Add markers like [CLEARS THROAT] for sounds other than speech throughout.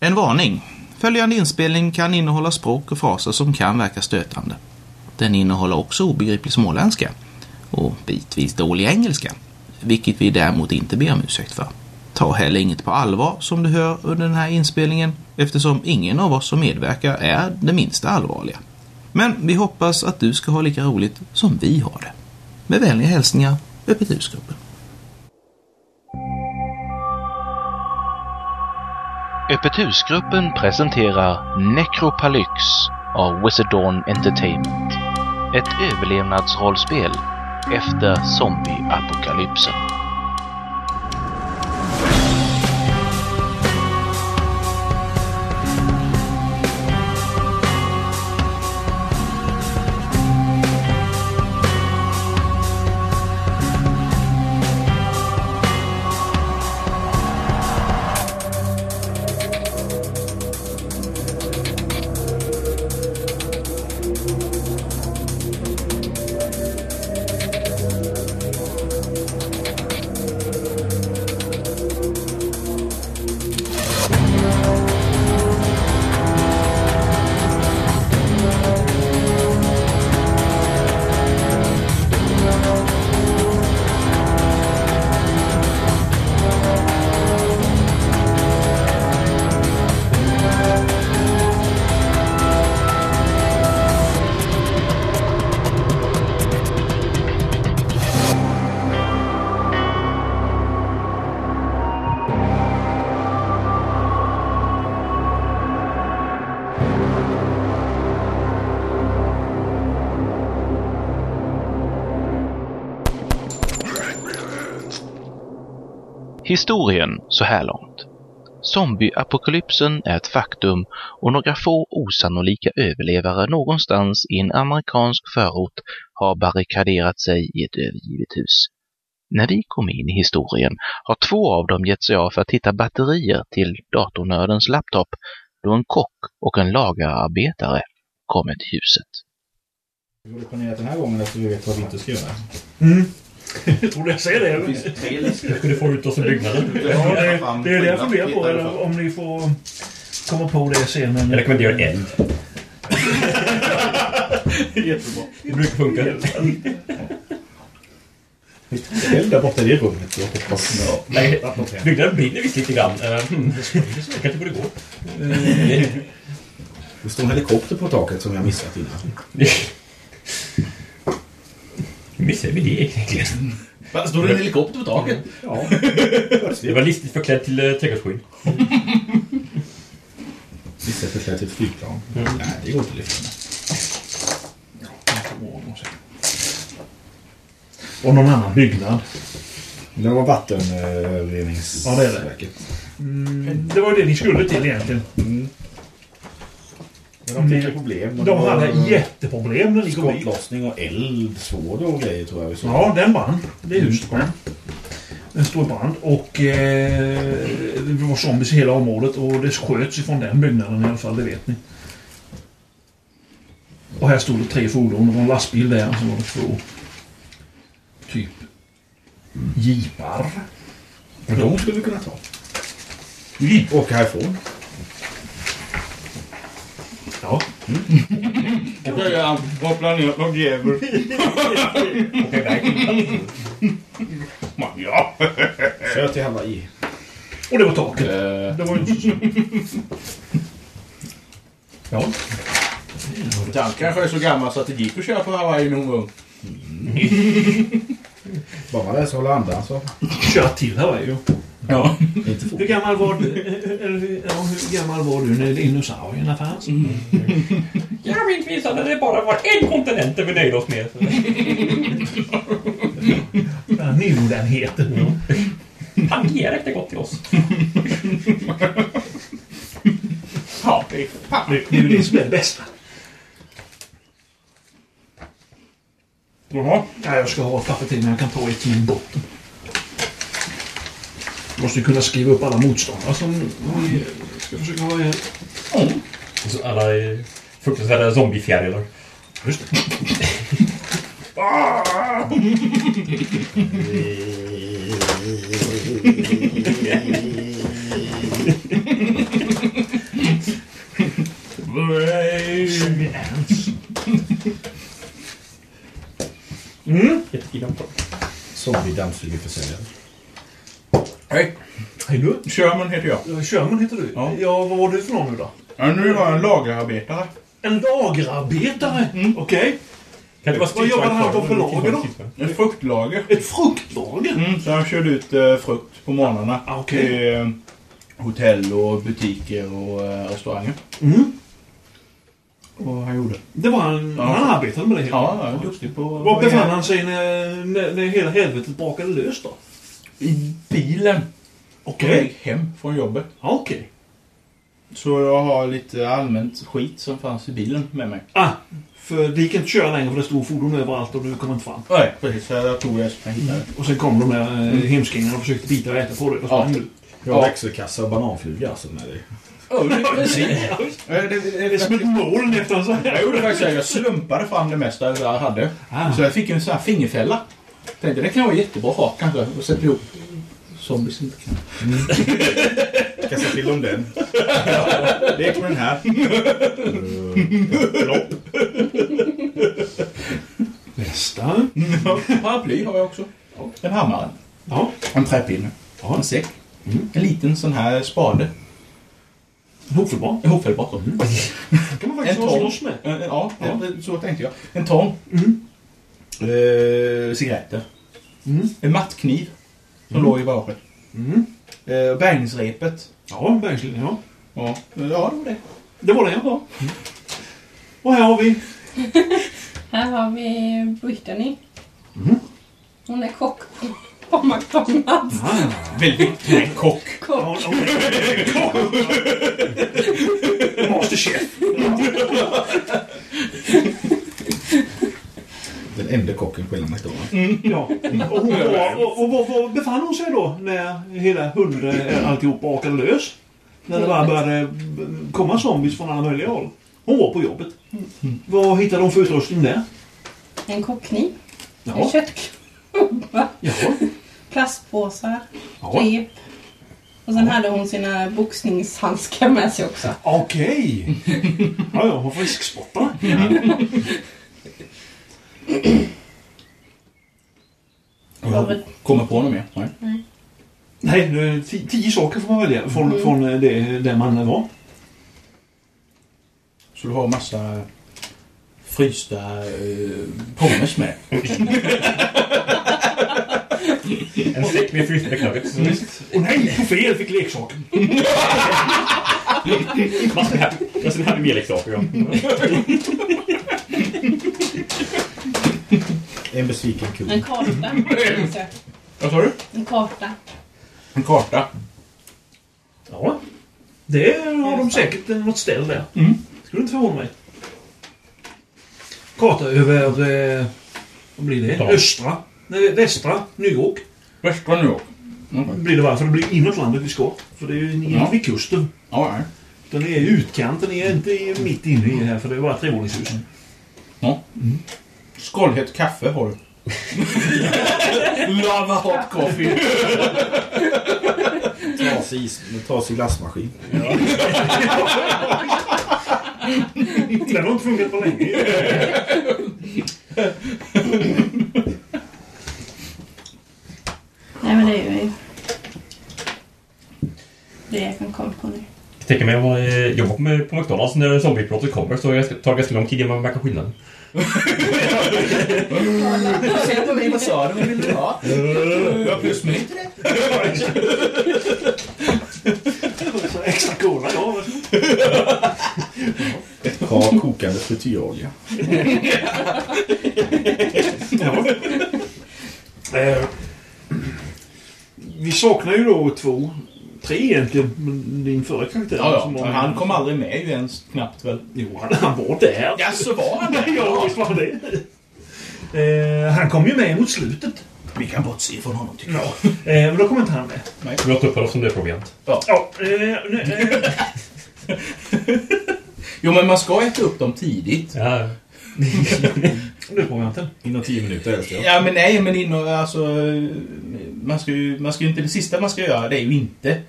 En varning. Följande inspelning kan innehålla språk och fraser som kan verka stötande. Den innehåller också obegriplig småländska och bitvis dålig engelska, vilket vi däremot inte ber om ursäkt för. Ta heller inget på allvar som du hör under den här inspelningen eftersom ingen av oss som medverkar är det minsta allvarliga. Men vi hoppas att du ska ha lika roligt som vi har det. Med vänliga hälsningar, Öppet husgruppen. Öppet husgruppen presenterar Necropalyx av Wizardon Entertainment. Ett överlevnadsrollspel efter zombieapokalypsen. Historien så här långt. Zombieapokalypsen är ett faktum och några få osannolika överlevare någonstans i en amerikansk förort har barrikaderat sig i ett övergivet hus. När vi kom in i historien har två av dem gett sig av för att hitta batterier till datornördens laptop då en kock och en lagerarbetare kommer till huset. Vi borde planera den här gången efter vi vet vad vi inte ska göra. Mm. Jag tror jag säger det. tre Skulle få ut oss ur byggnaden. Ja, det, det är det jag funderar på. Eller om ni får komma på det sen. Jag Men rekommenderar en eld. jättebra. Det brukar funka. Eld där borta i rummet, jag hoppas. Nej, byggnaden brinner visst lite grann. Eh, hmm, Det kanske borde gå. Det står en helikopter på taket som jag missat innan. Hur missade vi det egentligen? Va, står det en helikopter på taket? Ja. Det var listigt förklädd till eh, trädgårdsskydd. Vissa förklädd till ett flygplan. Nej, det går inte att lyfta med. Och någon annan byggnad. Det var vattenreningsverket. Ja, det är det. Mm. Det var ju det ni skulle till egentligen. Men de fick ju problem. De hade jätteproblem när ni kom dit. skottlossning och eld, svår och grejer tror jag vi såg. Ja, den brann. Det huset brann. Den stod i brand och eh, det var zombies i hela området och det sköts ifrån den byggnaden i alla fall, det vet ni. Och här stod det tre fordon. Det var en lastbil där och så var det två typ jeepar. Men de skulle vi kunna ta. Jeep. Åka härifrån. Ja. Åka iväg. Kör till Hawaii. Och det var taket. Det var ju inte så stort. Ja. Han kanske är så gammal så att det gick att köra på Hawaii när hon var ung. Bara det så håller andan så. Kör till här var ju. Ja. Inte fort. Hur gammal var du, Eh, eller, hur- ja, hur gammal var du när dinosaurierna fanns? Jag minns visst att det bara var en kontinent där vi nöjde oss med. Den här nymodernheten. Han ger inte gott till oss. Det det är ju det som är det bästa. Jaha. Ja, jag ska ha ett papper till men jag kan ta ett till min botten. Måste ju kunna skriva upp alla motståndare som vi eh, ska försöka ha ihjäl. Så alla eh, fruktansvärda zombiefjärilar. Just det. Mm. Jättefina. Zombie-dammsugarförsäljare. Hej, Hej du. Sherman heter jag. Ja, Sherman heter du. Ja. ja, vad var du för någon nu då? Ja, nu är jag en lagerarbetare. En lagerarbetare? Okej. Kan det vara Vad jobbar han på för lager då? Ett fruktlager. Ett fruktlager? Mm, så han körde ut eh, frukt på morgnarna Ah, okej. till eh, hotell och butiker och eh, restauranger. Mm. Och han gjorde. Det var en... Ja. Han arbetade med det hela. Ja, jag är duktig på... Var befann han sig när, när, när hela helvetet brakade löst då? I bilen. På Okej. väg hem från jobbet. Ja, okej. Så jag har lite allmänt skit som fanns i bilen med mig. Ah, för det gick inte att köra längre för det stod fordon överallt och du kom inte fram. Nej, precis. Så jag tog det som jag hittade. Och sen kom de här eh, Mm. hemskingarna och försökte bita och äta på dig. Vad sprang du? Jag har växelkassa och bananfluga alltså med dig. Oh, precis. Eh, Det är som ett moln efter en sån Mm. Jag här. gjorde faktiskt så här, jag slumpade fram det mesta jag hade. Ah. Så jag fick en sån här fingerfälla. Tänkte det kan vara jättebra att ha kanske. Och sätta ihop zombies inte kan. Kasta till om den. [LAUGHS] Lek med den här. Nästa. Paraply har jag också. En hammare. Ja. En träpinne. En säck. En liten sån här spade. Hopfällbar. En hopfällbar. så. Den kan man En faktiskt vara tång. slåss med. En- en- Ja, det- så tänkte jag. En tång. Eh, cigaretter. Mm. En mattkniv. Som låg i bagaget. Mm. Eh, bärgningsrepet. Ja, bergslin. Ja. Ja. ja, det var det. Det var det jag var. Och här har vi... Här har vi Brittany. Mhm. Hon är kock på McDonalds. Ah. Väldigt knäck kock. Kock. [LAUGHS] Masterchef. Den enda kocken på hela McDonalds. Ja. Och, hon var, och, och var, var befann hon sig då när hela hund eh, alltihop brakade lös? När det bara började b- komma zombies från alla möjliga håll. Hon var på jobbet. Vad hittade hon för utrustning där? En kockkniv. En Ja. köttklubba. Jaha. Plastpåsar. Ja. Rep. Och sen hade hon sina boxningshandskar med sig också. Okej. Ja, ja, hon friskspottade. Var- Kommer på något mer? Nej. Nej, nu är det ti- tio saker får man välja från, från eh, det, där man var. Så du har massa frysta eh, pommes med. En säck med Alltså, frysta nuggets. Och nej, på fel fick leksaker. Massor här. Och sen hade vi mer leksaker. ja. En besviken kund. En karta. minns jag. Vad sa du? En karta. En karta. Ja. Det har de säkert eh, något ställ där. Mm. Skulle inte förvåna mig. Karta över... Eh, vad blir det? Ja. Östra? Nej, västra New York. Västra New York. Blir det varför det blir inåt landet vi ska. För det är ju inne Ja. vid kusten. Ja, ja. Den är i utkanten, den är inte i- mitt inne i det här för det är bara trevåningshus. Skållhett kaffe har du. [LAUGHS] Lava hot coffee. Trasig is- Trasig glassmaskin. Mm. [LAUGHS] Den har inte funkat på länge. Nej men det är ju det jag kan komma på nu. Jag tänker mig att jag eh, jobbar med- på McDonalds när zombieutbrottet kommer så jag ska- tar det ganska lång tid innan man märker skillnaden. Sätter mig vad sa du? Vad vill du ha? Jag har plusmeny till det. Så Extra cola, ja. varsågod. Ett par kokande frityrolja. Eh, vi saknar ju då två, tre egentligen, men din förra karaktär. Ja, som ja. var- Men han kom aldrig med ju ens knappt väl. Jo, han, han var där. Ja, så var han det? Ja, visst var det. Eh, han kom ju med mot slutet. Vi kan bortse från honom tycker Ja. Eh, men då kom inte han med. Vi åt upp honom som det är proviant. Ja, eh, nej, eh, Jo, men man ska äta upp dem tidigt. Ja. nu kom jag inte. Inom tio minuter helst ja. Ja, men nej, men inom, alltså... Man ska ju, man ska ju inte, det sista man ska göra det är ju inte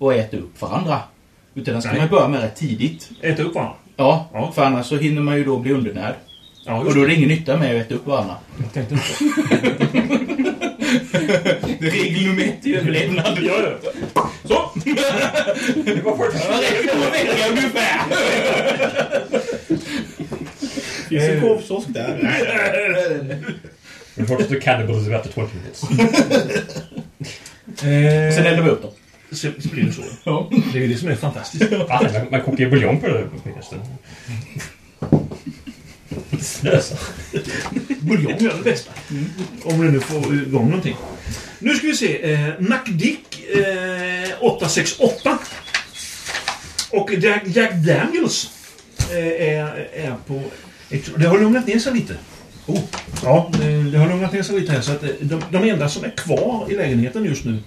att äta upp varandra. Utan det ska Nej. man börja med rätt tidigt. Äta upp varandra. Ja, Ja. för annars så hinner man ju då bli undernärd. Ja, Och just då är det ingen nytta med att äta upp varandra. Jag tänkte inte. [LAUGHS] Det är regel nummer ett i överlevnad. Ja, ja. Så! Det var första. Finns det en korvkiosk där? Report to cannibals about the 20 minutes. [LAUGHS] Sen eldar vi upp dem. Eh, Så, så blir det så. Ja. Det är ju det som är fantastiskt. Ah, man, man kokar ju buljong på det på middagen. Slösa. Buljong är det bästa. Mm. Om du nu får igång någonting. Nu ska vi se. Eh, MacDick eh, 868. Och Jack, Jack Daniels eh, är, är på... Det har lugnat ner sig lite. Oh. Ja, det, det har lugnat ner sig lite här. Så att eh, de, de enda som är kvar i lägenheten just nu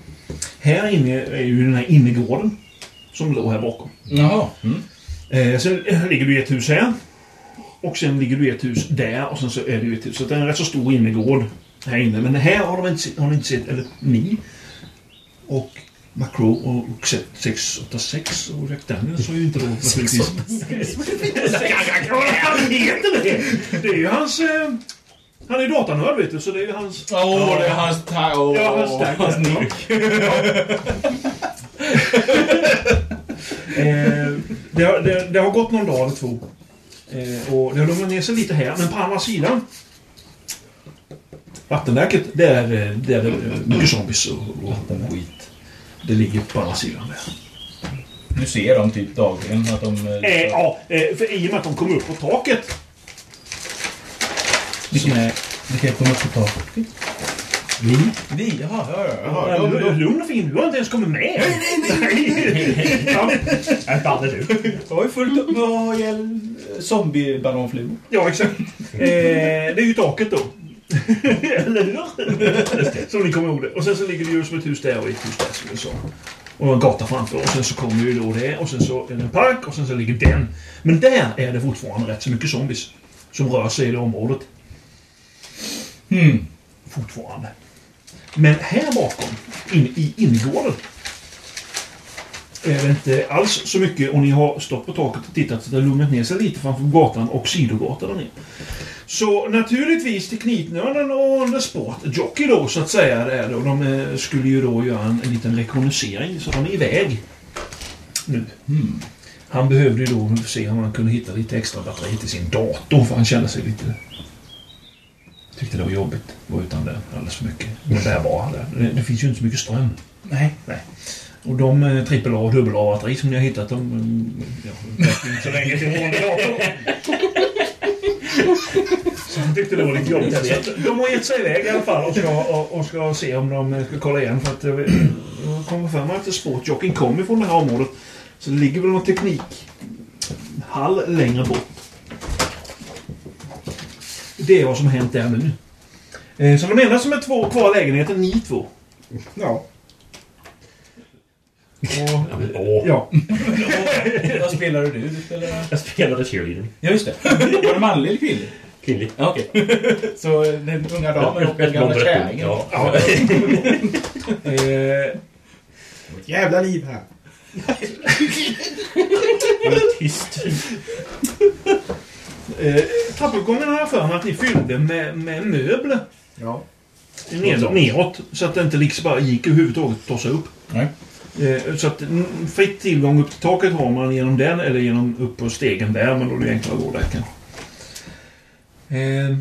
här inne är ju den här innergården som låg här bakom. Jaha. Eh, sen eh, ligger du i ett hus här. Och sen ligger du i ett hus där och sen så är det ju ett hus. Så det är en rätt så stor innergård här inne. Men här har de inte, sett- har de inte sett, eller ni och Macro och och se- 686 och Jack Daniels har ju inte råd naturligtvis. Vad heter det? Det är ju hans... eh, Han är ju datanörd vet du, så det är ju hans... Åh, det är hans tag. Åh, Ja, hans tagg. hans nick. [LAUGHS] Eh, det, har, det, det har gått någon dag eller två. Eh, och det har lugnat ner sig lite här, men på andra sidan Vattenverket, där, eh, där är det eh, mycket zombies och, och skit. Det ligger på andra sidan där. Nu ser de typ dagligen att de... Eh, ja, eh, för i och med att de kom upp på taket. Vilken är... Vilken kommer upp på taket? Ni? Vi? Jaha, ja, ja, Ja, jaha. lu- Ja, då- Eh, lugn och fin, du har inte ens kommit med. Nej, nej, nej. [LAUGHS] ja, Inte aldrig du. Jag har ju fullt upp med att ha ihjäl zombiebananflugor. ja, exakt. Eh, det är ju taket då. [LAUGHS] Eller hur? Som ni kommer ihåg det. Och sen så ligger det ju som ett hus där och ett hus där som vi sa. Och en gata framför och sen så kommer ju då det och sen så är det en park och sen så ligger den. Men där är det fortfarande rätt så mycket zombies som rör sig i det området. Hmm. Fortfarande. Men här bakom, in, i innergården, är det inte alls så mycket och ni har stått på taket och tittat så det har lugnat ner sig lite framför gatan och sidogatan där nere. Så naturligtvis tekniknörden och Anders Sportjockey då så att säga det är då. De eh, skulle ju då göra en, en liten rekognosering så de är iväg nu. Han behövde ju då se om han kunde hitta lite extra batteri till sin dator för han kände sig lite... Tyckte det var jobbigt att vara utan det alldeles för mycket. Men där var han där. Det, det finns ju inte så mycket ström. Nej. Nej. Och de eh, trippel A och dubbel A-batteri som ni har hittat, de... mm, Ja, de räcker ju inte så länge till vanlig dator. Så han tyckte det var lite jobbigt. Så att de har gett sig iväg i alla fall och ska, och, och ska se om de eh, ska kolla igen. För att eh, jag kommer för mig att sportjockeyn kom ifrån det här området. Så det ligger väl någon teknikhall längre bort. Det är vad som har hänt där nu. Eh, Så de enda som är två kvar i lägenheten är ni två. Ja. Och, Åh, ja. [LAUGHS] Vad spelade du? Du spelade... jag spelade cheerleading. Ja, just det. Var det manlig eller kvinnlig? Kvinnlig. Ja, okej. Så eh, den unga damen och den Ett gamla bomber ett kärringen. Ja. ja. Eh, Ett jävla liv här. Tyst. eh, Trappuppgången har jag för mig att ni fyllde med, med möbler. Ja. Ned, neråt, så att det inte liksom bara gick överhuvudtaget att ta sig upp. Nej. Eh, så att mm, fritt tillgång upp till taket har man genom den eller genom upp på stegen där, men då är det enklare att gå där kanske. Eh,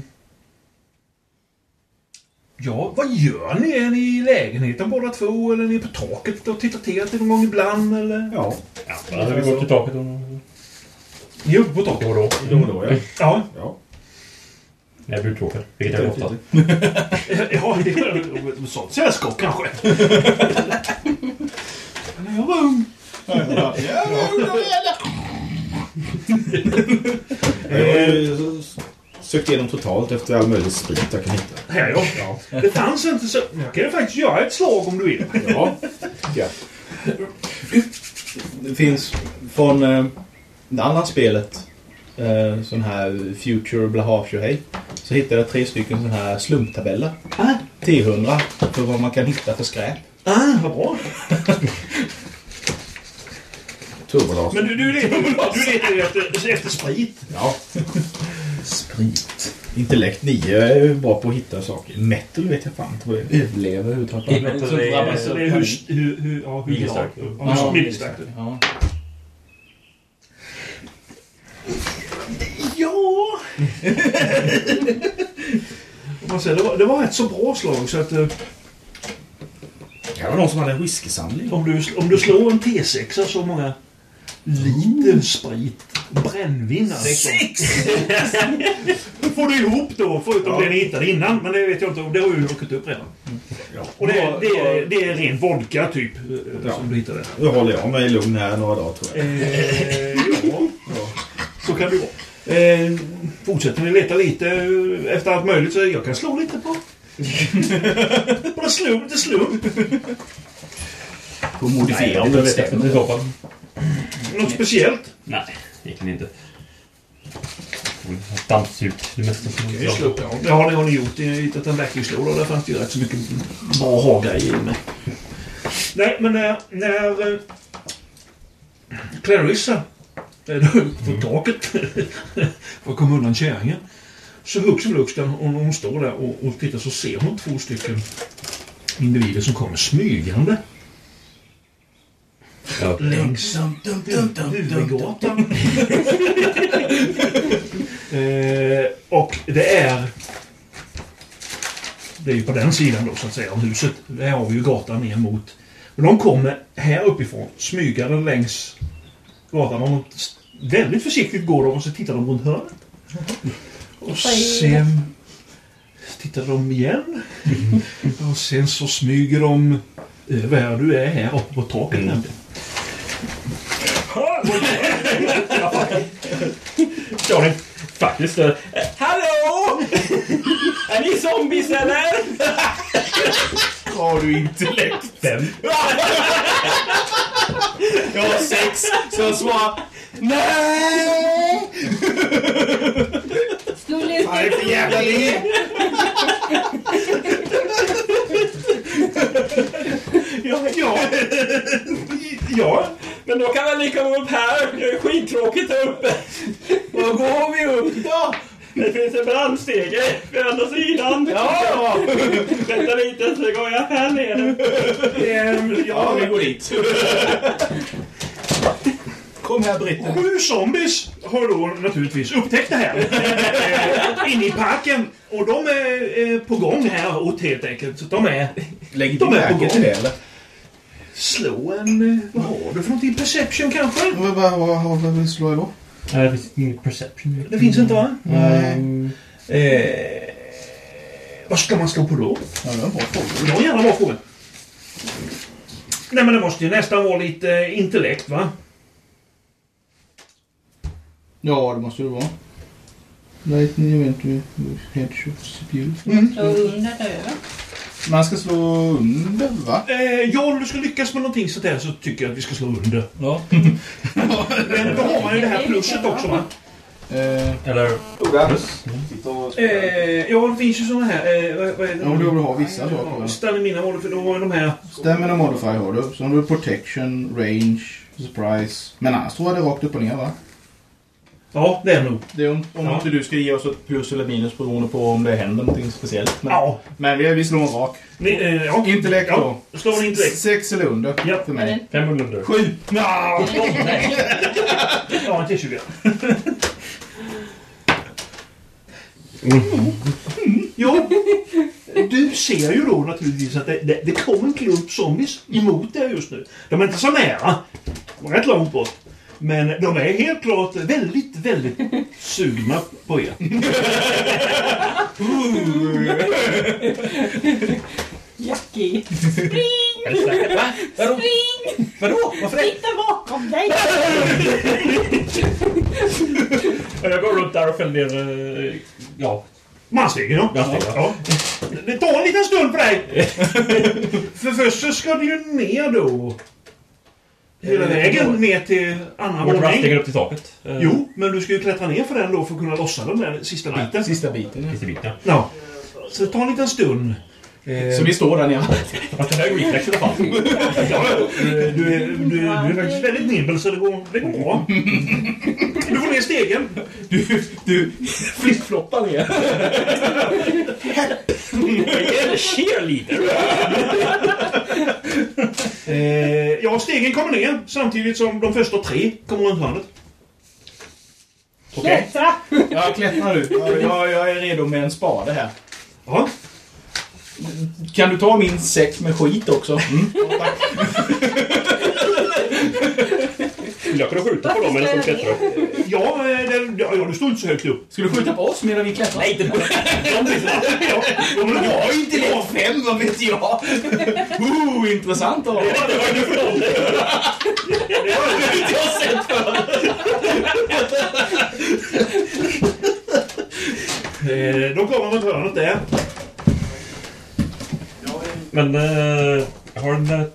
ja, vad gör ni? Är ni i lägenheten båda två eller är ni på taket och tittar till någon gång ibland eller? Ja. Alltså, vi går upp till taket och... Ni är uppe på taket? Då och då. Då och då, ja. Ja. ja. När jag blir uttråkad. Vilket jag är ofta. Ja, det är sånt sällskap kanske. [LAUGHS] När jag var ung. Jag har ju sökt igenom totalt efter all möjlig sprit jag kan hitta. Här ja. Det fanns inte så... Jag kan ju faktiskt göra ett slag om du vill. Ja. ja. Det finns från eh, det andra spelet, eh, sån här Future Blaha hej så hittade jag tre stycken sån här slumptabeller. Ah. T100 för vad man kan hitta för skräp. Ah, vad bra. Turbolas. Men du, du letar ju du letar ju efter, efter sprit. Ja. Sprit. Intellekt 9 är ju bra på att hitta saker. Metal vet jag fan inte vad det är. Överleva överhuvudtaget. Men så drabbas det är hur... hur, hur ja, hur Millistark. Ja, hur millistark. Ja. [LAUGHS] Ja! Man säger, det, var, det var ett så bra slag så att eh, Det var någon som hade en whiskysamling. om, du, om du slår en T6 så många liter sprit, brännvin alltså. Mm. Sex! [LAUGHS] Då får du ihop då, förutom det ni hittade innan. Men det vet jag inte, om. det har ju druckit upp redan. Och det, det, är, det är ren vodka typ, eh, som du hittade. Då håller jag mig lugn här några dagar tror jag. Eh, ja, så kan det vara. Eh, fortsätter ni leta lite eh, efter allt möjligt så jag kan slå lite [LAUGHS] på... Bara slump till slump. På Jag modifiera vet inte. Toppen. Något speciellt. Nej, egentligen inte. Dammsug. Det mesta som Det har ni, har ni gjort. Ni har hittat en verktygslåda. Där fanns det ju rätt så mycket bra ha-grejer i med. Nej, men när... när eh, Clarissa eh, då på taket [LAUGHS] för att komma undan kärringen. Så hux flux, när hon, hon står där och, och tittar så ser hon två stycken individer som kommer smygande. Ja. Längs huvudgatan. [LAUGHS] eh, och det är... Det är ju på den sidan då så att säga om huset. Där har vi ju gatan ner mot. Men de kommer här uppifrån, smygande längs gatan. De, väldigt försiktigt går de och så tittar de runt hörnet. Och sen tittar de igen. Och sen så smyger de över här. Du är här uppe på taket nämligen. Kör ni. Faktiskt. eh, Hallå! Är ni zombies eller? Har du intellekt? Fem. Jag har sex. Så jag svarar nej! Skulle inte... Vad är det för jävla liv? Ja, ja. ja. Men då kan väl ni komma upp här? Det är skittråkigt här uppe. Var går vi upp då? Det finns en brandstege på andra sidan. Ja! Vänta lite så går jag här ner. Ehm, ja. går dit. Kom här Britten. Sju zombies har då naturligtvis upptäckt det här. Ehm, Inne i parken. Och de är eh, på gång här åt helt enkelt. Så de är... Lägg De din är på läge till gång. det eller? Slå en... eh, Vad har du för någonting? Perception kanske? Vad har slår jag då? Nej, det finns ingen perception. Det finns inte va? Nej. Eh, vad ska man slå på då? Ja, det var en bra fråga. Det var en jävla bra fråga. Nej men det måste ju nästan vara lite eh, intellekt va? Ja, det måste det vara. Lightning event with headshots abuse. Slå under där över. Man ska slå under, va? Eh, ja, om du ska lyckas med någonting sånt där så tycker jag att vi ska slå under. Ja. Men då har man ju det här plusset också va? Eh, Eller... Eh, ja, det finns ju såna här... Eh, vad, vad är det? Ja, men du vill ha vissa saker, Ja, va? Stanna mina mål, för då har jag de här... stamina modifier har du. Sen har du protection, range, surprise. Men annars tror jag det är rakt upp och ner, va? Ja, det är nog. Det är om, om Ja. inte du ska ge oss ett plus eller ett minus beroende på om det händer någonting speciellt. Men, Ja. men vi, vi slår en rak. Ni, eh, ja. Intellekt ja. då. Slå en intellekt. Sex eller under Ja. för Är mig. det- 500 under. Sju! Nja, nej. Ja, en T20. Jo, du ser ju då naturligtvis att det, det, det kom en klump zombies emot dig just nu. De är inte så nära. De är rätt långt bort. Men de är helt klart väldigt, väldigt sugna på er. Jackie, [LAUGHS] spring! Spring! Vadå? Varför Titta bakom dig! Jag går runt där och fäller ner... eh, Ja. Mansstegen, ja. Mansstegen, ja. Det tar en liten stund för dig. för först så ska du ju ner då. Hela vägen ner till andra Går brandstegen våningen. upp till taket? Eh, Jo, men du ska ju klättra ner för den då för att kunna lossa den där sista biten. Sista biten. Finns det vitt, ja. Ja. Så det tar en liten stund. Eh, Så vi står där nere. Fast det här är reflex i alla fall. ja, eh, du, är, du, är- du är faktiskt väldigt nimbel så det går, det går bra. Du får ner stegen. Du, du flippfloppar ner. Jag är cheerleader. eh, ja, stegen kommer ner samtidigt som de första tre kommer runt hörnet. Klättra! Ja, klättrar du. Ja, jag, jag är redo med en spade här. Ja. Kan du ta min säck med skit också? Mm. Jag kunde skjuta på dem eller som klättrar upp. Ja, eh, den, ja, ja, du står inte så högt upp. Ska du skjuta på oss medan vi klättrar? Nej, det De blir ja, de blir bra. var ju inte det fem, vad vet jag? Oh, intressant att ha. Eh, de kommer runt hörnet där. Men eh, jag har den där...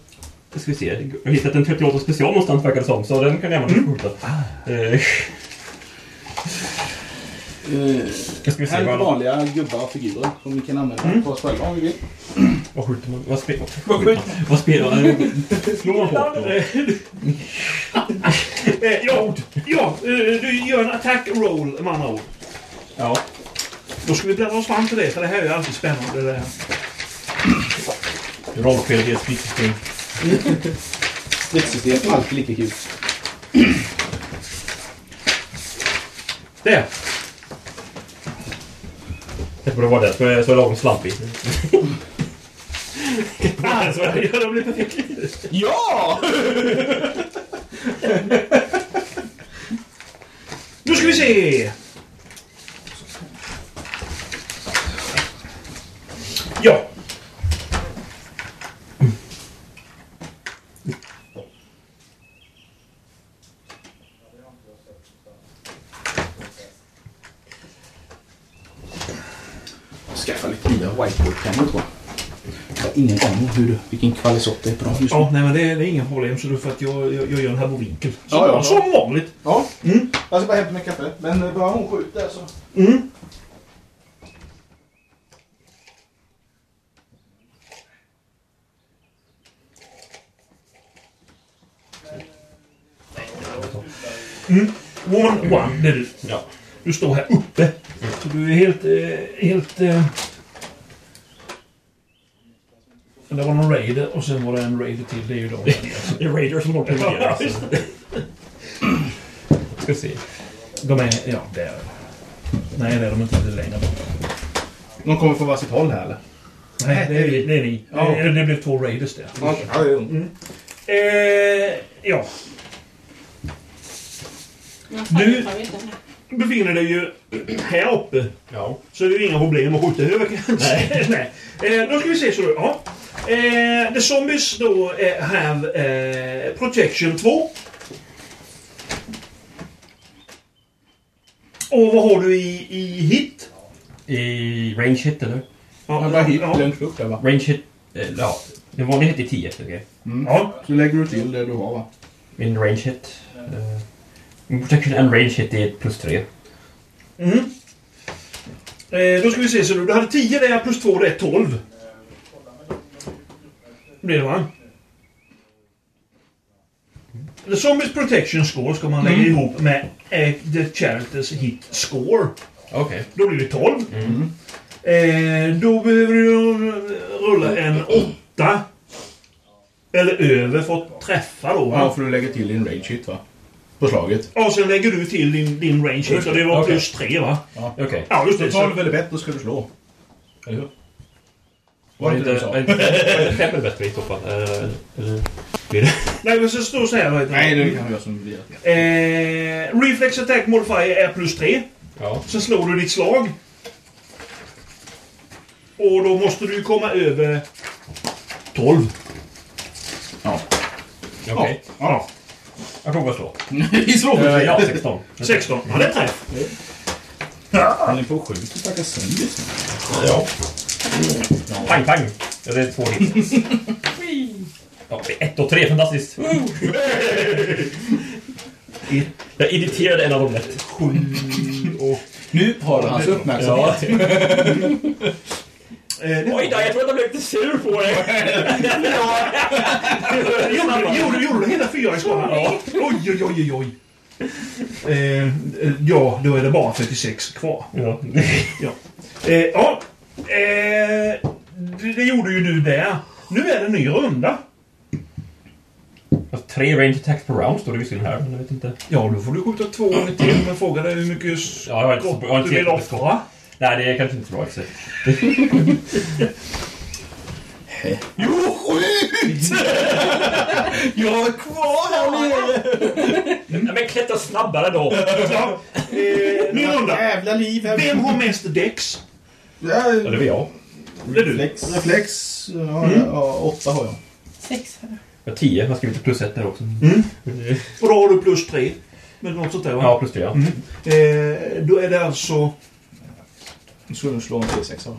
Då ska vi se. Jag har hittat en 38 special någonstans verkar det som. Så den kan jag använda för att skjuta. Eh, Då ska vi se Här är vad, vanliga gubbar och figurer som vi kan använda Mm. på oss själva om vi vill. vad skjuter man? Vad spelar man? Vad spelar man? Slår man på? [LAUGHS] Eh, ja, ja eh, du gör en attack roll med andra ord. Ja. Då ska vi bläddra oss fram till det, för det här är ju alltid spännande. Det här. Rollspelet är ett skitsystem. Stridssystem, alltid lika kul. Där! Det borde vara det. Så jag är så lång slampig. Ah, så, [LAUGHS] ja, de blir perfekt. Ja! [LAUGHS] Nu ska vi se! Ja. Skaffa lite nya whiteboardpennor tror jag. Jag har ingen aning om hur du, vilken kvalitet det är på dem just nu. ja, nej men det, är- det är inga problem så du för att jag, jag, jag gör en herbovinkel. Som, Ja, ja. som vanligt. Ja. Mm. Jag ska bara hämta mig kaffe. Men eh, bara hon skjuter så... Mm. Mm. Woman one, det är du. Ja. Du står här uppe. Så du är helt... Eh, helt eh... Det var någon raider och sen var det en raider till. Det är ju de. [LAUGHS] Det är Raiders som åker ner. Ja, alltså. [LAUGHS] Ska se. De är... Ja, där. Nej, det är de inte. Det är längre bort. De kommer från varsitt håll här eller? Nej, det är vi. Det är ni. Ja. Eh, Det blev två raiders där. Ja, jo. Eh, ja. Du- Befinner dig ju här uppe. Ja. Så det är ju inga problem att skjuta över kanske. [LAUGHS] Nej. Nej. Eh, då ska vi se så du. Ja. Eh, the zombies då eh, have eh, protection 2. Och vad har du i, i hit? I range hit eller? Ja, Han bara hit ja. långt upp där va? Range hit... eh, Ja. Den vanliga hit är 10. Okej. ja. Så lägger du till det du har va? Min range hit. eh, Min protection and range hit är plus 3. Mm. Eh, då ska vi se så du. Du hade 10 där plus 2 det är 12. Blir det va? The Zombies Protection Score ska man lägga Mm. ihop med eh, The Charities Hit Score. Okej. Då blir det 12. Mm. Eh, då behöver du eh, rulla en 8. Eller över för att träffa då. Ja, Va? för du lägger till din rage hit va? På slaget. Och sen lägger du till din, din range hit och det var Okej. plus 3 va? Okej. Okay. Ja just det. Så Så- 12 eller bättre ska du slå. Eller hur? Var Var det det inte det du inte... sa? var det Fem är bättre i så fall. Eh, eller- blir det? Nej, men så står det så här. vet du. Nej, det kan jag som vill. Eh, reflex attack modifier är plus 3. Ja. Sen slår du ditt slag. Och då måste du komma över 12. Okej. Ja. Jag kommer att [LAUGHS] slå. Vi slår Eh, för Ja, 16. 16. Ja, det är träff. Han är på sjukt och packar sönder. Ja. Pang, pang! Ja, det är två hits. Ja, det är ett och tre, fantastiskt! Jag irriterade en av dem lätt. Nu har han hans uppmärksamhet. Ja. Eh, det Oj då, jag tror att jag blev lite sur på dig. gjorde, gjorde, gjorde du hela fyra i skadan? Ja. Oj, oj, oj, oj, oj. Eh, eh, ja, då är det bara 46 kvar. Ja. [LAUGHS] Ja. Eh, ja. Eh, det, det gjorde ju du där. Nu är det en ny runda. Fast Tre range attacks per round står det visserligen här, men jag vet inte. Ja, då får du skjuta två gånger till. Men frågan är hur mycket Ja, jag har inte- skott jag har inte du vill gett det skott. offra. Nej, det är kanske inte så bra exakt. [LAUGHS] Jo, skjut! Jag är kvar här nere! Ja, men klättra snabbare då! Ja, eh, ny runda. Jävla liv här. Vem har mest dex? Mm. Ja, det var jag. Det är du. Reflex. Reflex. Mm. Ja, ja, åtta har jag. Sex här. Jag har tio, jag har skrivit plus ett där också. Och då har du plus tre. Men något sånt där va? Ja, plus tre ja. Mm. Eh, då är det alltså Nu ska du slå en T6 va?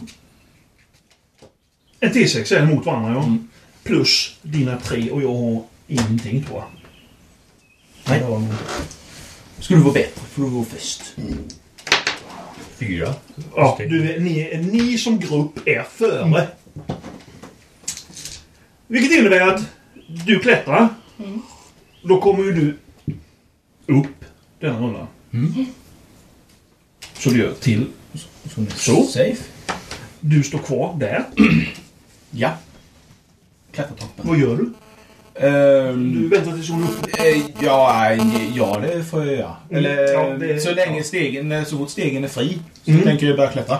en T6 är mot varandra ja. Plus dina tre och jag har ingenting tror jag. Nej. Ska du vara bättre får du vara först. Fyra. Ja, Just det. du, är- ni, är- ni som grupp är före. Vilket innebär att du klättrar. Då kommer ju du upp den rundan. Mm. Så du gör till. Så. nu är Så. Safe. Du står kvar där. [CLEARS THROAT] Ja. Klättertoppen. Vad gör du? Ehm, Du väntar tills hon är uppe. eh, ja, eh, ja, det får jag göra. Mm, Eller ja, det- så ja. länge stegen, eh, så fort stegen är fri så Mm. tänker jag börja klättra.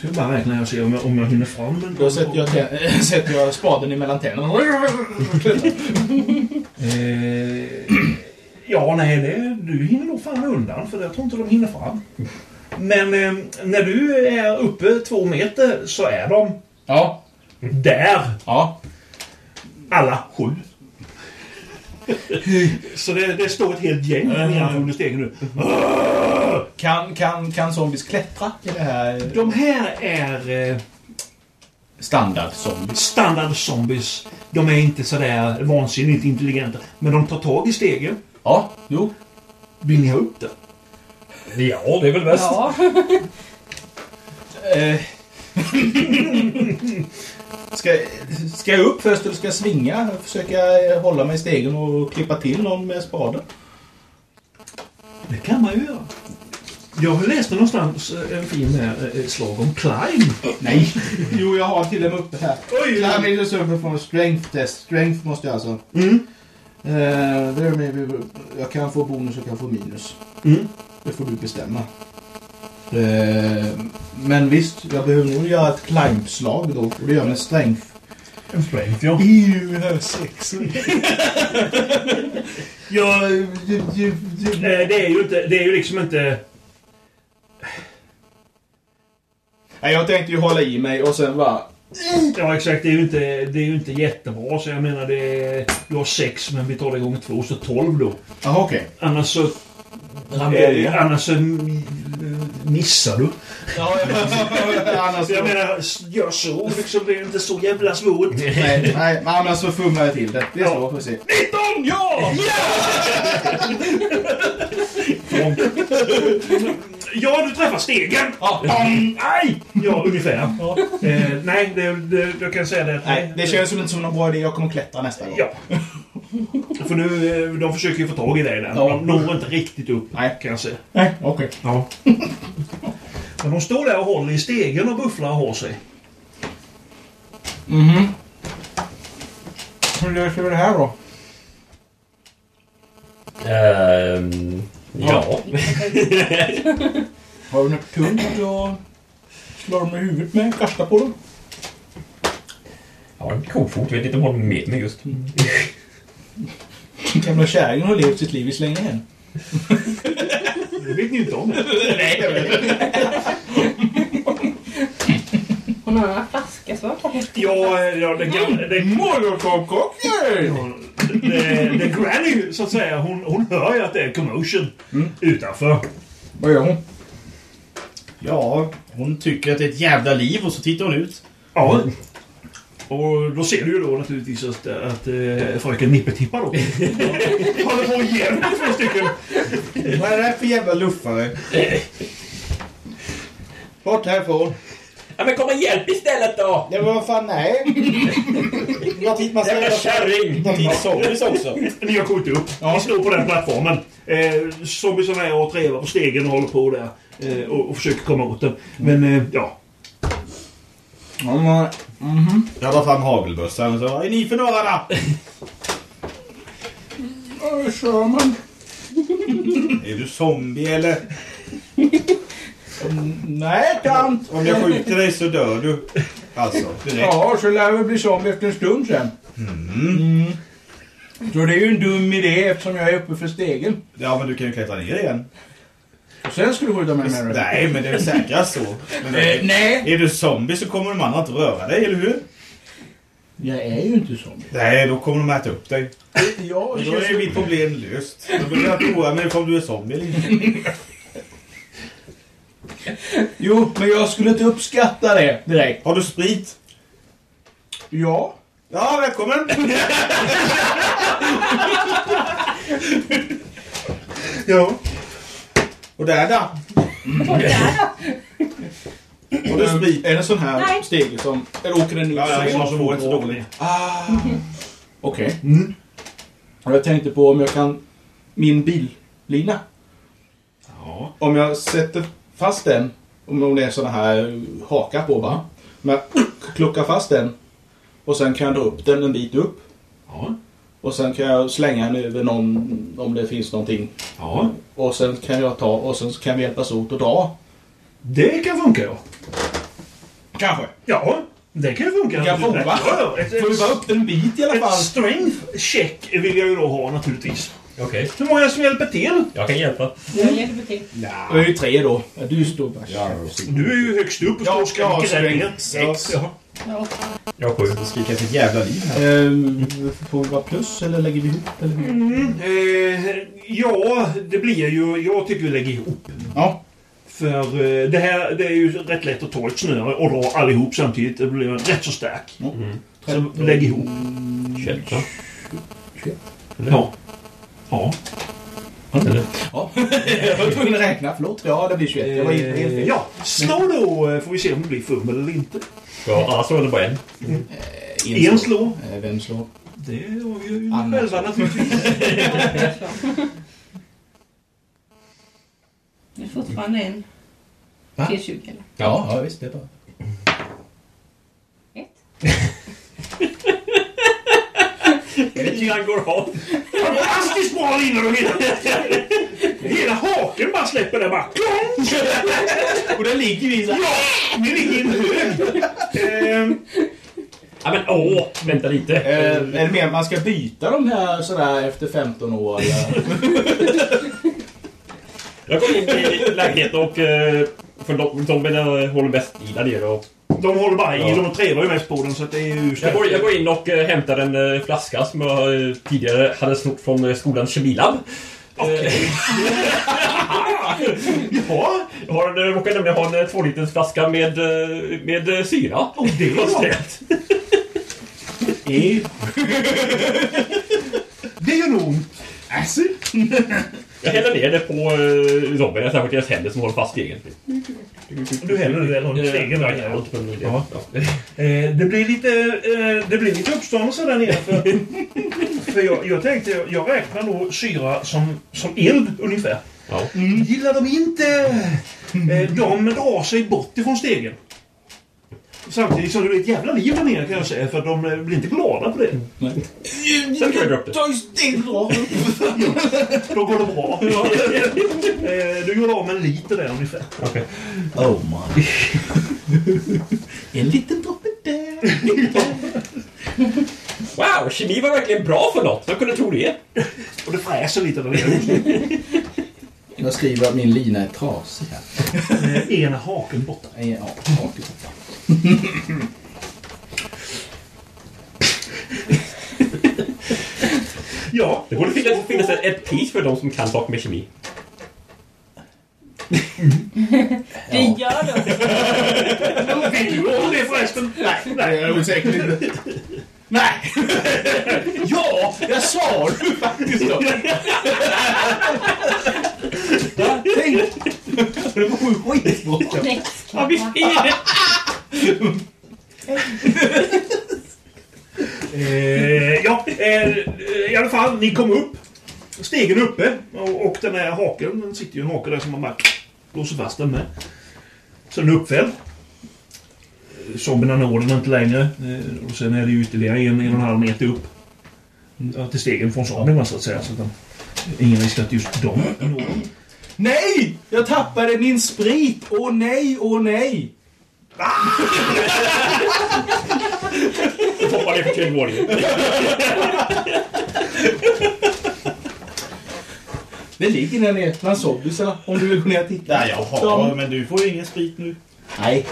Jag ska bara räkna och se om jag, om jag hinner fram. Men Då sätter jag, tä- [LAUGHS] sätter jag spaden emellan tänderna. Eh, ja, nej, det, du hinner nog fan undan för jag tror inte de hinner fram. Men eh, när du är uppe två meter så är de Ja. där, Ja. alla [LAUGHS] sju. så det, det står ett helt gäng nedanför under stegen nu. Kan, kan, kan zombies klättra i det här? De här är eh, Standard zombies. standard zombies. De är inte sådär vansinnigt intelligenta. Men de tar tag i stegen. Ja, jo. Vill ni ha upp det? Ja, det är väl bäst. Ja. Eh. [LAUGHS] ska, ska jag upp först eller ska jag svinga? Försöka eh, hålla mig i stegen och klippa till någon med spaden? Det kan man ju göra. Jag läste någonstans eh, en fin eh, eh, slag om climb. Nej. jo, jag har till och med uppe här. Oj, Det här med just över från strength test. Strength måste jag alltså... Mm. Eh, det är med, jag kan få bonus och jag kan få minus. Mm. Det får du bestämma. Eh, men visst, jag behöver nog göra ett climb-slag då. Och det gör jag med strength. En strength, ja. EU här sex. jag... ju- ju- ju- Eh, Det är ju inte... Det är ju liksom inte... Nej, jag tänkte ju hålla i mig och sen bara... Ja, exakt. Det är ju inte, det är ju inte jättebra. Så jag menar, det är, du har sex, men vi tar det gånger två, så tolv då. Jaha, okej. Annars så... börjar. Eh, annars så mm, missar du. [LAUGHS] Ja, jag- annars... Så jag menar, s- gör så liksom. Det är inte så jävla svårt. Nej, nej, men annars så fumlar jag till det. Det är så, får vi se. Ja! [LAUGHS] Ja, du träffar stegen! Ja. Bam! Aj! Ja, ungefär. Eh, nej, det, det, jag kan säga det. att- Nej, det känns som inte som någon bra idé. Jag kommer klättra nästa gång. Ja. För nu, eh, de försöker ju få tag i dig där. Ja. De når inte riktigt upp Nej. kan jag säga. Nej, okej. Ja. Men de står där och håller i stegen och bufflar och har sig. Mhm. Hur löser vi det här då? Ehm, ja. Har du något tungt att slå dem i huvudet med? Kasta på dem? Jag har en kofot, jag vet inte om hon är med mig just. Gamla kärringen har levt sitt liv i slängen än. Det vet ni inte om [LAUGHS] det. Hon har några flaskor så var det Ja, eh, ja det gamla... Det, Molotovcocktail! det, det granny, så att säga, hon, hon hör ju att det är commotion utanför. Vad gör hon? Ja, hon tycker att det är ett jävla liv och så tittar hon ut. Ja. Och då ser du ju då naturligtvis att, att eh, fröken Nippetippa [LAUGHS] då håller på och ger mig två stycken. Eh. Vad är det här för jävla luffare? Bort härifrån! Ja, men kom och hjälp istället då! Ja, men vad fan, [LAUGHS] nej. Man, man, man, Jävla kärring! Zombies också. Ni har kommit upp. Ni står på den plattformen. Eh, zombiesarna är och trevar på stegen och håller på där. Eh, och, och försöker komma åt den. Men eh, ja. Jag tar fram hagelbössan och så. Vad är ni för några då? Är du zombie eller? nej, tant. Om jag skjuter dig så dör du. Alltså, direkt. Ja, så lär vi bli zombie efter en stund sen. Mm. Så det är ju en dum idé eftersom jag är uppe för stegen. Ja, men du kan ju klättra ner igen. Och sen ska du skjuta mig med det. Nej, men det är väl säkrast så. Men Eh, nej, är du zombie så kommer de andra inte röra dig, eller hur? jag är ju inte zombie. Nej, då kommer de äta upp dig. Jag Men då är mitt problem löst. Då behöver jag inte oroa mig för om du är zombie eller inte. Jo, men jag skulle inte uppskatta det direkt. Har du sprit? Ja. Ja, välkommen! ja. Och där då? Och där Har du sprit? Eh, Är det en sån här Nej. stege som... Eller åker den ut? Ja, jag som mår inte så dåligt. Okej. Mm. Och jag tänkte på om jag kan... Min billina. Ja. Om jag sätter fast den. Om om det är såna här hakar på bara. Om jag kluckar fast den. Och sen kan jag dra upp den en bit upp. Ja. Och sen kan jag slänga den över någon, om det finns någonting. Ja. Och sen kan jag ta och sen kan vi hjälpas åt att dra. Det kan funka ja. Kanske. Ja, det kan funka. Kan funka, va? Ja, ja, ett, Får vi bara upp den en bit i alla ett fall. strength check vill jag ju då ha naturligtvis. Okej, Hur många som hjälper till? jag kan hjälpa. Jag hjälper till. Då är det tre då. Ja, du står bara. Du är ju högst upp och står och skriker där nere. Sex. Ja. Ja. Jag har sju. Skrika sitt jävla liv här. Ehm, får vi bara plus eller lägger vi ihop? Eller hur? Eh, ja, det blir ju... Jag tycker vi lägger ihop. Ja. För eh, det här det är ju rätt lätt att ta ett snöre och dra allihop samtidigt. Det blir rätt så stark. Så lägg ihop. 21, va? Ja. Ja. Jag var tvungen att räkna. Förlåt. Ja, det blir 21. Jag var inne på helt fel. ja. Slå då eh, får vi se om det blir fumel eller inte. Ja, annars var det bara en. En slå. Eh, Vem slår? Det avgör ju Anna. själva naturligtvis. Det är fortfarande en. T20 eller? Ja, ja visst. Det är bra. Ett. Linan går av. Fantastiskt bra linor och hela... Hela haken bara släpper där bara. Klonk! Och där ligger vi så Ja! Ni ligger i en hög. Ehm, Ja, men åh! Vänta lite. Ehm, Är det mer man ska byta de här sådär efter 15 år? [LAUGHS] Eller? Jag kom in i lägenheten och... eh, För de, de menar, håller bäst i där nere och... De håller bara i, Ja. de trevar ju mest på den så att det är ju... Jag går, jag går in och eh, hämtar en eh, flaska som jag eh, tidigare hade snott från eh, skolans kemilab. [LAUGHS] Okay. ja, jag har, en- jag råkar nämligen ha en eh, tvåliters flaska med, eh, med eh, syra. Och det var ställt. Det gör nog ont. Jag häller ner det på eh, Robin, särskilt deras händer som håller fast stegen. Du häller det eller Eh, stegen ja, där jag nere. har inte på det. Ja. Ja. Eh, Det blir lite, eh, det blir lite uppståndelse där nere. [LAUGHS] För, för jag, jag tänkte, jag- jag räknar nog syra som, som eld ungefär. Ja. Mm, gillar de inte. Eh, De drar sig bort ifrån stegen. Samtidigt som det blir ett jävla liv där nere kan jag säga. För de eh, blir inte glada på det. Sen tar jag upp det. Ta ju steg då. Då går det [LAUGHS] bra. Eh, Du gjorde av med en liter där ungefär. Oh my. En liten droppe där. Wow, kemi var verkligen bra för något. Jag kunde tro det. Och det fräser lite där nere. [LAUGHS] Jag skriver att min lina är trasig här. Eh, Ena haken borta. Nej, Ja, okej. Ja, Det borde finnas, finnas ett, ett pris för de som kan saker med kemi. Det gör du. vill du ha det förresten? Nej, nej. Jag är säkert inte. Nej! Ja, jag sa du faktiskt då. Tänk! Det vore ju skitbra. Next. Ja, visst är det! Eh, ja, eh, i alla fall, ni kom upp. Stegen är uppe. Och, och den här haken, den sitter ju en hake där som man bara låser fast den med. Så den är uppfälld. Eh, Zombierna når den inte längre. Eh, och sen är det ju ytterligare en, en och en halv meter upp. Ja, till stegen från zombierna så att säga. Så att den, ingen visste att just de når den. Nej! Jag tappade min sprit! Åh nej, åh nej! Hoppa ner för tredje våningen. Det ligger där nere bland zombisarna om du vill gå ner och titta. Nej, jaha, men du får ju ingen sprit nu. Nej,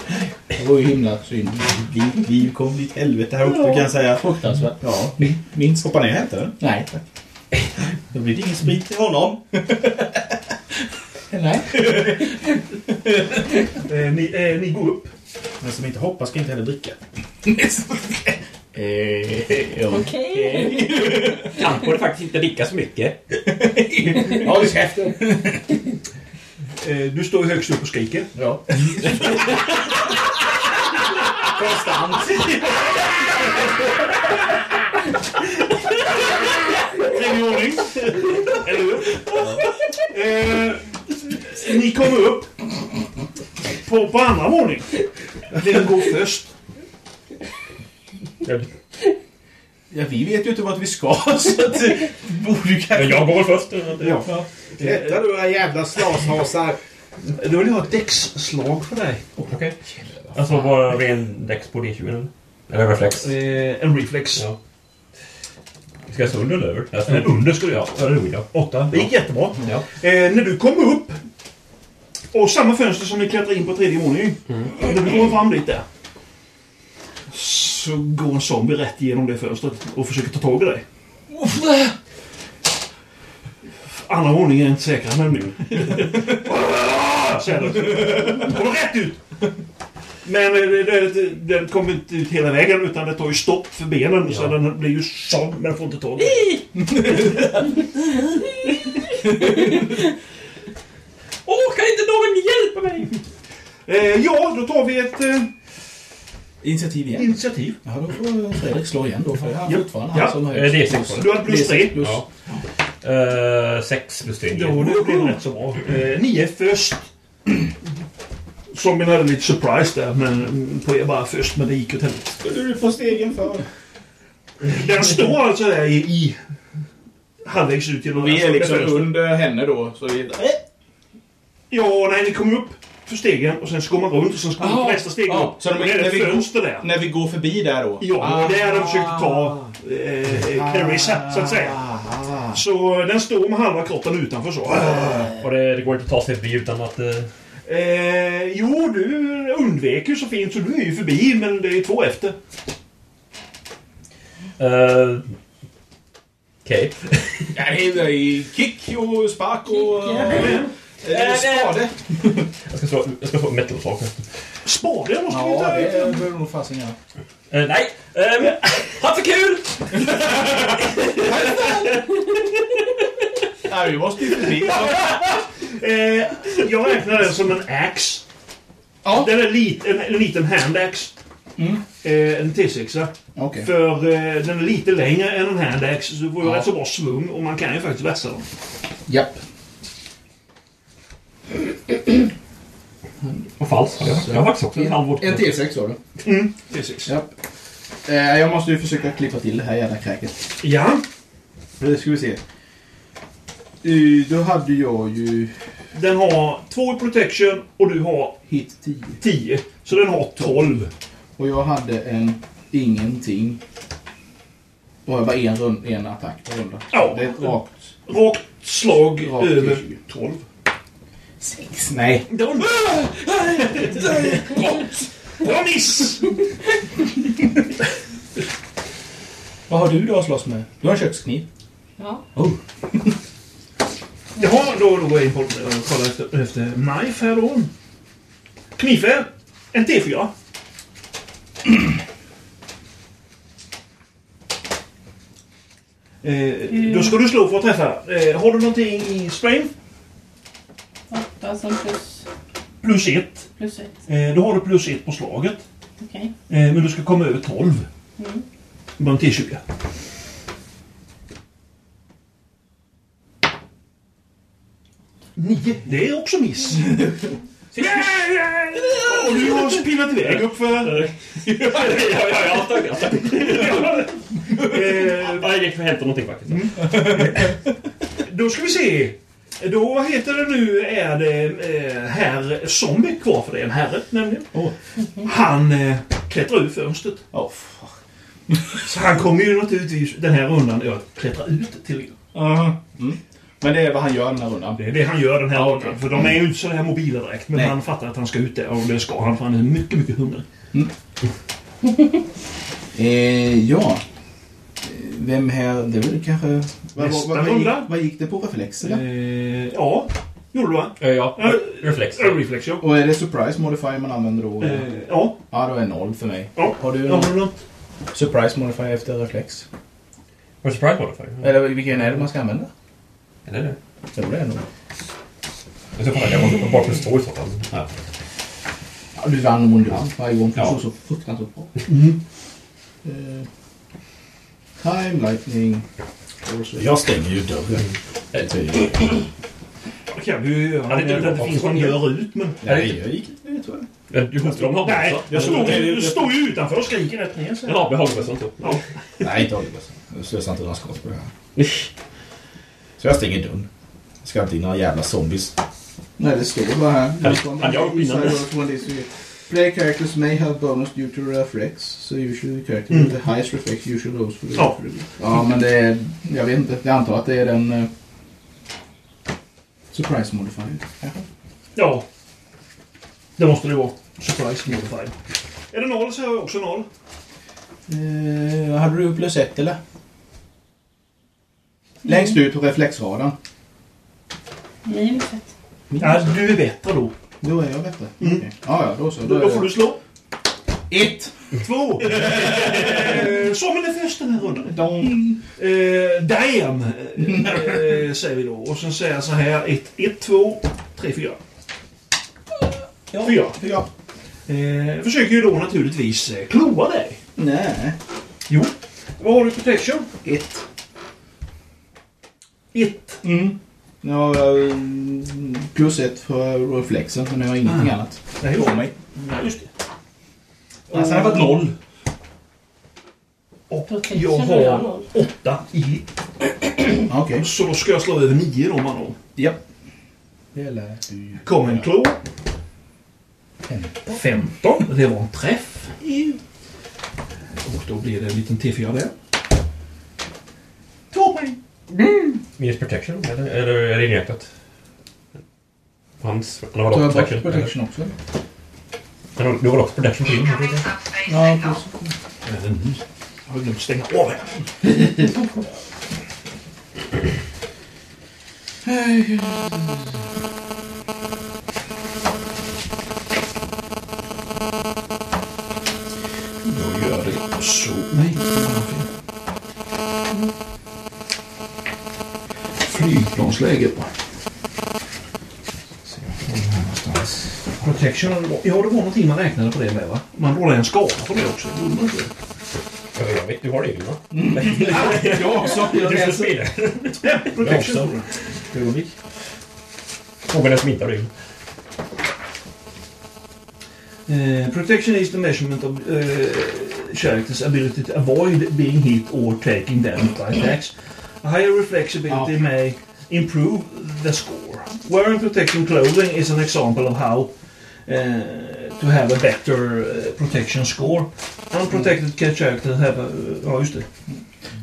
det var ju himla synd. Vi, vi kom dit helvete här uppe Du kan kan jag säga. säga, Fruktansvärt. ja, Minst. hoppa ner och hämta den. Nej. Då blir det ingen sprit till honom. [LAUGHS] Nej. Eh, ni, eh, ni går upp. Men som inte hoppar ska inte heller dricka. Eh, ja. Okej. Han borde faktiskt inte dricka så mycket. Håll käften! Eh, du står ju högst upp och skriker. Ja. Tredje våning. Eller hur? Eh, ni kommer upp på, på andra våning. Vem går först? ja, vi vet ju inte vart [LAUGHS] vi ska så att det borde ju kanske... Jag går först. Ja. Detta du är jävla slashasar. Då vill jag ha ett däcksslag för dig. Alltså bara ren dex på D20 eller? Eller reflex. Eh, en reflex. Ja. Ska jag stå under eller över? Jag En står under skulle jag. under. Ja, det jag. Det gick jättebra. Ja. Eh, när du kommer upp och samma fönster som ni klättrar in på tredje våningen. När du kommer fram dit där. Så går en zombie rätt igenom det fönstret och försöker ta tag i dig. Andra våningen är inte säkrare [LAUGHS] nämligen. Säger den. Kommer rätt ut! Men eh, det, det, det, den kommer inte ut hela vägen utan det tar ju stopp för benen så den blir ju sån men får inte tag i dig. Åh, kan inte någon hjälpa mig? Eh, ja, då tar vi ett eh, Initiativ igen. initiativ. Ja, då får Fredrik slå igen då för det är han Ja. fortfarande han Ja. som har Eh, det är sex Du hade plus tre. plus. Ja. Eh, sex plus tre. Jo, det blev rätt så bra. Eh, ni är först. Som jag hade lite surprise där men, mm, på er bara först, men det gick åt helvete. Du får stegen för. Den står alltså där i, i halvvägs ut genom Vi är liksom fönstret. under henne då. Så vi... Ja, nej, ni kommer upp för stegen och sen så går man runt och sen så går man Aha. på nästa steg Ja, upp. så de- och det är när ett vi går- fönster där. När vi går förbi där då. Ja, det var där de försökte ta eh, Clarissa, så att säga. Aha. Så den står med halva kroppen utanför så. Och det, det går inte att ta sig förbi utan att... eh, Eh, jo, du undvek ju så fint så du är ju förbi, men det är ju två efter. eh, Okej. Ja, det är ju kick och spark och... Kick, Eh, Spade. Jag ska slå... Jag ska få metal-slag först. Spade måste vi Ja, ta det ut. behöver du nog fasen göra. Eh, nej! Um, ha så kul! Nej, vi måste ju förbi. Eh, jag räknar den som en ax. Ja. Mm. Den är lit, en, en liten handax. Eh, en T6. Okej. För eh, den är lite längre än en handax, så du får ju rätt så bra svung och man kan ju faktiskt vässa dem. Japp. Vad falskt. Jag har faktiskt också en halv vårt. En T6 var det. T6. Japp. Eh, jag måste ju försöka klippa till det här jävla kräket. Ja, Nu ska vi se. Eh, Då hade jag ju den har två i protection och du har hit 10. 10. Så den har 12. Och jag hade en ingenting. Och jag bara en, rund, en attack per runda. Ja. Det är ett rakt... Rakt slag Rakt till över 20. 12. Sex. Nej. Det var en... Bra miss! Vad har du då att slåss med? Du har en kökskniv. Ja. Jaha, då, då går jag in på eh, och kollar efter, efter knife här då. Knife. En T4. Eh, då ska du slå för att träffa. Eh, har du någonting i strength? Åtta som plus, Plus ett. plus ett. Eh, då har du plus ett på slaget. Okej. Eh, men du ska komma över 12. Mm. Bara en T20. Nio. Det är också miss. Och du har spinat iväg uppför... ja, ja, ja, tack alltså. Eh, Mm. Ja, det händer någonting faktiskt. [LAUGHS] Då ska vi se. Då, vad heter det nu, är det eh, herr Zombie kvar för det är en herre nämligen. Han eh, klättrar ur fönstret. Oh, fuck. Så han kommer ju naturligtvis den här rundan ja, att klättra ut till er. Mm. Men det är vad han gör den här rundan. Det är det han gör den här Ja, rundan. För de är ju inte så här mobila direkt. Men Nej. han fattar att han ska ut där och det ska han för han är mycket, mycket hungrig. Eh, ja. Eh, Vem här? Det är väl kanske... vad- Nästa vad- gick, vad gick det på reflex eller? Eh, ja, gjorde du va? Ja, Eh, reflex. Reflex ja. Och är det surprise modifier man använder då? Eh, ja, Ja, då är noll för mig. Ja. Har du någon har du något? surprise modifier efter reflex? Var det surprise modifier? Eller vilken är det man ska använda? Eller det? Jag tror det är nog. Jag ska kolla, jag måste bara plus två i så fall. Ja, du vann mot ja. Mm. varje gång. Du Ja. såg så fruktansvärt bra. Eh, time, lightning... Jag stänger ju dörren. Det kan du ju göra. Ja, det- det- det Det finns finns någon någon- dör ut men... Nej, jag gick inte ner tror jag. Men Du hotar dem med Nej, hagelbössa. du står, ju- du står ju utanför och skriker rätt ner. Så. En ape med hagelbössa inte. Nej, inte Oliver. Jag slösar inte några skott på det här. Så jag stänger dörren. Det ska inte in några jävla zombies. Nej, det står bara hade jag här. gjort innan? Inside Play characters may have bonus due to reflex, so usually the character with the highest reflex usually goes for the Ja. Mm. ja, men det är... Jag vet inte. Jag antar att det är den... eh, surprise modifier. Ja. Det måste det vara. Surprise modified. Är det noll så är jag också noll. Eh, hade du plus ett eller? Mm. Längst ut på reflexradarn. Minus ett. Ja, du är bättre då. Då är jag bättre. Okej. Ja, ja, då så. Mm. Då, Då, är får jag- du slå. Ett! Två! [LAUGHS] Eh, Som en först den här rundan. Eh, damn! Eh, säger vi då. Och sen säger jag så här. Ett, ett två, tre, fyra. Ja. Fyra. Ja. Eh, försöker ju då naturligtvis eh, kloa dig. Nej. Jo. Vad har du i protection? Ett. Ett. Ja, jag- mm, plus ett för reflexen, men jag har ingenting annat. Nej, På mig. Ja, just det. Alltså, det hade varit noll. Och Protection jag har jag har noll. åtta i hit. Ja, Okej. Så då ska jag slå över nio då, man då. Ja. Det lät du ju. Kom en klo. Femton. 15. Det var en träff. Och då blir det en liten T4 där. Två poäng. Minus protection, eller? Eller är det inräknat? Hans... Han har Tar jag väl också protection? bort eller? protection också? Han har- Du har väl också protection till? Ja, plus. Jag har glömt stänga av här. Jag gör det så. Nej, det var fel. Flygplansläge. Protection har det varit. Ja, det var någonting man räknade på det med va? Man rollade en skada på det också. Gjorde man inte det? Ja, Jag vet, du har det ju va? Jag också. Jag Du ska läser. spela. Protection. Ja, tror Ögonblick. Frågan är som inte har det. jag. Eh, protection is the measurement of eh, characters ability to avoid being hit or taking damage by attacks. A higher reflexibility may improve the score. Wearing protection clothing is an example of how eh, to have a better eh, protection score. Unprotected characters have a... ja, just det.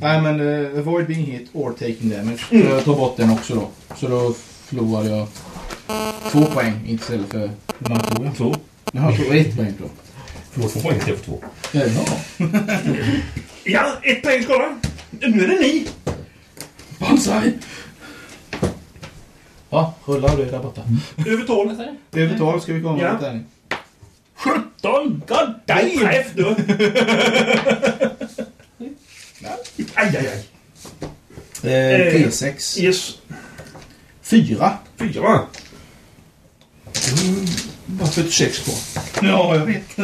Nej, men eh, avoid being hit or taking damage. Jag tar bort den också då. Så då förlorar jag två poäng istället för... Hur många tog jag? Två. Jag har tog ett poäng då. Förlåt, två poäng istället för två. Ja. Ja, ett poäng skada. Nu är det ni. Banzai! Ja, rullar du där borta. Över tolv. Över 12 Mm. ska vi komma Ja. mot där. Don God damn! Träff [LAUGHS] du! Aj, aj, aj. Eh, Eh, T6. Yes. Fyra. Fyra. Mm, Bara 46 kvar. Ja, jag vet. [LAUGHS]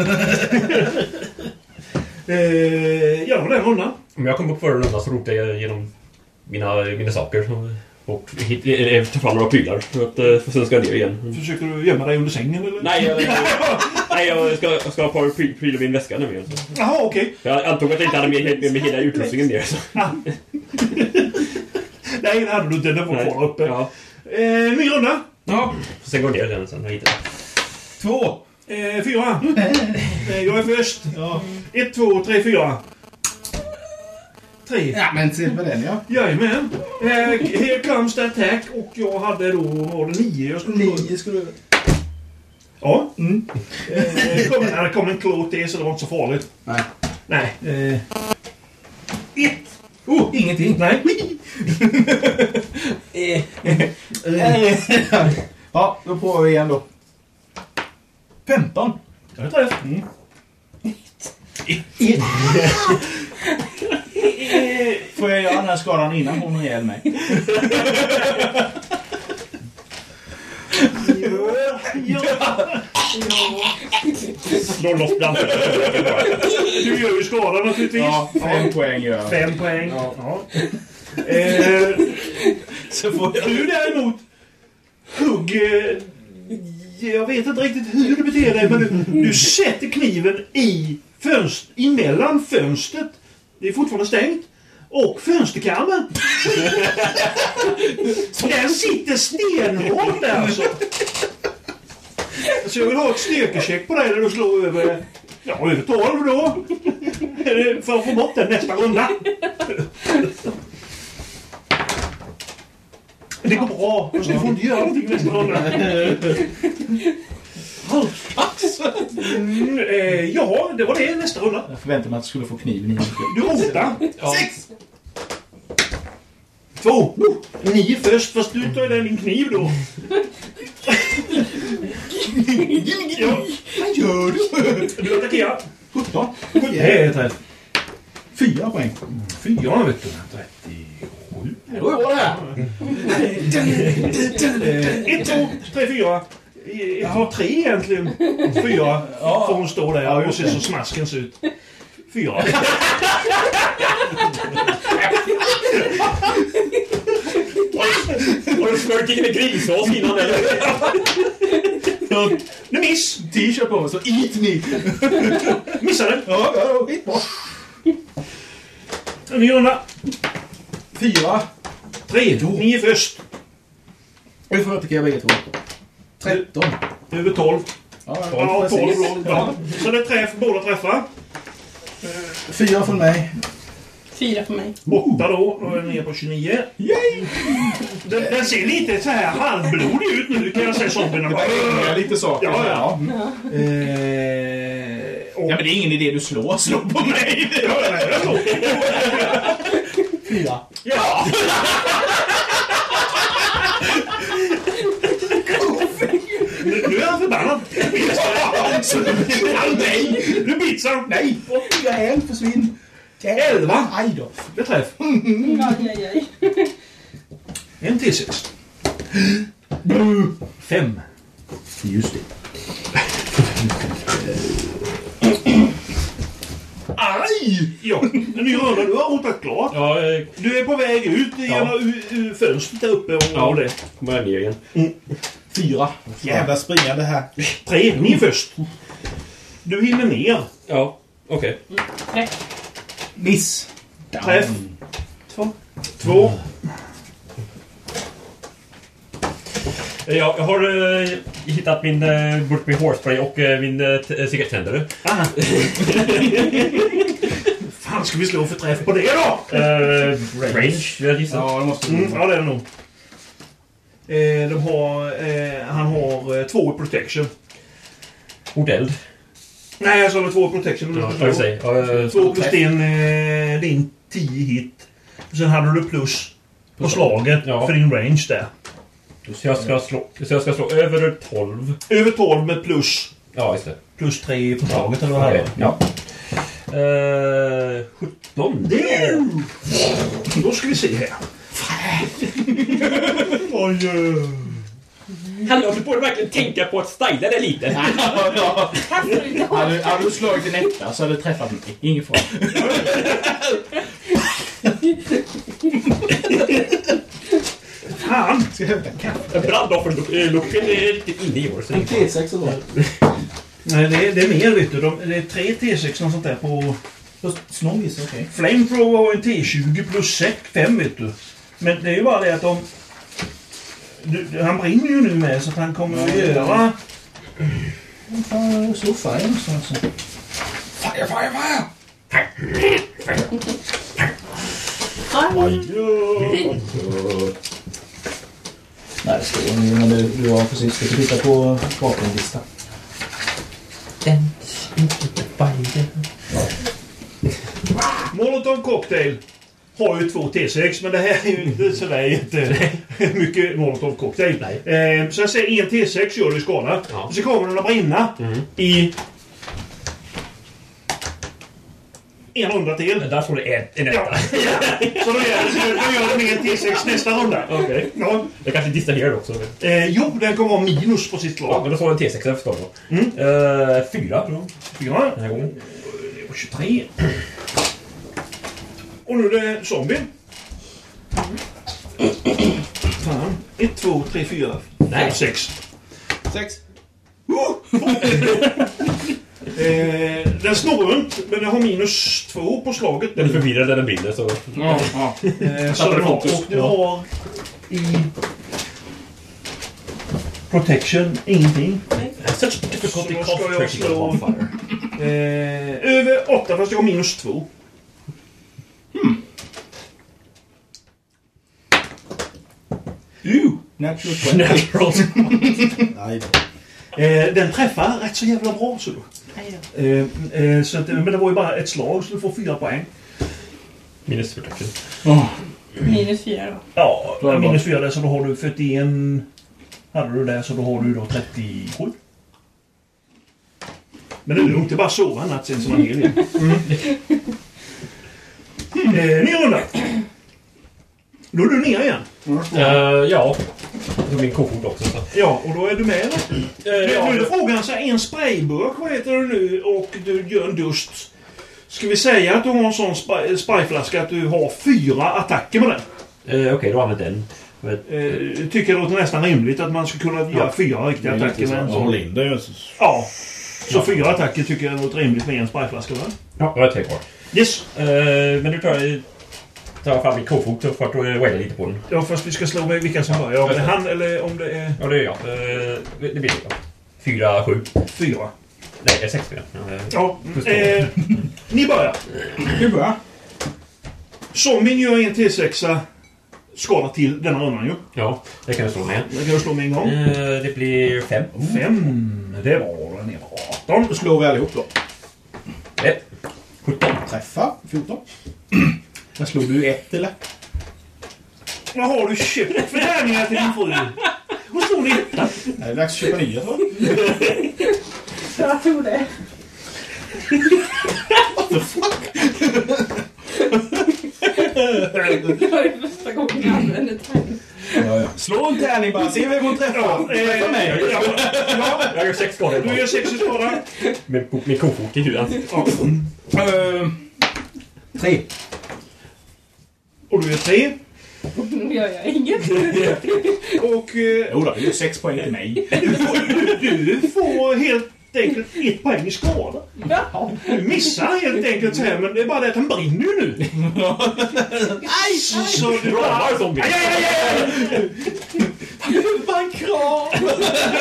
Eh, ja, det var den rundan. Om jag kom på förra rundan så rotade jag genom mina, mina saker. Och hit, eller, ta fram några prylar. För att, eh, för sen ska jag ner igen. Försöker du gömma dig under sängen eller? Nej, jag, [LAUGHS] nej, jag ska, jag ska ha ett par pry- prylar i min väska nämligen. Så. Jaha, okej. Jag antog att jag inte hade med, helt med mig hela utrustningen ner. Så. Nej, det hade du inte. Den var Nej. kvar uppe. Ja. Eh, ny runda. Ja, Sen går jag ner igen sen. Jag hittar. två. Eh, fyra. eh, jag är först. Ett, två, tre, fyra. Tre. Ja, men se på den ja. Jajamän. Eh, here comes the attack. Och jag hade då, var det nio? Jag skulle Nio skulle du... Ja. Eh, det kom, det kom en klot till så det var inte så farligt. Nej. Nej. Eh. Ett. Oh, Ingenting. nej. ja, då provar vi igen då. 15. Jag träff. Mm. [LAUGHS] Får jag göra den här skadan innan hon har ihjäl mig? Slår loss bland Du gör ju skada naturligtvis. Ja, fem poäng gör jag. Fem poäng. Ja. Eh, så får jag... Du däremot, hugg... Eh, jag vet inte riktigt hur du beter dig, men du, du sätter kniven i fönst, emellan fönstret. Det är fortfarande stängt. Och fönsterkarmen. Den sitter stenhårt där alltså. Så jag vill ha ett styrkecheck på dig när du slår över... Ja, över 12 då. För att få bort den nästa runda. Det går bra. Fast du får inte göra någonting nästa runda. Halvpax! Mm, [LAUGHS] eh, ja, det var det. Nästa runda. Jag förväntade mig att jag skulle få kniven i nacken. Du rotar. Sex! Två! Nio först, fast du tar ju den din kniv då. ja. Vad gör du? Du attackerar. 17. Det är träff. 4 poäng. Fyra, vet du. 37. Då är det här. Ett, två, tre, fyra. Ett, två, tre egentligen. Fyra. För hon står där och ser så smasken ser ut. Fyra. Har du smörjt in med grinsås innan eller? Nu miss! T-shirt på mig så eat me! Missade! Ja, ja, hit bort. En ny runda. Fyra. Tre. Ni är först. Vi får attackera bägge två. 13. Över tolv. Ja, Ja, tolv precis. roll. Ja. Så det är träff. Båda träffar. Fyra från mig. Fyra för mig. Åtta då. Och är nere på 29. Yay! Den, den ser lite så här halvblodig ut nu kan jag säga. Zombiena bara... Ja, lite saker. Ja, ja. Mm. Eh, och- ja, men det är ingen idé du slår. Slå på mig! Fyra. Ja! nu nu är han förbannad. Nu bits han. Nu bits han. Nej! Och fyra en försvinn. Elva. Aj då. Det träff. Mm. Aj, aj, aj. En till sex. Fem. Just det. Aj! Ja, en ny runda. Du har rotat klart. Ja, eh, jag Du är på väg ut genom ur- ur fönstret där uppe. Och, Ja. och det. Mm. kommer ner igen. Fyra. Jävla springa det här. Tre. Ni är först. Du hinner ner. Ja, okej. Miss. Träff. Två. Två. Jag, jag har eh, hittat min eh, burk med hårspray och eh, min eh, t- eh, cigarettändare. Fan, ska vi slå för träff på det då? Eh, range, jag gissar. Ja, det måste Mm, du. ja, det är det nog. Eh, de har, eh, han har eh, två i protection. Mot eld. Nej, jag sa väl två i protection. Ja, får jag säga. Ja, eh, två plus din, eh, din 10 hit. Och sen hade du plus på slaget Ja. för din range där. Så jag ska slå, så jag ska slå över 12. Över 12 med plus. Ja, just det. Plus 3 på slaget eller vad det Okej, var. ja. Eh, 17. Det är ju- [LAUGHS] Då ska vi se här. Oj, eh. Hallå, du borde verkligen tänka på att styla det lite. Hade, hade du slagit en etta så hade du träffat mig. Ingen fara. Fan! Brandofferluckan är riktigt inne i år. så- T6 var det. Nej, det är, det är mer vet du. De, det är tre T6 och sånt där på... Snobbis, okej. Flamethrower har ju en T20 plus 6, 5 vet du. Men det är ju bara det att de... Du, du- han brinner ju nu med så att han kommer att göra... Okay. Så fire någonstans. Nej, det står ju men du, du har precis... Du får titta på vapenlistan. Molotov cocktail har ju två T6, men det här är ju inte sådär jätte [LAUGHS] mycket Molotov cocktail. Eh, så jag säger en T6 gör du i skada. Ja. Och så kommer den att brinna i... En runda till. Men Där får du en, en Ja. etta. Så då gör du- då gör du en T6 nästa runda. [LAUGHS] Okej. Ja. Jag kanske distraherar också. men- Eh, jo, den kommer ha minus på sitt Ja, slag. men då får jag en T6 jag förstår då. Mm. Eh, fyra Ja, den här gången. det var 23. Och nu är det zombien. Fan. 1, 2, 3, 4, Nej. 6. Sex. Eh, den snurrar runt, men den har minus två på slaget. Den är förvirrad när den brinner så... Ja, ja. Eh, så Tappade den har, fokus. och du har i... Protection, ingenting. Such Så difficulty då cost ska jag critical slå- [LAUGHS] bonfire. Eh, över 8 fast jag har minus 2. Natural Natural. Nej, Eh, den träffar rätt så jävla bra så. Eh, eh, så att, men det var ju bara ett slag så du får 4 poäng. Minus protection. Minus fyra då. Ja, Då är det bra. minus 4 där så då har du 41... Hade du det så då har du då 37. Men det är lugnt, det är bara att sova en natt sen så man är hel igen. Eh, ny runda. Då är du nere igen. Eh, ja. Det är min kofot också. Så. Ja, och då är du med eller? Eh, Men nu är ja, frågan så här, en sprayburk, vad heter det nu, och du gör en dust. Ska vi säga att du har en sån spray, sprayflaska att du har fyra attacker med den? eh, Okej, då använder jag den. Men, Eh, tycker det låter nästan rimligt att man skulle kunna göra fyra riktiga attacker med en jag sån. håller in det. Ja. Så fyra attacker tycker jag låter rimligt med en sprayflaska, va? ja, jag har tre kvar. Yes. Eh, men nu tar jag, tar jag fram min kofot och får att eh, waila lite på den. Ja, fast vi ska slå med vilka som börjar. Om det är han eller om det är Ja, det är jag. Eh, det blir det. Fyra, sju. fyra. Nej, det är sex menar jag. Eh, Ja. Eh, ni börjar. Du börjar. Zombien gör en T6 skada till denna rundan ju. Ja, det kan jag slå med. Det kan jag slå med en gång. Eh, det blir fem. Fem. Det var den. Det var 18. Då slår vi allihop då. Nej. Eh, Sjutton. Träffa 14. Jag slog du ett eller? Vad har du köpt för tärningar till din fru? Hon [LAUGHS] slog ner. Nej, det är dags att köpa nya tror jag. Jag tror det. What the fuck? det var ju första gången jag använde tärning. Slå en tärning bara, se vem hon träffar. Eh, ja, Jag gör sex skador. du gör sex i skada. Med, med kofot i huvudet. Tre. Och du gör tre. Nu gör jag inget. Och eh, Jodå, det är ju sex poäng till mig. du får helt enkelt ett poäng i skada. Va? Du missar helt enkelt så här, men det är bara det att den brinner ju nu. Aj! Så du bara... Ramar zombien. Aj, aj, aj, aj! Fan kram!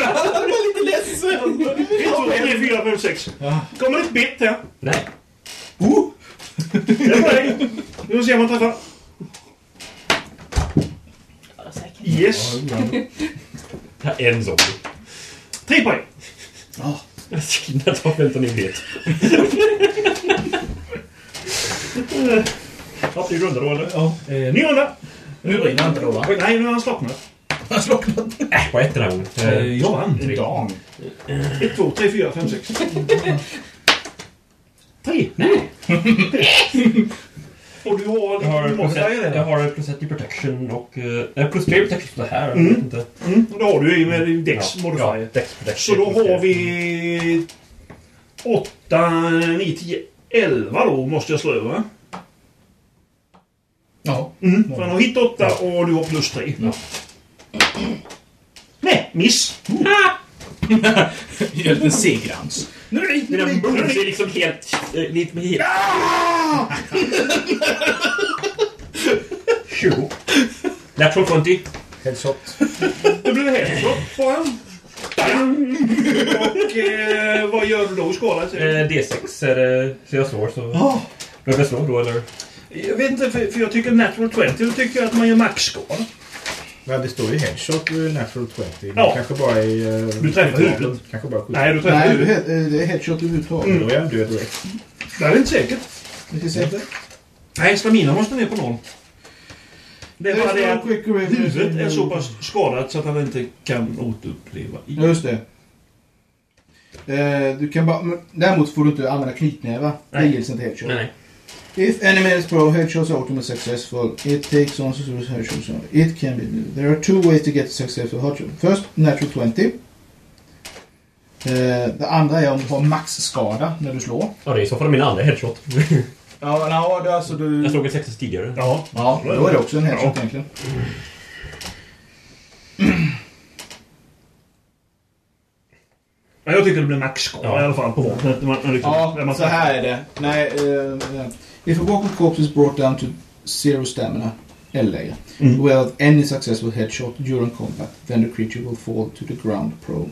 Han var lite ledsen. Ett, två, tre, fyra, fem, sex. Kommer ett bett här. Nej. Det är poäng. Nu får se om man träffar. Ja, säkert. Yes. Jag är en zombie. Tre poäng. [LAUGHS] Jag tar 15 i Ja, det är runda då, eller? Ja. Eh, ny runda. Nu brinner han inte då va? Oj, Nej, nu har han slocknat. Han slocknat. Äh, på ett den här gången. Eh, Jag vann. Dan. 1, 2, 3, 4, 5, Mm. 6. 3. Nej! Och du har Jag har, du måste säga jag det. har plus ett i protection och... eh, nej, plus tre i protection för det här. Mm. Jag vet inte. Mm, och det har du i med din Dex modifier. Ja, Dex protection. Så då har vi... 8, 9, 10, 11 då måste jag slå över. Ja. Mm, för han har hit 8 och du har plus 3. Nej, miss! Hjälp en segerhans. Det där blodet är liksom helt... eh, Lite med [LAUGHS] helt... 20. Natural 20. Headshot. Det blev headshot på honom. Och eh, vad gör du då i skalan? Eh, D6 är det... Så jag slår så... Oh. Behöver jag slå då eller? Jag vet inte, för, för jag tycker natural 20, då tycker jag att man gör maxskala. Ja, det står ju headshot eh, natural 20. men Ja. Kanske bara i... eh, Du träffar huvudet. Kanske bara skjuter. Nej, du träffar Nej, du, huvudet. he- eh, det är headshot överhuvudtaget. Då Mm. är jag död direkt. Det är inte säkert. Vi ska se. Nej, stamina måste ner på noll. Det är bara det att Quick Review. huvudet är så pass skadat så att han inte kan återuppleva. i- Ja, just det. Eh, du kan bara, men däremot får du inte använda knytnävar. Det Nej. gills inte headshot. Nej, nej. If any man is pro, headshots are ultimately successful. It takes on success headshots. only. It can be. There are two ways to get successful headshot. First, natural 20. Eh, det andra är om du har maxskada när du slår. Ja, det är i så fall min andra headshot. Ja, ja det är alltså du... jag slog en sexa tidigare. Ja. Ja, då är det också en headshot egentligen. Men jag tycker det blir maxskala Ja. i alla fall på vapnet. När man, när liksom, när Ja, man så här är det. Nej, eh, eh, if a walking corpse is brought down to zero stamina, eller lägre, Mm. without any successful headshot during combat, then the creature will fall to the ground prone.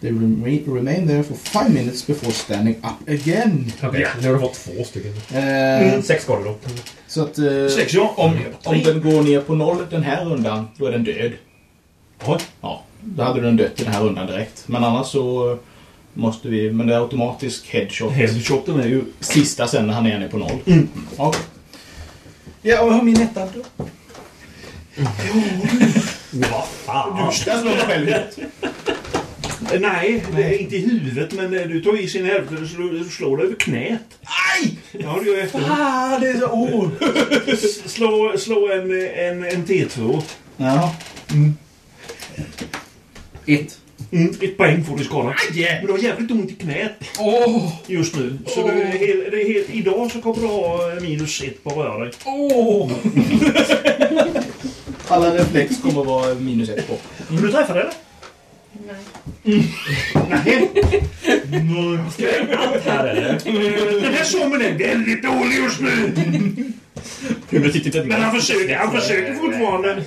They remain, remain there for five minutes before standing up again. Okej, nu har du fått två stycken. Eh, Mm. Sex skador då. Så att... eh, Sex, ja. Om, om den går ner på noll den här rundan, då är den död. Oj. Ja, då hade den dött i den här rundan direkt. Men annars så eh, måste vi... Men det är automatisk headshot. Headshoten är ju... Sista sen när han är nere på noll. Ja, Okej. Mm. Ja, och jag har min etta då? Vad fan? Där slår jag själv ut. Eh, Nej, det är inte i huvudet men eh, du tar i sin hälfte och slår, slår dig över knät. Aj! Ja, du gör efter. Ah, det är så... Oh. S- Slå, slå en, eh, en, en T2. Ja. Ett. Mm. Ett poäng får du i skalan. Men du har jävligt ont i knät Åh! just nu. Så du är hel, det är hel, idag så kommer du ha eh, minus ett på röra dig. Åh! Alla reflex kommer vara minus ett på. Men du träffade eller? Nej. Nej. Mm. Här är det. Den här sommen är väldigt dålig just nu. Men han försöker, han försöker fortfarande.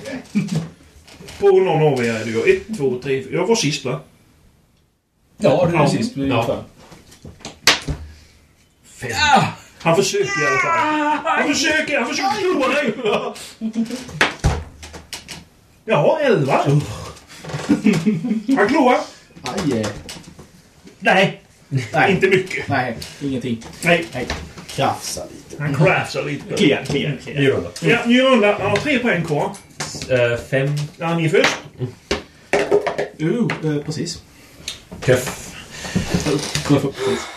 På någon av er är det ju. Ett, två, tre, fyra. Jag var sist va? Ja, det är sist vi Ja. ja. Han försöker i alla fall. Han försöker, han försöker slå dig. Ja, elva. Han klorar. Aj! eh. Nej. Nej. Inte mycket. Nej, ingenting. Nej, Krafsa lite. han craftsar lite. Kliar, kliar, kliar. Ny runda. Ja, ny runda. Han har tre poäng kvar. Eh, fem. Ja, Han är först. Uh, eh, precis. Träff.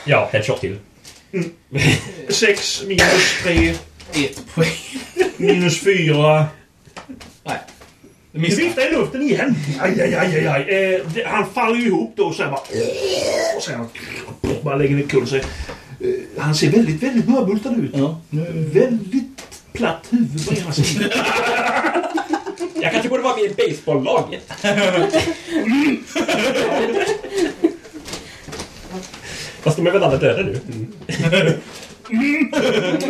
Ja, headshot till. Sex minus tre Ett poäng. minus fyra. Det Det missar. viftar i luften igen. Aj, aj, aj, aj, aj. Eh, det, han faller ju ihop då och sen bara... Och sen bara lägger ner kul sig. Eh, han ser väldigt, väldigt mörbultad ut. Ja. Väldigt platt huvud på ena sidan. Jag kanske borde vara med i basebolllag. Fast de är väl alla döda nu?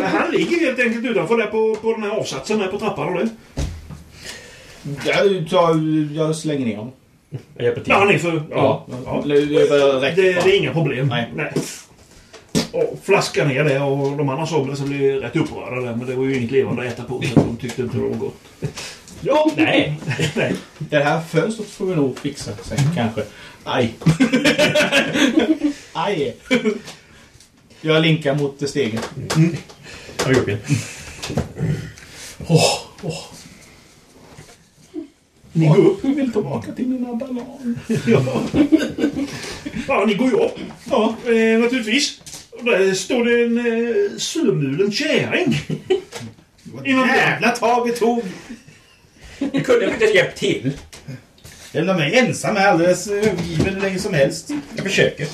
han ligger helt enkelt utanför där på, på den här avsatsen där på trappan. Och det. Jag, tar, jag slänger ner honom. Jag hjälper till. Ja, han är för... Ja. Ja. Eller, Det är bara Det, rätt. det är inga problem. Nej. Och flaskar ner det och de andra somliga som blev rätt upprörda där. Men det var ju inget levande att äta på så de tyckte inte det var gott. Ja, nej. Det här fönstret får vi nog fixa sen kanske. [LAUGHS] Aj. Aj. Jag linkar mot stegen. Jag har gjort det. Ni går upp. Jag vill tillbaka till mina ballader. Ja. ja, ni går ju upp. Ja, eh, naturligtvis. Och där står det en eh, surmulen käring. Innan jävla tag vi tog! Du kunde inte hjälpt till. Lämna mig ensam här alldeles eh, övergiven hur länge som helst. Jag försöker.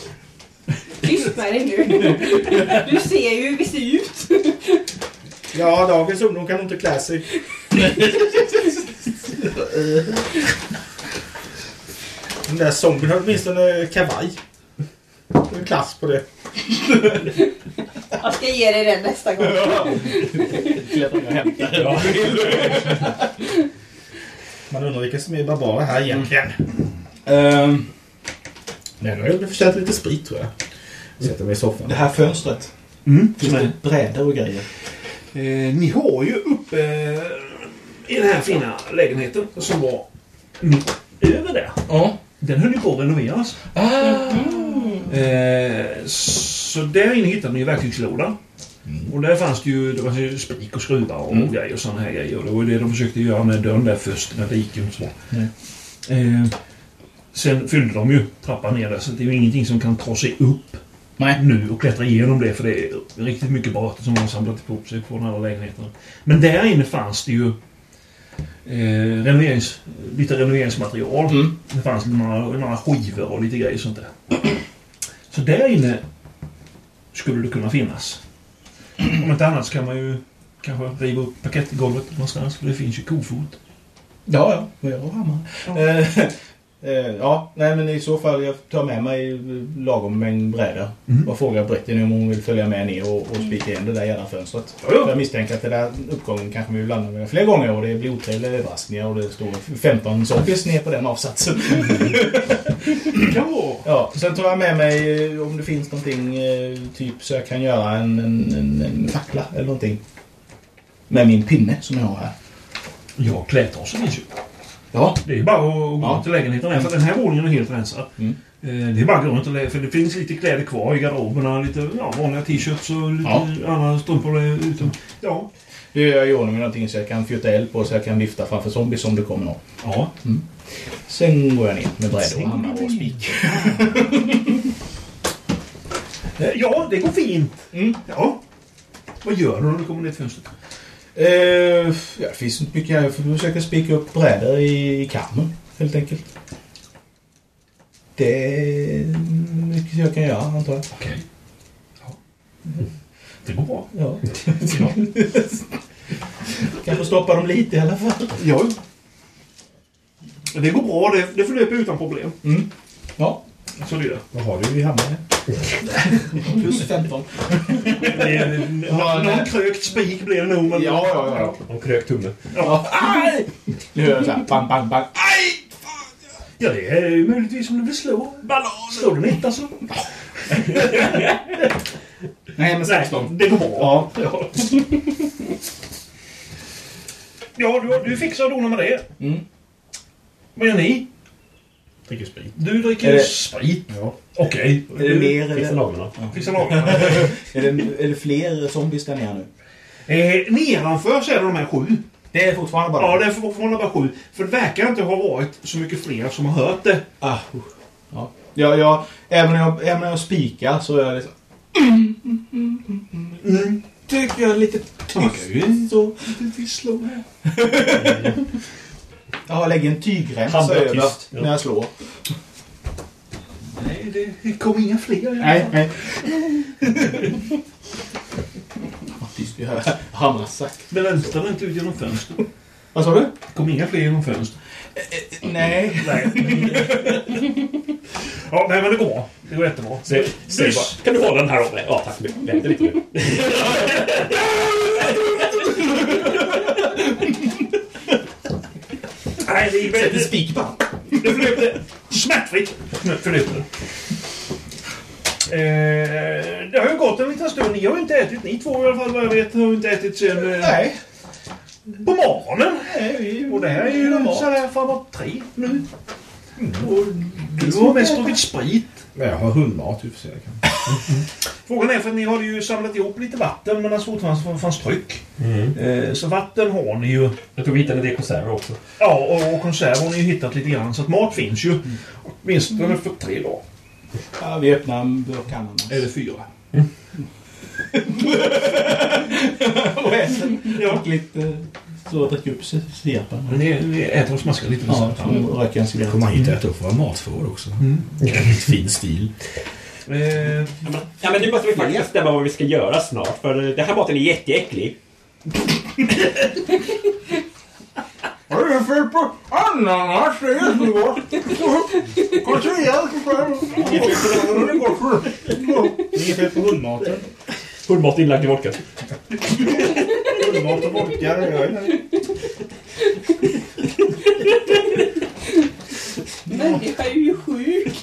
Tyst med dig nu. Du ser ju hur vi ser ut. Ja, dagens ungdom kan nog inte klä sig. Den där zombien har åtminstone kavaj. Det är klass på det. Jag ska ge dig den nästa gång. Man undrar vilka som är barbarer här egentligen. Ehm, Men jag hade förtjänat lite sprit tror jag. Sätter mig i soffan. det här fönstret. Mm. Finns det brädor och grejer? Eh, ni har ju uppe eh, i den här fina lägenheten som var mm, över där. Ja. Den höll ju på att renoveras. Eh, så där inne hittade ni verktygslådan. Och där fanns det ju, det var ju spik och skruvar och grejer och sådana här grejer. Och det var ju det de försökte göra med dörren där först, men det gick ju inte så bra. Eh, sen fyllde de ju trappan ner där, så det är ju ingenting som kan ta sig upp nu och klättra igenom det, för det är riktigt mycket bart som de har samlat ihop sig från alla lägenheter. Men där inne fanns det ju eh, renoverings, lite renoveringsmaterial. Mm. Det fanns några, några skivor och lite grejer sånt där. Så där inne skulle det kunna finnas. Om inte annat så kan man ju kanske riva upp parkettgolvet någonstans, för det finns ju kofot. Ja, ja. Men jag har hammare. Eh, [LAUGHS] eh, ja, nej men i så fall jag tar med mig lagom mängd brädor Mm. och frågar Brittin om hon vill följa med ner och, och spika igen det där jävla fönstret. Ja, ja. Jag misstänker att den där uppgången kanske vi landar med fler gånger och det blir otrevliga överraskningar och det står 15 zombies ner på den avsatsen. Mm. Det kan vara. Ja, sen tar jag med mig eh, om det finns någonting eh, typ så jag kan göra en, en, en, en fackla eller någonting. Med min pinne som jag har här. Ja, klädtrasen finns ju. Ja. Det är bara att gå Ja. ut till lägenheten här, för den här våningen är helt rensad. Mm. Eh, Det är bara att gå runt och lä- för det finns lite kläder kvar i garderoberna. Lite ja, vanliga t-shirts och lite andra strumpor där ute. Ja. Det gör jag i ordning med någonting så jag kan fjuta eld på så jag kan vifta framför zombies om det kommer någon. ja. Sen går jag ner med brädor och hammare och spik. Eh, Ja, det går fint. Mm. Ja. Vad gör du när du kommer ner till fönstret? Eh, ja, det finns inte mycket här. Jag får försöka spika upp brädor i kammen helt enkelt. Det är mycket jag kan göra antar jag. Okej. Ja. Det går bra. Ja. Ja. [LAUGHS] Kanske stoppa dem lite i alla fall. ja. Det går bra. Det, det förlöper utan problem. Mm. Ja. Så det är det. Vad har du i hammaren? Plus 15. det. är- Någon krökt spik blir det nog. Men... ja, ja. Hon kröp tummen. Nu hör jag såhär bang, bang, bang. Ja, det är ju möjligtvis om du vill slå. Ballad! Slår den inte alltså? Nej, men Nej, 16. det går bra. Ja, ja du, du fixar och donar med det. Mm. Vad gör ni? Dricker sprit. Du dricker Eh, sprit. ja. Okej. Är det mer Fixar eller, naglarna. Fixar lagarna. är det, är det fler zombies där nere nu? [LAUGHS] eh, nedanför så är det de här sju. Det är fortfarande bara... Ja, det är fortfarande bara sju. För det verkar inte ha varit så mycket fler som har hört det. Ah, usch. ja. Ja, ja, även om jag, även om jag spikar så är det liksom... Mm. Tycker jag är lite tyst Mm. så. [LAUGHS] Jag lägger en tygremsa Handla över tyst, ja. när jag slår. Nej, det- det kom inga fler. Nej, nej. Vad tyst vi hör. Hamrar sagt. Men vänta inte ut genom fönstret. Vad sa du? Det kom inga fler genom fönstret. Nej. Nej. ja, nej, men det går bra. Det går jättebra. Säg, säg Dys. bara, kan du hålla den här om mig? Ja, tack. Vänta lite nu. Nej, det gick väldigt... spik bara. Det flöpte smärtfritt. Nu förlöpte det. Eh, det har ju gått en liten stund. Ni har ju inte ätit. Ni två i alla fall vad jag vet har ju inte ätit sen eh, Nej. på morgonen. nej vi- Och det här är ju normalt. sådär framåt tre nu. Och du har mest druckit sprit. Men jag har hundmat i och för sig. Frågan är för ni har ju samlat ihop lite vatten medan det fortfarande fanns tryck. Eh, så vatten har ni ju. Mm. Jag tror vi hittade det konserver också. Ja, och, och konserv har ni ju hittat lite grann. Så att mat finns Mm. ju. Åtminstone för tre dagar. Ja, vi öppnar en burk ananas. Eller fyra. och äter. Och lite så dricker upp sig cigaretten. Ni, ni äter och smaskar lite. Ja, och röker en Vi cigarett. kommer hit och äter upp våra matförråd också. Fin stil. Eh, Ja, men nu måste vi faktiskt bestämma vad vi ska göra snart, för den här maten är jätteäcklig. vad är det för på ananas? Det är så gott! Kanske jag ska Inget fel på hundmaten. Hundmat inlagd i vodka. Hundmat och vodka. det gör jag. Människa är ju sjuk.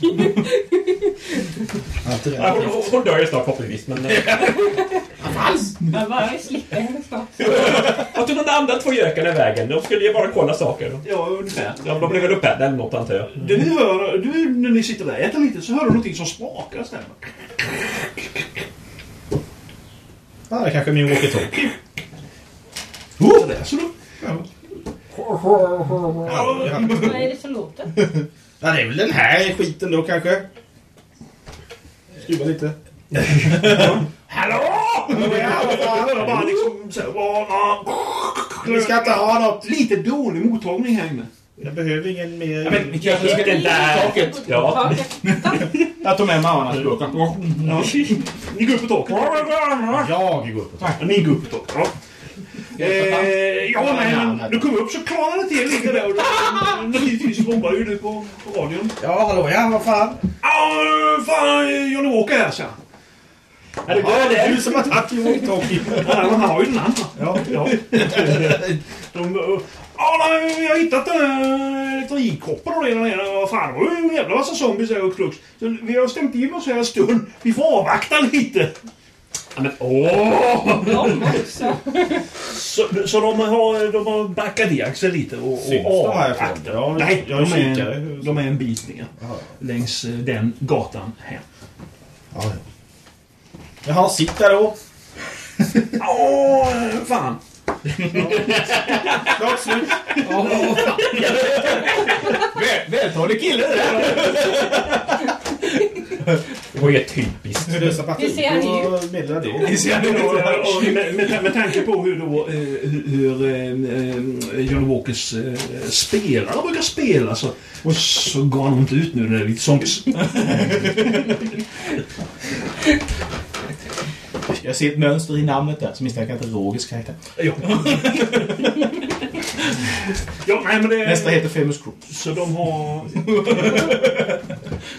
Allt det Ja, där. hon, hon, hon dör ju snart förhoppningsvis, men... eh, Jag bara slipper henne snart. Vad tog de andra två gökarna vägen? De skulle ju bara kolla saker. Ja, ungefär. Ja, de blev väl uppätna eller något, antar jag. Det ni hör, du, när ni sitter där och äter lite så hör du någonting som sprakar stämmer. Ah, det kanske är min walkie-talkie. Oh! Det läser du. Ja, ja. Vad är det som låter? Ja, det är väl den här skiten då kanske. Skruva lite. Jag hör bara liksom så här, "Åh, åh." Vi ska inte ha något. Lite dålig mottagning här inne. Jag behöver ingen mer. Ja, men vi kanske ska... Den där... Ja. Taket. Jag tar med mig ananasburken. Ja. Ni går upp på taket. Jag går upp och tar. Ja, Ni går upp på taket. Ja. Eh, ja, nej, men du kom upp så klarade det till lite där. Och då, naturligtvis bombar ju du på, på radion. Ja, hallå ja, vad fan. Ah, fan, Johnny Walker här, så. Ja, det Ja, går det det. är du som har tagit min walkie-talkie. Ja, men han har ju den andra. Ja. Ja. De, ja, nej, jag har hittat den här elektronikkoppen och det där nere. Vad fan, det var ju en jävla massa zombies här och klux. Så vi har stämt in oss här en stund. Vi får avvakta lite. Ja, men åh! De också. Så, så de, har, de har backat i axeln lite och, Syns och de härifrån? avvaktar. Ja, Nej, jag är de, är kikare. en, de är en bit ner. Jaha. Längs eh, den gatan här. Ja, ja. Jaha, sitt där [LAUGHS] då. Åh, fan. Klart slut. Väl, vältalig kille det där. Det var ju typiskt. Slösa batteri. Vi ser han ju. Då meddelar det. Ni ser det Och, då. och med, med, med tanke på hur då eh, hur, hur eh, eh, Johnny Walkers eh, spelare brukar spela så, och så går han inte ut nu när det är lite zombies. Jag ser ett mönster i namnet där som misstänker att det är Rogers karaktär. Ja. ja, nej men det... Nästa heter Famous Group. Så de har...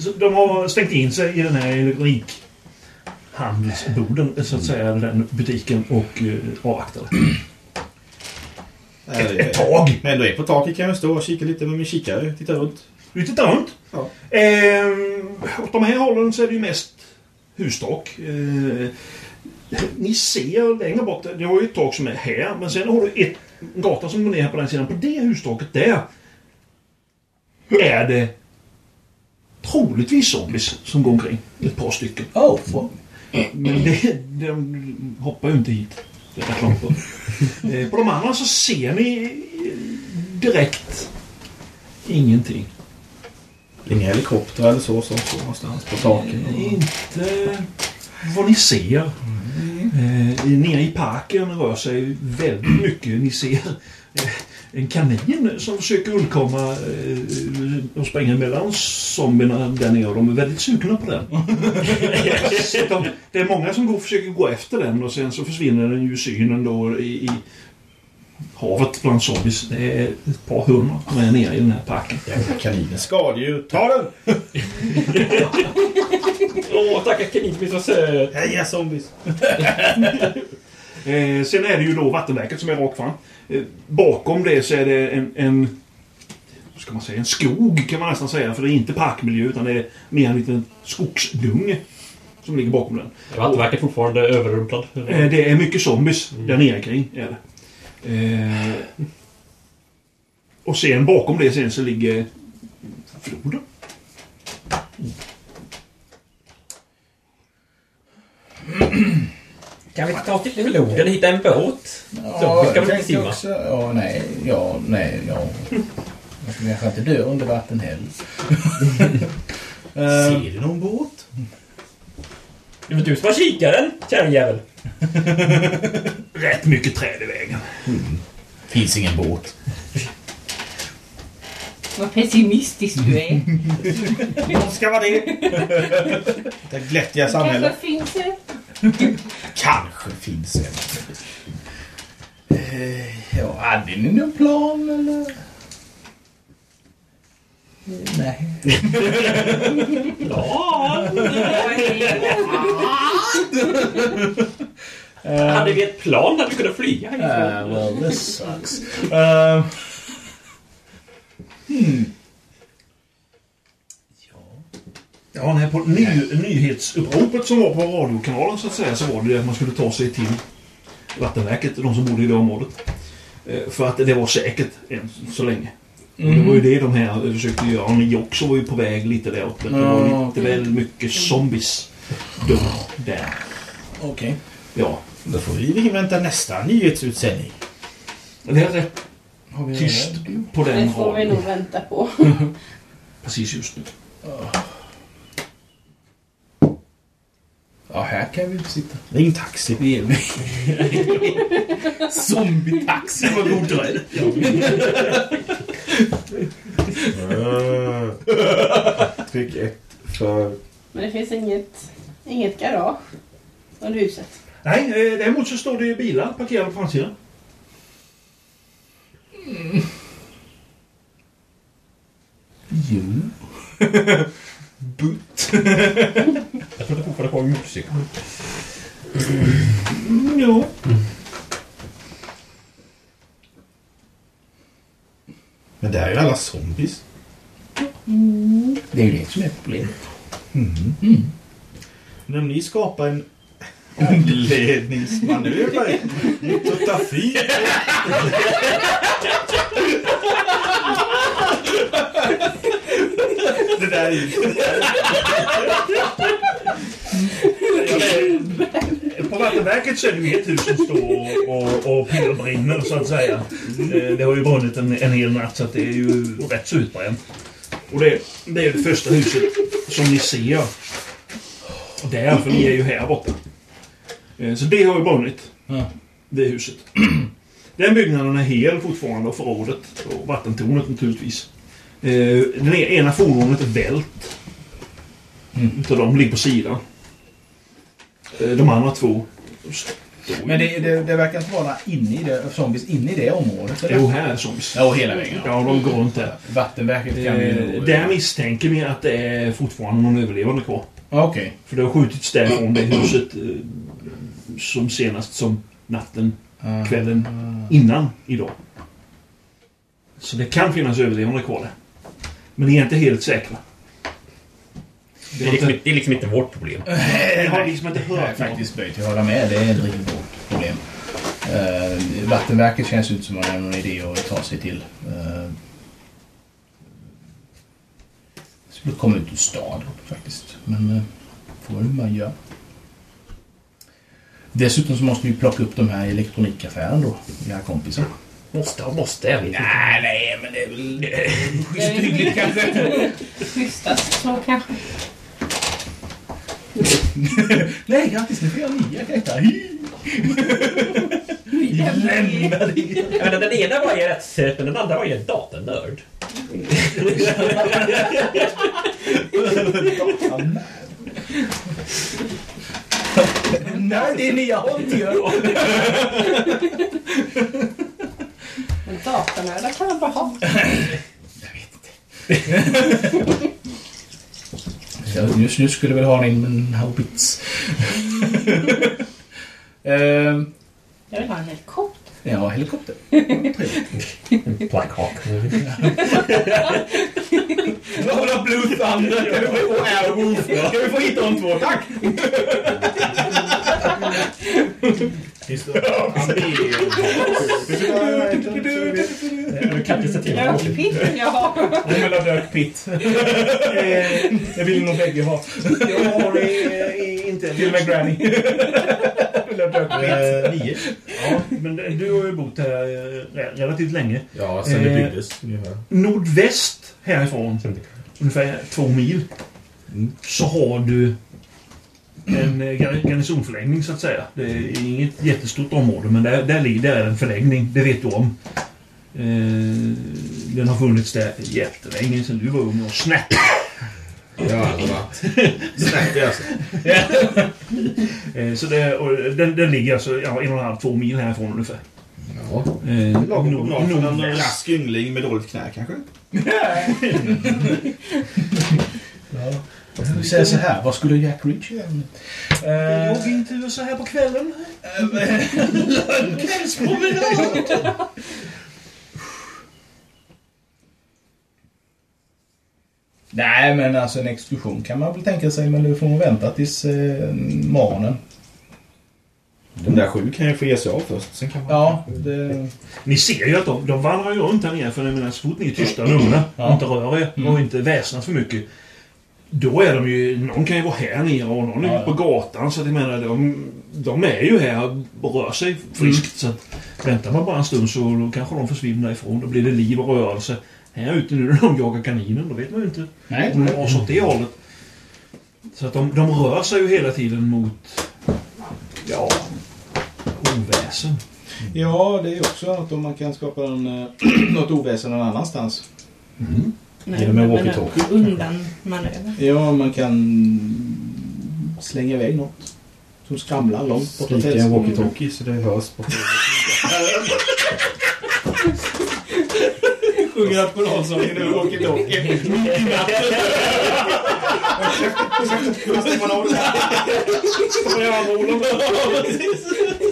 så de har stängt in sig i den här elektronikhandelsboden, så att säga, den butiken och eh, avvaktar. Ett tag! Eh, Men du är på taket kan jag stå och kika lite med min kikare. Titta runt. Du tittar runt. Ja. Ehm, åt de här hållen så är det ju mest hustak. Eh, ni ser längre bort, det har ju ett tak som är här, men sen har du ett en gata som går ner här på den sidan. På det hustaket där är det troligtvis zombies som går omkring. Ett par stycken. Oh, fuck. Men det, de hoppar ju inte hit. Det är klart på. Eh, på de andra så ser ni eh, direkt ingenting. Inga helikoptrar eller så som står någonstans på taken. Inte vad ni ser. Eh, nere i parken rör sig väldigt mycket. Ni ser eh, en kanin som försöker undkomma eh, och springa mellan zombierna där nere. De är väldigt sugna på den. Så de, det är många som går och försöker gå efter den och sen så försvinner den ju i synen då i, i havet bland zombies. Det är ett par hundra som är nere i den här parken. Jävla kaninen. Skadedjur. Ta [LAUGHS] den! Åh, tackar kanin som är så söt. Heja zombies! Eh, sen är det ju då vattenverket som är rakt fram. Eh, bakom det så är det en, en, vad ska man säga, en skog kan man nästan säga. För det är inte parkmiljö utan det är mer en liten skogsdunge som ligger bakom den. Vattenverket fortfarande överrumplad. Eh, det är mycket zombies där nere kring. Är det. Eh, och sen bakom det sen så ligger floden. Kan vi inte ta till floden och hitta en båt? Ja, vi ska väl inte tänker simma? också. Ja, nej, ja, nej, ja. Jag skulle kanske inte dö under vatten heller. Ser du någon båt? Det var du som var kikaren, kärringjävel. Rätt mycket träd i vägen. Finns ingen båt. Vad pessimistisk [LAUGHS] du är. Ska vara det. Det glättiga Kanske samhället. finns det. Kanske finns en. Eh, Ja, hade ni någon plan eller? Eh, Nej. Hade vi ett plan där vi kunde flyga härifrån? Uh, well, this sucks. Uh, Hmm. Ja, nej, på ny, nyhetsuppropet som var på radiokanalen så att säga så var det ju att man skulle ta sig till vattenverket, de som bodde i det området. Eh, För att det var säkert än så länge. Och det var Mm. ju det de här försökte göra. Och Ni också var ju på väg lite där uppe. Det var Ja, lite väl mycket zombies då, där. Okej. Ja, Då får vi invänta nästa nyhetsutsändning. det är rätt Har vi tyst på Det den får vi radion nog vänta på. precis just nu. Ja, här kan vi inte sitta. Ring taxi. Det [LAUGHS] är vi. Taxi var god dröj. Tryck Ah. ett för... Men det finns inget, inget garage under huset. Nej, eh, däremot så står det ju bilar parkerade på framsidan. Jag trodde fortfarande på en motorcykel. Mm, ja. Men där är ju alla zombies. Det är ju det som är problemet. Mm. Men om Mm. ni skapar en omledningsmanöver mot Tutta Fy. Det där är ju... På Vattenverket så är det ju ett hus som står och, och pilbrinner så att säga. Eh, Det har ju brunnit en, en hel natt så att det är ju rätt så utbränt. Och det, det är ju det första huset som ni ser. Och där, för ni är ju här borta. Eh, Så det har ju brunnit. Det huset. Den byggnaden är hel fortfarande och förrådet och vattentornet naturligtvis. Eh, Den ena fordonet är vält. Utav dem ligger på sidan. Eh, De andra två Men det, det, det verkar inte vara inne i det, zombies inne i det området. Eller? Jo, här är zombies. Ja, hela vägen. Ja. Ja, de går runt där. Vattenverket kan vi Eh, nog... där misstänker vi att det är fortfarande någon överlevande kvar. Ja, Okej. För det har skjutits därifrån det huset eh, som senast som natten, Okay. kvällen innan idag. Så det kan finnas överlevande kvar där. Men ni är inte helt säkra. Det är, liksom, inte- det är liksom inte vårt problem. Jag har liksom inte Jag är hört något. faktiskt böjt att hålla med. Det är ett riktigt hårt problem. Eh, vattenverket känns inte som att man har någon idé att ta sig till. Eh, skulle komma ut ur stad faktiskt. Men eh, får väl hur man gör. Dessutom så måste vi plocka upp de här i elektronikaffären då. Vi har kompisar. Måste och måste, jag vet inte. Nej, nej, men det är väl... Det är hyggligt kanske. Schysstast så kanske. Nej, grattis! Nu får jag nya karaktärer. Jag menar, den ena var ju rätt söt, men den andra var ju en datanörd. Nej, det är nya hållningar. Men datanördar kan man bara ha. Ja, just nu skulle jag väl ha in en [LAUGHS] haubits. Eh, Jag vill ha en helikopter. ja, helikopter. [LAUGHS] Blackhawk. Lola Blue Thunder och Airwolf. Kan vi få hitta de två? Tack! Du kan inte se till honom. Rökpiff vill jag ha. Jag vill ha Dirk Pitt. Det vill nog bägge ha. Ja, det är inte Till och med Granny. Jag vill ha Dirk Pitt. Eh, Nio. Ja, men du har ju bott här eh, re- relativt länge. Ja, sen det Eh, byggdes ungefär. nordväst Mm. härifrån, ungefär två mil, så har du en eh, gar- garnisonförläggning så att säga. Det är inget jättestort område men där, där, ligger- där är en förläggning, det vet du om. Eh, den har funnits där jättelänge sedan du var ung och snäpp. Jag har aldrig varit snärtig alltså. Eh, så det, och den, den ligger alltså ja, en och en halv, två mil härifrån ungefär. Ja. Eh, Lagom promenad för en nordväst. rask yngling med dåligt knä kanske? Vi säger så här, vad skulle Jack Reacher göra? Jag Eh, låg inte du så här på kvällen? nej, men alltså en exkursion kan man väl tänka sig, men det får man vänta tills eh, morgonen. De där sju kan ju få ge sig av först. Sen kan man... Ja, det... Ni ser ju att de, de vandrar ju runt här nere för jag menar, så fort ni är tysta och lugna och inte rör er och inte väsnas för mycket. Då är de ju... Någon kan ju vara här nere och någon är Ja, ute på gatan så att jag menar de, de är ju här och rör sig friskt. Så att, väntar man bara en stund så då kanske de försvinner ifrån. Då blir det liv och rörelse. Här ute nu när de jagar kaninen då vet man ju inte Nej. om de dras åt det hållet. Så att de, de rör sig ju hela tiden mot... Ja... Oväsen. Ja, det är också något om man kan skapa en, eh, [CLEARS THROAT] något oväsen någon annanstans. Nej, Genom en men- walkie-talkie. Undan manöver. Ja, man kan slänga iväg något som skramlar långt borta Skrika i till en oss. walkie-talkie så det hörs på Sjunger nationalsången över walkie-talkie.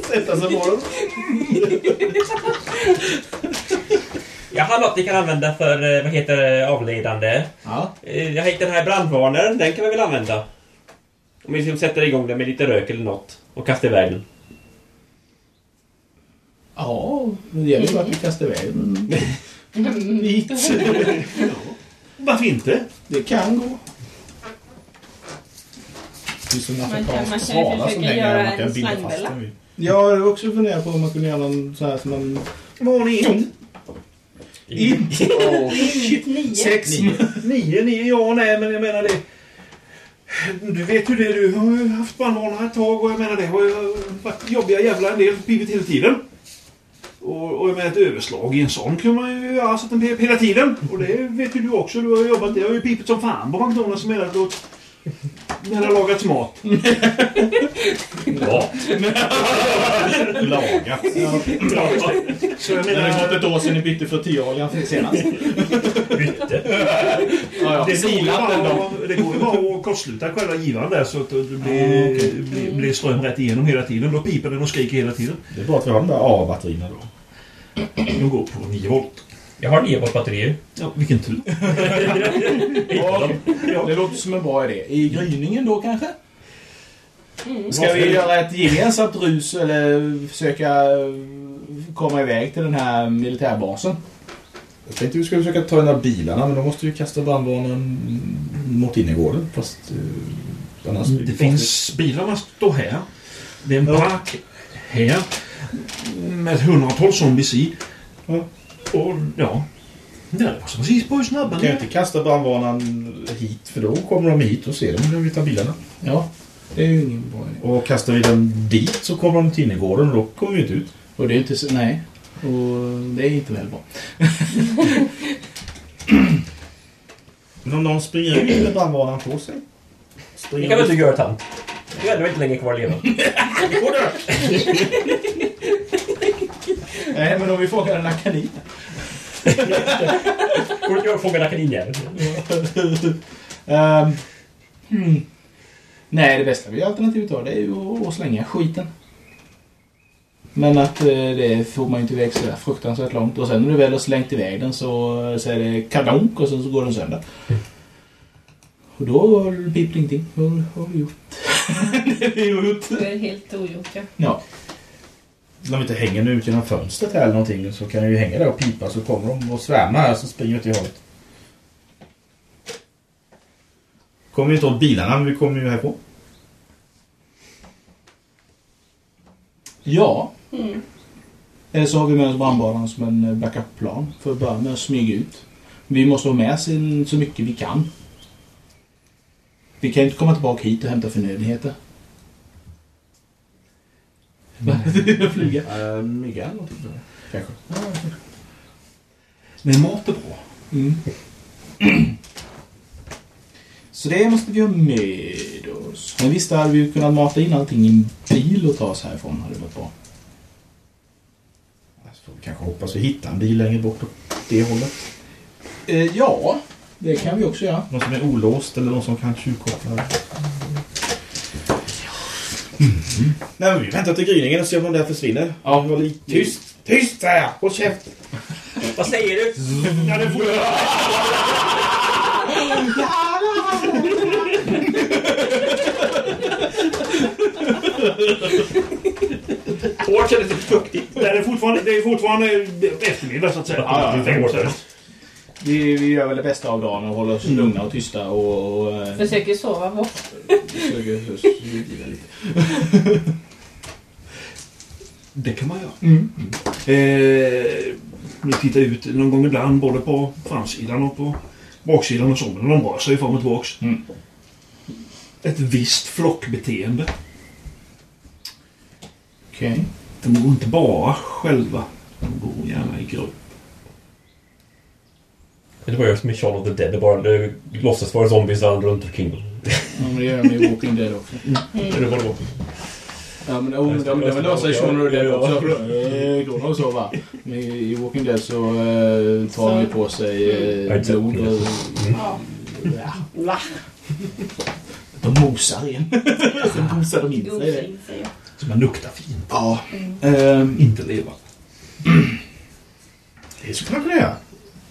Sätta sig på dem. Jag har något vi kan använda för, eh, vad heter det, avledande. Ja. Eh, Jag hittade den här brandvarnaren, den kan vi väl använda? Om vi liksom sätter igång den med lite rök eller något och kastar iväg den. ja, men det gäller ju bara att vi kastar iväg den dit. Varför inte? Det kan gå. Det är som en Man kan- man afrikansk kan ju svala som försöka hänger göra där. Man kan en binda fast slangbella. den vid. Jag har också funderat på om man kunde göra någon så här som man... Varning! Sex. Nio, nio, ja nej men jag menar det. Du vet ju det, du har ju haft brandvarnare ett tag och jag menar det har ju varit jobbiga jävla en del pivit hela tiden. Och, och jag menar ett överslag i en sån kunde man ju göra så att den pep hela tiden. Och det vet ju du också, du har ju jobbat, det har ju pipit som fan på McDonalds som menar åt när det har lagats mat. Ja. Lagat. Så jag Det har menar, gått ett år sedan ni bytte för tioåringar senast. det, går ju Silat den bara, att- det går ju bara att kortsluta själva givaren där så att det blir, blir, blir ström rätt igenom hela tiden. Då piper den och skriker hela tiden. Det är bra att vi har de där A-batterierna då. De går på 9 volt. Jag har 9 volt batterier. Ja, vilken tur. Det låter som en bra idé. I gryningen då kanske? Ska vi göra ett gemensamt rus eller försöka eh, komma iväg till den här militärbasen? Jag tänkte vi skulle försöka ta den där bilarna men då måste vi kasta brandvarnaren mot innergården. Fast eh, annars... Det finns bilar man står här. Det är en park här. Med ett hundratal zombies i. Ja. Och ja. Det var som precis på hur snabba Vi ni kan ju är. inte kasta brandvarnaren hit för då kommer de hit och ser dem när vi tar bilarna. Ja, det är ju ingen bra idé. Och kastar vi den dit så kommer de till innergården och då kommer vi inte ut. Och det är inte så, nej. Och det är inte väl bra. Men om någon springer ut med brandvarnaren på sig? Det Springer kan väl ut? du göra, tant? Du är ändå inte länge [LAUGHS] kvar att leva. Nej, men om vi fångar den här kaninen. Går du inte och fångar kaniner? Ehm, hmm. Nej, det bästa vi alternativet har det är ju att- att slänga skiten. Men att eh, det får man ju inte iväg så där fruktansvärt långt. Och sen när du väl har slängt iväg den så, så är det kadonk och sen så går den sönder. Och då pip det ingenting. Då har vi gjort [LAUGHS] det vi har gjort. Det är helt ogjort, ja. Ja. Mm. När vi inte hänger nu ut genom fönstret här eller någonting så kan jag ju hänga där och pipa så kommer de och svärmar här så springer jag till hållet. Kommer vi inte åt bilarna men vi kommer ju härifrån. Ja. Mm. Eller så har vi med oss brandbanan som en eh, backup-plan för att börja med att smyga ut. Vi måste ha med sin, så mycket vi kan. Vi kan ju inte komma tillbaka hit och hämta förnödenheter. flyga. Uh, Miguel någonting. Kanske. Men mat är bra. Så det måste vi ha med oss. Men visst hade vi ju kunnat mata in allting i en bil och ta oss härifrån. Hade det varit bra. Så får Alltså, vi kanske hoppas vi hittar en bil längre bort åt det hållet. Eh, ja, det kan vi också göra. Någon som är olåst eller någon som kan tjuvkoppla. Mm. Nej, men vi väntar till gryningen och ser om de där försvinner. Ja. Var lite... Tyst! Tyst säger jag! Håll käft! Vad säger du? Ja, det får Hårt kändes lite fuktigt. Det är fortfarande, det är fortfarande eftermiddag så att säga. Ja, ja, Tänk på det. Vi, vi gör väl det bästa av dagen och håller oss lugna och tysta och... och eh, Försöker sova bort. försöker [LAUGHS] överdriva lite. Det kan man göra. Mm. Eh, vi tittar ut någon gång ibland både på framsidan och på baksidan och så. Men de rör sig fram och tillbaks. Mm. Ett visst flockbeteende. Okej. De går inte bara själva. De går gärna i grupp. Det var ju som i Shaun of the Dead. Det, bara, det låtsas vara zombies runt omkring. Ja, men det gör jag med Walking Dead också. Eller vad det var. Ja, men oh, de, de, de låser Sean och Dead också. Eh, Går de och så va? Men i- I Walking Dead så eh, tar de ju på sig eh, blod och... Mm. Ja. Va? De mosar in. Sen mosar de in sig i det. Så man luktar fint. Ja. Ehm, Inte leva. Det skulle man kunna göra.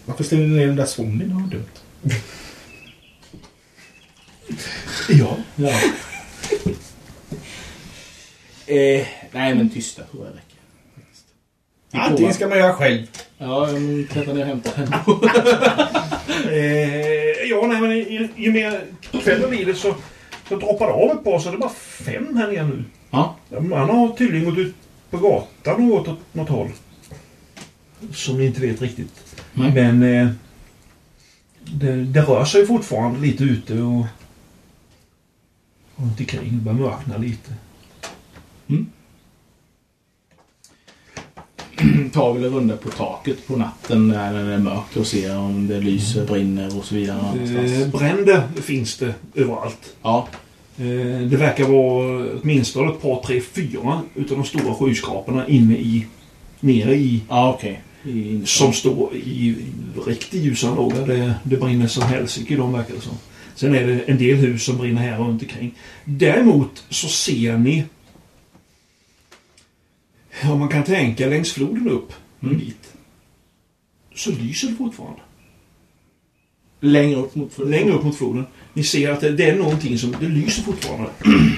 Varför ställer ni ner den där zombien? Det var dumt. Ja. ja. Eh, nej, men tysta tror jag räcker. Antingen ska man göra själv. Ja, jag klättrar ner och hämtar henne. Eh, ja, nej, men ju, ju mer kvällen lider så, så droppar det av ett par så det är bara fem här nere nu. Ja. Han har tydligen gått ut på gatan och gått åt något håll. Som ni inte vet riktigt. Nej. Men eh, det, det rör sig fortfarande lite ute och runt omkring. Det börjar mörkna lite. tar väl en runda på taket på natten när det är mörkt och ser om det lyser, brinner och så vidare. Eh, någonstans. bränder finns det överallt. Ja, Eh, Det verkar vara åtminstone ett par, tre, fyra utav de stora skyskraporna inne i, nere i, ja okej. I- som står i riktig ljusan låga. Det, det brinner som helsike i dem verkar det som. Sen är det en del hus som brinner här runt omkring. Däremot så ser ni om man kan tänka längs floden upp en bit. Så lyser det fortfarande. Längre upp mot Längre upp mot floden. Ni ser att det, det är någonting som... Det lyser fortfarande. [CLEARS THROAT]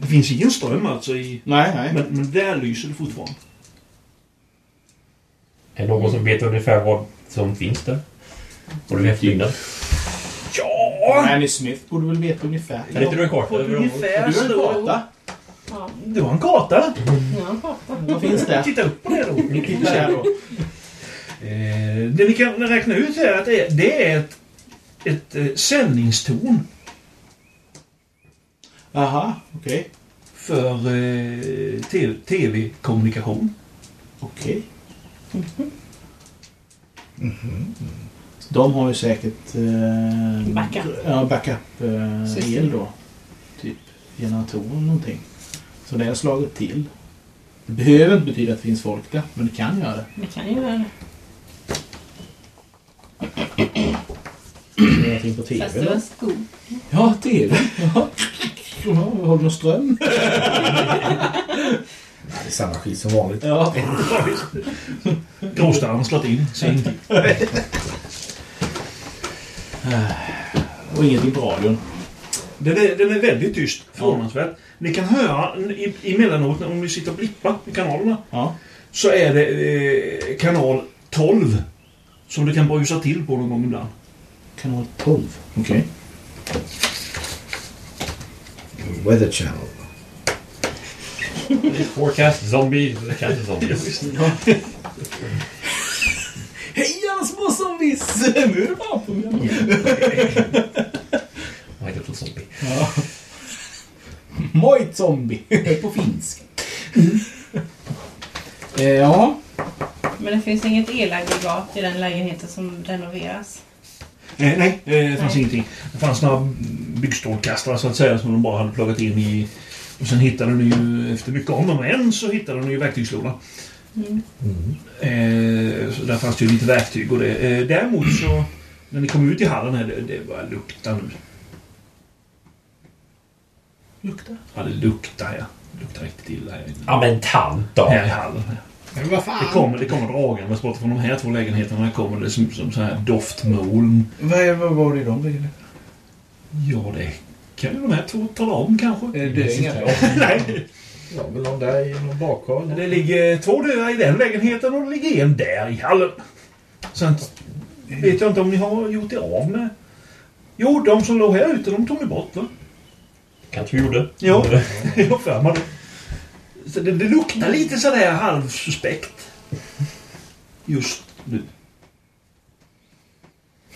Det finns ingen ström alltså i... Nej, nej. Men, men där lyser det fortfarande. Är det någon som vet ungefär vad som finns där? Vad du vet innan? Annie Smith borde väl veta ungefär. Kan inte du ha en karta över området? Du Ungefär har en så. karta. Det var en karta! Ja, pappa. Vad finns det? Titta upp på det [LAUGHS] då. Ni tittar här då. Eh, det ni kan räkna ut är att det är, det är ett, ett eh, sändningstorn Aha, okej. för eh, TV tv-kommunikation. Okej. De har ju säkert... Eh, Backup. Ja, backup-el System. Eh, då. Typ generatorer eller någonting. Så det har slagit till. Det behöver inte betyda att det finns folk där, men det kan göra det. Vi kan ju göra det. Någonting på Fast tv det var då? skog. Ja, TV. Ja. Ja, Håller de ström? Ja, det är samma skit som vanligt. Ja. Gråstarren har slagit in. Så ingenting. Och ingenting på radion. Den är, den är väldigt tyst, förvånansvärt. Ni kan höra i- emellanåt, när- om ni sitter och blippar i kanalerna, Ja. så är det eh, kanal 12 som du kan brusa till på någon gång ibland. Kanal 12. Okej. Weather Channel. Forecast, zombie, kanske [LAUGHS] zombies. Hej alla små zombies! [LAUGHS] Nu är det bara på mig. Nej, det är zombie. Moi ordet zombie. [LAUGHS] på finska. Mm. Eh, ja. Men det finns inget elaggregat i den lägenheten som renoveras. Eh, nej, eh, det fanns Nej. ingenting. Det fanns några byggstrålkastare så att säga som de bara hade plockat in i... Och sen hittade de ju, efter mycket om och men, så hittade de ju verktygslådan. Mm. Eh, så där fanns det ju lite verktyg och det. Eh, däremot så, när ni kom ut i hallen här, det, det bara lukta nu. Lukta? Ja, det luktar ja. Det luktar riktigt illa här inne. Ja men tant då. Här i hallen. ja. Men vad fan? Det kommer, det kommer dragandes bort från de här två lägenheterna. kommer det som, som så här doftmoln. Vad, vad var det i de bilarna? Ja, det kan ju de här två tala om kanske. Det är inga [LAUGHS] Nej, Ja, men någon där i någon bakhåll. det ligger två dörrar i den lägenheten och det ligger en där i hallen. Sen vet jag inte om ni har gjort er av med... Jo, de som låg här ute, de tog ni bort va? Kanske vi gjorde. Ja. [LAUGHS] Jag har för mig det. Så det. Det luktar lite sådär halvsuspekt. Just nu.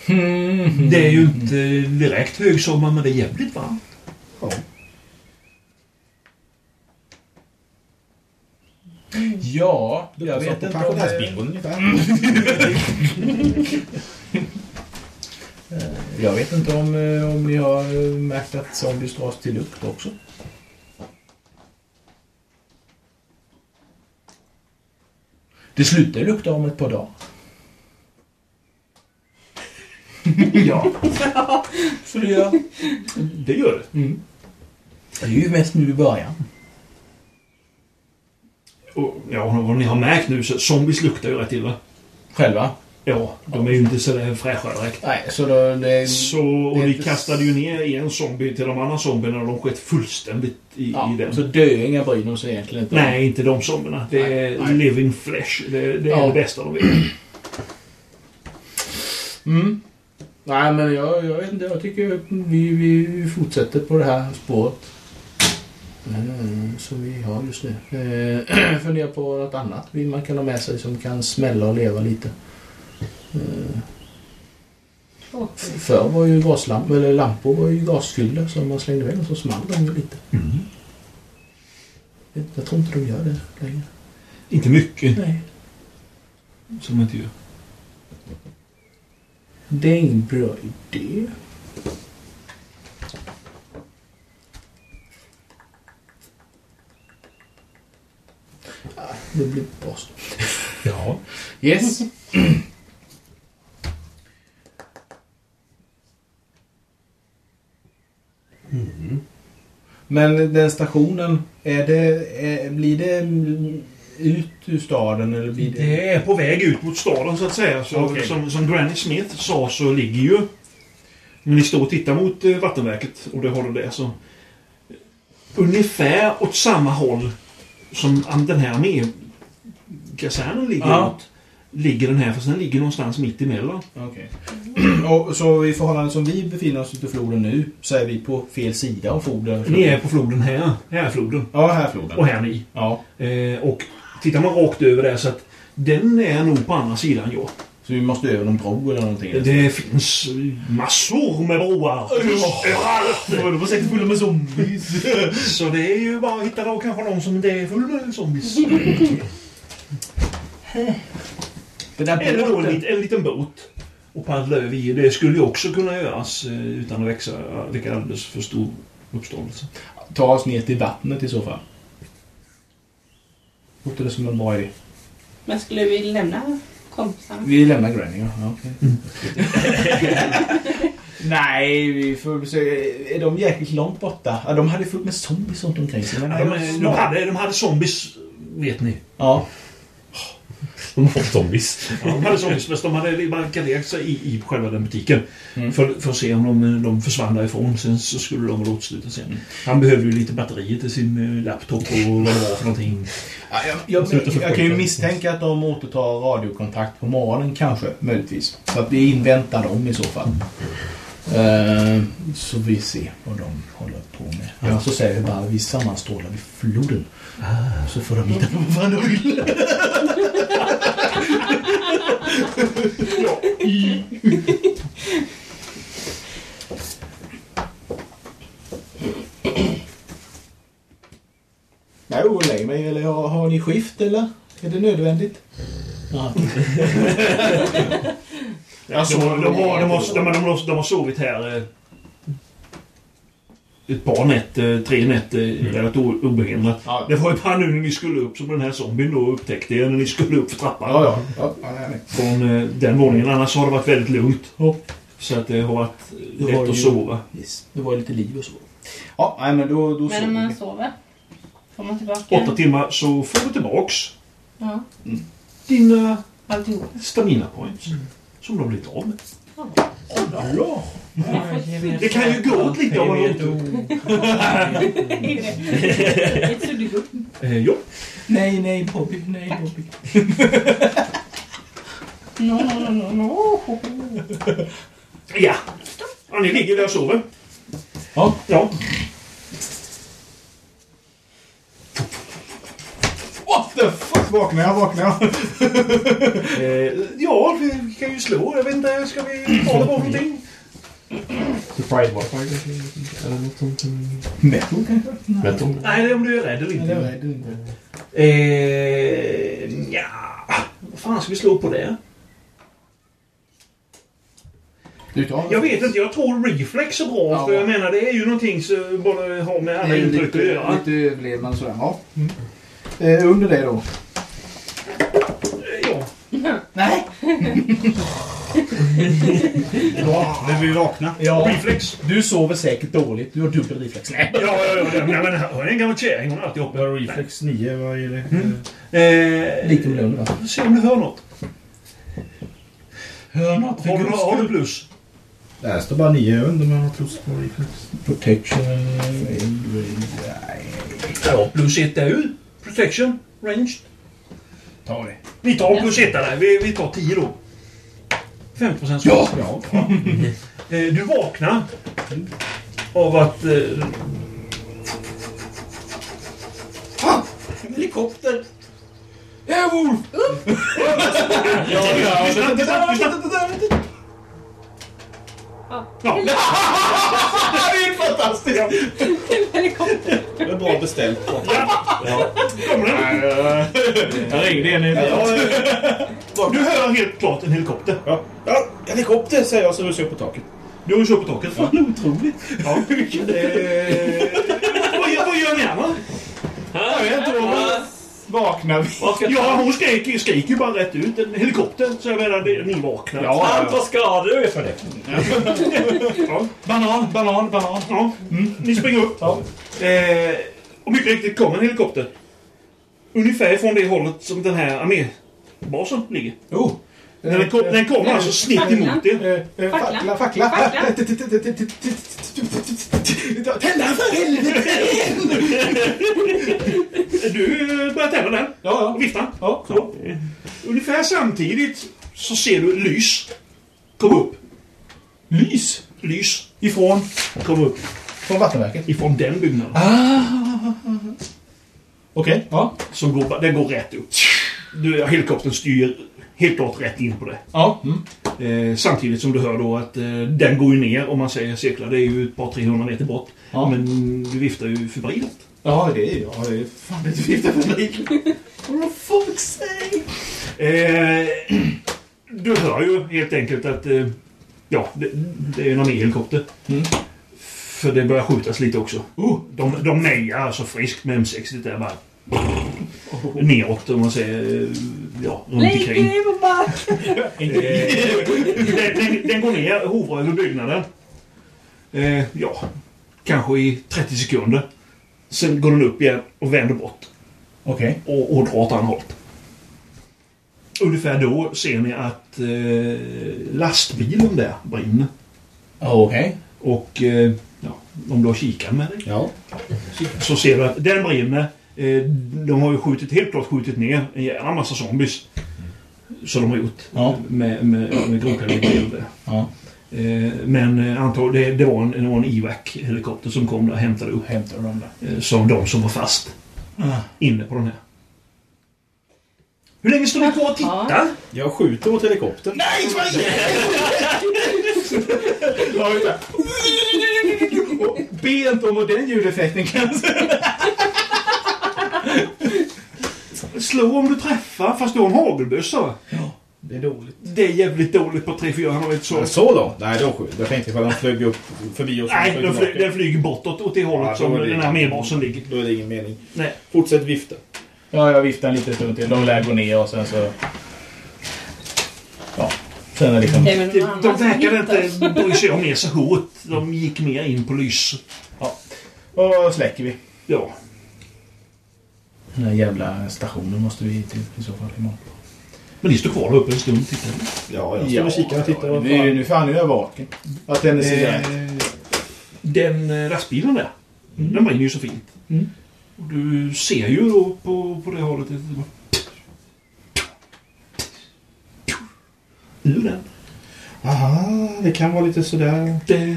Mm. Det är ju inte direkt högsommar, men det är jävligt varmt. Ja, jag vet på inte om det... pensionärsbingon ungefär. Jag vet inte om, eh, om ni har eh, märkt att zombies dras till lukt också. Det slutar ju lukta om ett par dagar. ja. Så det gör. Det gör det. Det är ju mest nu i början. Och, ja, vad ni har märkt nu så zombies luktar ju rätt illa. Själva? Ja, de är ju inte sådär fräscha direkt. Nej, så då, det... Så, och Mm. Det är ni inte- kastade ju ner en zombie till de andra zombierna och de sköt fullständigt i, Ja, i den. så döingar bryr de sig egentligen inte om. Nej, inte de zombierna. Det är Nej. living flesh. Det, det är Ja. det bästa de vet. Mm. Nej, men jag, jag vet inte. Jag tycker att vi, vi, vi fortsätter på det här spåret. Eh, Som vi har just nu. Eh, [CLEARS THROAT] Funderar på något annat vill man kan ha med sig som kan smälla och leva lite. Eh, f- Förr var ju gaslampor, eller lampor var ju gasfyllda så man slängde iväg dem så small de ju lite. Jag, jag tror inte de gör det längre. Inte mycket Nej. som inte gör. Det är ingen bra idé. Ah, Det blir bäst. Ja. Yes. Men den stationen, är det, är, blir det mm, ut ur staden eller blir det... Det är på väg ut mot staden så att säga. Så, Okej. som, som Granny Smith sa så ligger ju... När ni står och tittar mot eh, vattenverket och det håller det så... Ungefär åt samma håll som an- den här armékasernen ligger Ja. åt. Ligger den här, för den ligger någonstans mitt emellan. Okej. [CLEARS THROAT] Och så i förhållande som vi befinner oss ute i floden nu så är vi på fel sida av floden. Ni är på floden här. Här är floden. Ja, här är floden. Och här är ni. Ja, Eh, och tittar man rakt över där så att den är nog på andra sidan ja. så vi måste över någon bro eller någonting. Det finns massor med broar. Överallt! var säkert fulla med zombies. [LAUGHS] Så det är ju bara att hitta då kanske någon som inte är full med zombies. Den där Eller då en, båten. lit- en liten båt. Och paddla över i. Det skulle ju också kunna göras eh, utan att växa, väcka alldeles för stor uppståndelse. Ta oss ner till vattnet i så fall. Låter det som en bra idé? Men skulle vi lämna kompisarna? Vi lämnar Granny, ja. ja okej. Mm. [LAUGHS] Nej, vi får försöka. Är de jäkligt långt borta? Ja, de hade fullt med zombies runt omkring sig. Men Ja, de, de, hade, de hade zombies, vet ni. Ja. De har fått zombies. Ja, de hade zombies, men liksom, de hade barrikaderat sig i, i själva den butiken. Mm. För, för att se om de, de försvann därifrån. Sen så skulle de väl återsluta sen. Han behövde ju lite batterier till sin eh, laptop och vad det var för någonting. Ja, jag, jag, Sluta så jag, kan ju fort. misstänka att de återtar radiokontakt på morgonen kanske, möjligtvis. Så att vi inväntar dem i så fall. Eh, så vi ser vad de håller på med. Annars så säger vi bara vi sammanstrålar vid floden. Så får de hitta på vad fan de vill. träning eller har, har ni skift eller? Är det nödvändigt? Ja. De, de, har- de, har- de, har- de, har- de, har- de har sovit här eh, ett par nätter, tre nätter, relativt o- obehindrat. Mm. Ja. Det var ju bara nu när ni skulle upp som den här zombien då upptäckte er när ni skulle upp för trappan. Ja, ja. ja, ja nej, nej. Från eh, den våningen. Annars har det varit väldigt lugnt. Så att det har varit Det lätt var att ju- sova. Yes. Det var ju lite liv och så. Ja, nej, men då, då Men såg om vi. man sover? Får man tillbaka? Åtta timmar så får du tillbaks Ja, dina alltihop. stamina points. Som du har blivit av med. Ja. Ja. Det kan ju gå åt lite om man har otur. [LAUGHS] It's a do. Eh, Ja. Nej, nej Bobby, nej Bobby. No, no, no, no, no. Ja. ja, ni ligger där och sover. Ja. Ja. What the fuck? Vaknar jag, vaknar jag. [LAUGHS] Eh, ja, vi kan ju slå. Jag vet inte, ska vi ta det på någonting? Surprise war kanske? Eller något sånt. Metal kanske? Metal. Nej, det är om du är rädd eller Nej, det inte. var det inte. Eh, ja. Vad fan ska vi slå på det? Du tar Jag vet inte, jag tror reflex är bra. Ja. För jag menar, det är ju någonting som bara har med alla Nej, intryck Mm. lite, att göra. lite överlevnad och sådär. Ja. Eh, under det då? Eh, Ja. Nej! Men vi vaknar. Ja, Reflex. du sover säkert dåligt. Du har dubbel reflex. Nej. Ja, ja, ja. ja. Nej, men hon är en gammal kärring. Hon har alltid uppe. Reflex 9, vad är det? Mm. Eh, Lite med lugn va? vi får Se om du hör något. Hör något Har du, har du plus? Det här står bara 9, jag vet inte om jag har plus på reflex. Protection. Ja, plus ett är ju protection, range. Ta det. Vi tar plus ett där. Vi, vi tar 10 då. 50 procent ja! ja. [LAUGHS] Eh, Du vaknar av att... Eh... Fan! Ah, Helikopter! [LAUGHS] Lyssna, lyssna, lyssna. Ja, Till helikopter. Det är bra beställt. kommer den. Jag ringde en i... Du hör helt klart en helikopter. Ja, ja, helikopter säger jag så rusar jag upp på taket. Du har ju kört på taket. Fan, otroligt. Ja. Eh, vad, gör- vad gör ni andra? Vaknar vi? Ja, hon skrek, skrek ju bara rätt ut. En helikopter. Så jag menar, det- ni vaknar. Allt vad ska du? Banan, banan, banan. Ja, mm. ni springer upp. Eh, och mycket riktigt kommer en helikopter. Ungefär från det hållet som den här armébasen ligger. Oh. Den, den, kom, den kommer alltså snitt emot eh, er. Fackla, fackla. [LAUGHS] Tända för helvete! Du eh, börjar tända den Ja, och vifta. ja. Så. Ungefär samtidigt så ser du lys komma upp. Lys! Lys ifrån kom upp. Från vattenverket. Ifrån den byggnaden. Ah. Okej? Ja. Som går, bara- den går rätt upp. Du, helikoptern styr helt klart rätt in på det. Ja. Mm. Eh, samtidigt som du hör då att eh, den går ju ner om man säger cirklar. Det är ju ett par 300 meter bort. Ja. Men du viftar ju febrilt. Ja, det är ju... Ja, det är fan det är vifta för mig. For fuck's sake! Eh, [CLEARS THROAT] du hör ju helt enkelt att eh, ja, det, det är en arméhelikopter. Mm. För det börjar skjutas lite också. Uh, De, de mejar alltså friskt med M60 där bara. Neråt om man säger. eh, Ja, runt Blake omkring. är på back. [LAUGHS] den, den, den går ner, hovrar över byggnaden. Eh, ja, kanske i 30 sekunder. Sen går den upp igen och vänder bort Okej. och, och drar åt andra hållet. Ungefär då ser ni att eh, lastbilen där brinner. Okej. Och eh, ja, om du har kikat med dig Ja. så ser du att den brinner. Eh, de har ju skjutit, helt klart skjutit ner en jävla massa zombies. Som de har gjort Ja. med, med, med grovkaliber och det. Ja. Eh, men eh, antag, det, det var en, det var en IVAC-helikopter som kom där och hämtade upp Hämtar de där. eh, som de som var fast Ah. inne på den här. Hur länge står ni kvar och tittar? Jag skjuter mot helikoptern. Nej, Be inte om den ljudeffekten kanske. slå om du träffar, fast du har en hagelbössa va? Det är dåligt. Det är jävligt dåligt på 3-4, han har ett så. Men så långt? Nej, då skjuter Jag tänkte ifall han flög upp förbi oss. och Nej, flög den, fly, tillbaka. den flyger bortåt åt det hållet Ja, då som är det- den här medbasen ligger. Då är det ingen mening. Nej. Fortsätt vifta. Ja, jag viftar en liten stund till. De lär gå ner och sen så... Ja. Sen är det liksom... Det är väl Typ, De, någon annan de som verkade hittar. inte bry sig om er så hårt. De gick mer in på lys. Och släcker vi. Ja. Den här jävla stationen måste vi till i så fall imorgon. Men ni står kvar där uppe en stund tittar ni. Ja, jag står och kikar och tittar. Det är ju nu fan nu är jag vaken. Att den är Eh, cigarett. Den eh, lastbilen där, Mm. den brinner ju så fint. Och du ser ju då på, på det hållet. att det bara- Ur den. Aha, det kan vara lite sådär. Det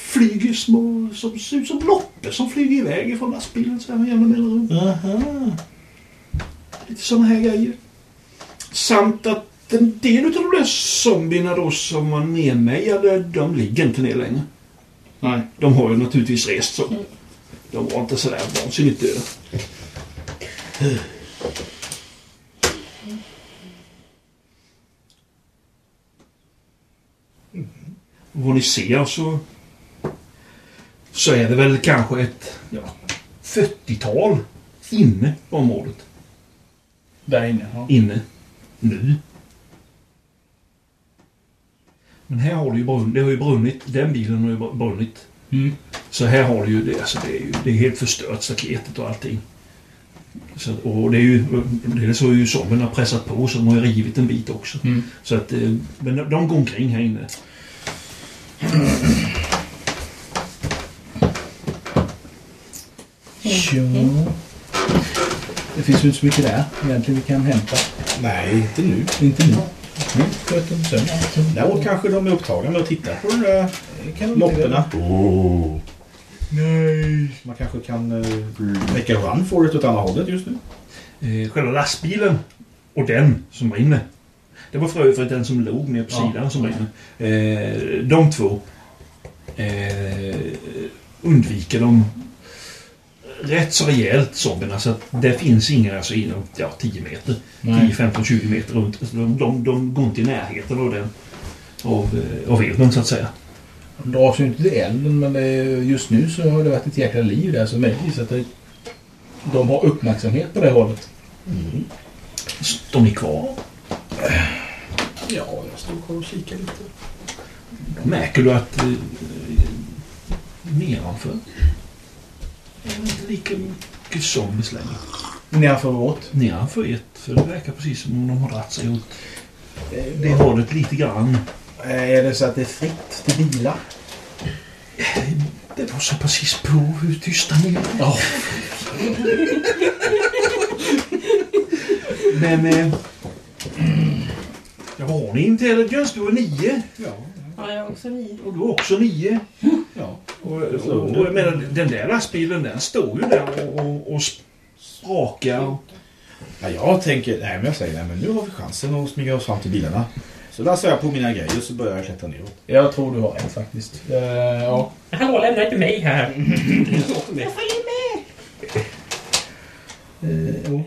flyger små, som ser ut som loppor som flyger iväg ifrån lastbilen så här med jämna mellanrum. Lite sådana här grejer. Samt att en del utav de där zombierna då som var nedmejade, de ligger inte ner längre. Nej. De har ju naturligtvis rest så. De var inte sådär vansinnigt döda. Och Vad ni ser så så är det väl kanske ett ja, 40-tal inne på området. Där inne. Ja. Inne. Nu. Men här har det ju brunnit. Det har ju brunnit. Den bilen har ju br- brunnit. Mm. Så här har det ju det. Alltså det, är ju, det är helt förstört, staketet och allting. Så, och det är ju... Det är så ju zombierna har pressat på så de har ju rivit en bit också. Mm. Så att... eh, Men de, de går omkring här inne. Ja. Det finns ju inte så mycket där egentligen vi kan hämta. Nej, inte nu. Inte nu. Nu sköt de sönder. Däremot kanske de är upptagna med att titta på de där Det kan de inte göra. lopporna. Nej. Man kanske kan uh, make a run for it åt andra hållet just nu. Eh, själva lastbilen och den som brinner. Det var för övrigt den som låg ner på sidan som brinner. Eh, de två eh, undviker de rätt så rejält zombierna så att det finns inga alltså inom ja, 10 meter. 10, 15, 20 meter runt. Alltså, de, de, de går inte i närheten av den. Av, eh, av elden så att säga. De dras ju inte till elden men det är- just nu så har det varit ett jäkla liv där så möjligtvis att det, de har uppmärksamhet på det hållet. Står ni kvar? Ja, jag står kvar och kikar lite. Då märker du att eh, eh, nedanför är det inte lika mycket zombies längre. Nedanför vårt. Nedanför ett, för det verkar precis som om de har dragit sig åt det hållet lite grann. Eh, Är det så att det är fritt till bilar? Det var så precis på hur tysta ni är. Ja. Men... Eh, jag har ni intelligence? Du är nio. Ja, jag har också nio. Och du är också nio. Ja. Och, och, och jag menar, den där lastbilen den står ju där och, och, och sprakar. och- Ja, jag tänker, nej men jag säger nej men nu har vi chansen att smyga oss fram till bilarna. Så lassar jag på mina grejer så börjar jag klättra neråt. Jag tror du har rätt faktiskt. Eh, ja. Hallå, lämna inte mig [LAUGHS] här. Nej,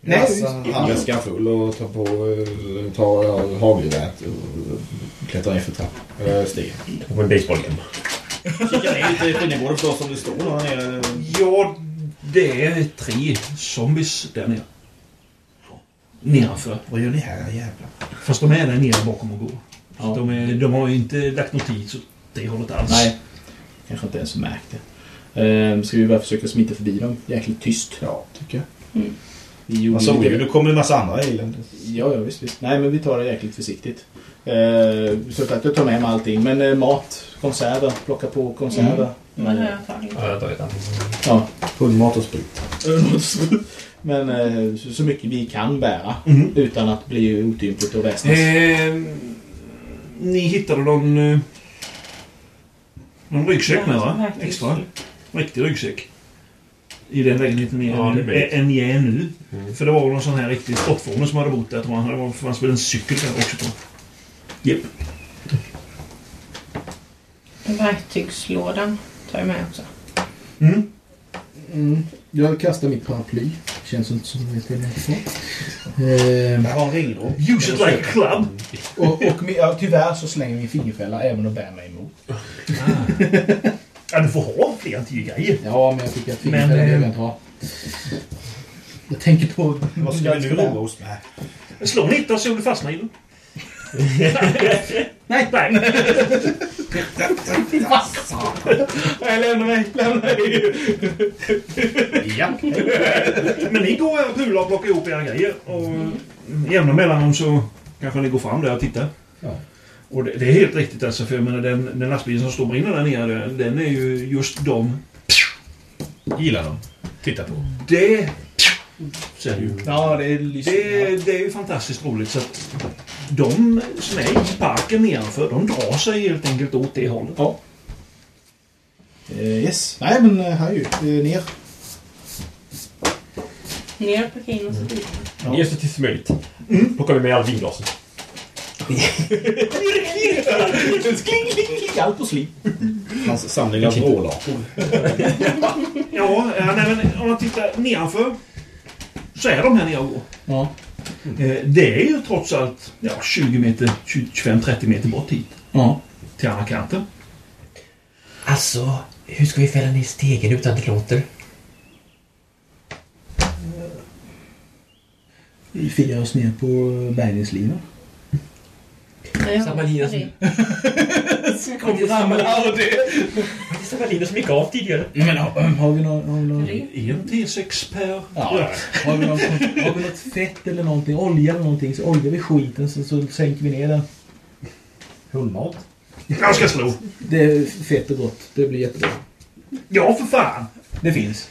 Lassar handväskan full och tar på, eh, tar eh, hagelgeväret och klättrar ner för trapp- eh, stegen. Och en basebollklubb. Kikar ner lite i innergården förstås om det står någon här nere. Ja, det är tre zombies där nere. Nedanför. Vad gör ni här jävlar? Fast de är där nere bakom och går. Ja. De, är, de har ju inte lagt notis åt det hållet alls. Nej, kanske inte ens märkt det. Eh, ska vi bara försöka smita förbi dem jäkligt tyst? Mm. Ja, tycker jag. Vi gjorde Vad såg lite- du? Det kommer en massa andra elände. Ja, ja visst, visst. Nej, men vi tar det jäkligt försiktigt. Eh, så att jag tar med mig allting. Men eh, mat, konserver, plocka på konserver. Men det har Men, jag tagit. Ja, jag tar ett annat. ja. [LAUGHS] Hundmat och sprit. men eh, så, så mycket vi kan bära Mhm. utan att bli otympligt och väsnas. Eh, ni hittade någon, eh, någon ryggsäck med va? Extra. Riktig ryggsäck. I den lägenheten ni är, Ja, det vet. ä- än ni är nu. För det var någon sån här riktig sportfåne som hade bott där tror jag. Det var- fanns väl en cykel där också tror jag. Japp. Verktygslådan tar jag med också. Mm. mm. Jag kastar mitt paraply. känns inte som ett element så. Ehm, har en ringdropp. Use it like club. och, och min, ja, tyvärr så slänger min fingerfälla även och bär mig emot. Ja, du får ha fler än tio grejer. Ja, men jag tycker att Men, fingerfällan behöver jag eh, inte ha. Jag tänker på... Vad ska vi nu roa Mm. oss med? Slå 19 så du [LAUGHS] fastnar i den. nej, nej. Nej, lämna mig! Lämna mig! Men ni går och pular och plockar ihop era grejer. Och jämna mellanrum så kanske ni går fram där och tittar. Och det, det är helt riktigt alltså, för jag menar den, den lastbilen som står brinner där nere, den- den är ju just de... Gillar dem. Titta på. Det... Ser du. Ja, det är lyssnat. Det, det är ju fantastiskt roligt så att de som är i parken nedanför, de drar sig helt enkelt åt det hållet. Eh, yes. Nej, men eh, här är ju. eh, Ner. Ner på kajen och så dit. Ge så till som möjligt. Då kommer vi med all vinglasen. Allt på slip. Hans samling av vrålapor. Ja, eh, nej, men om man tittar nedanför så är de här nere och går. Ja. Eh, Det är ju trots allt ja, 20 meter, 20 25-30 meter bort hit. Ja. Till andra kanten. Alltså, hur ska vi fälla ner stegen utan att det låter? Vi firar oss ner på eh, bärgningslinan. Samma lina som... Det är samma linje som gick av tidigare. Men har, har vi någon... Har vi någon En T6 per Ja. Har vi, någon, har vi [LAUGHS] något fett eller någonting, olja eller någonting, så oljar vi skiten så, så sänker vi ner den. Hundmat. Jag ska slå. Det är fett och gott. Det blir jättebra. Ja, för fan! Det finns.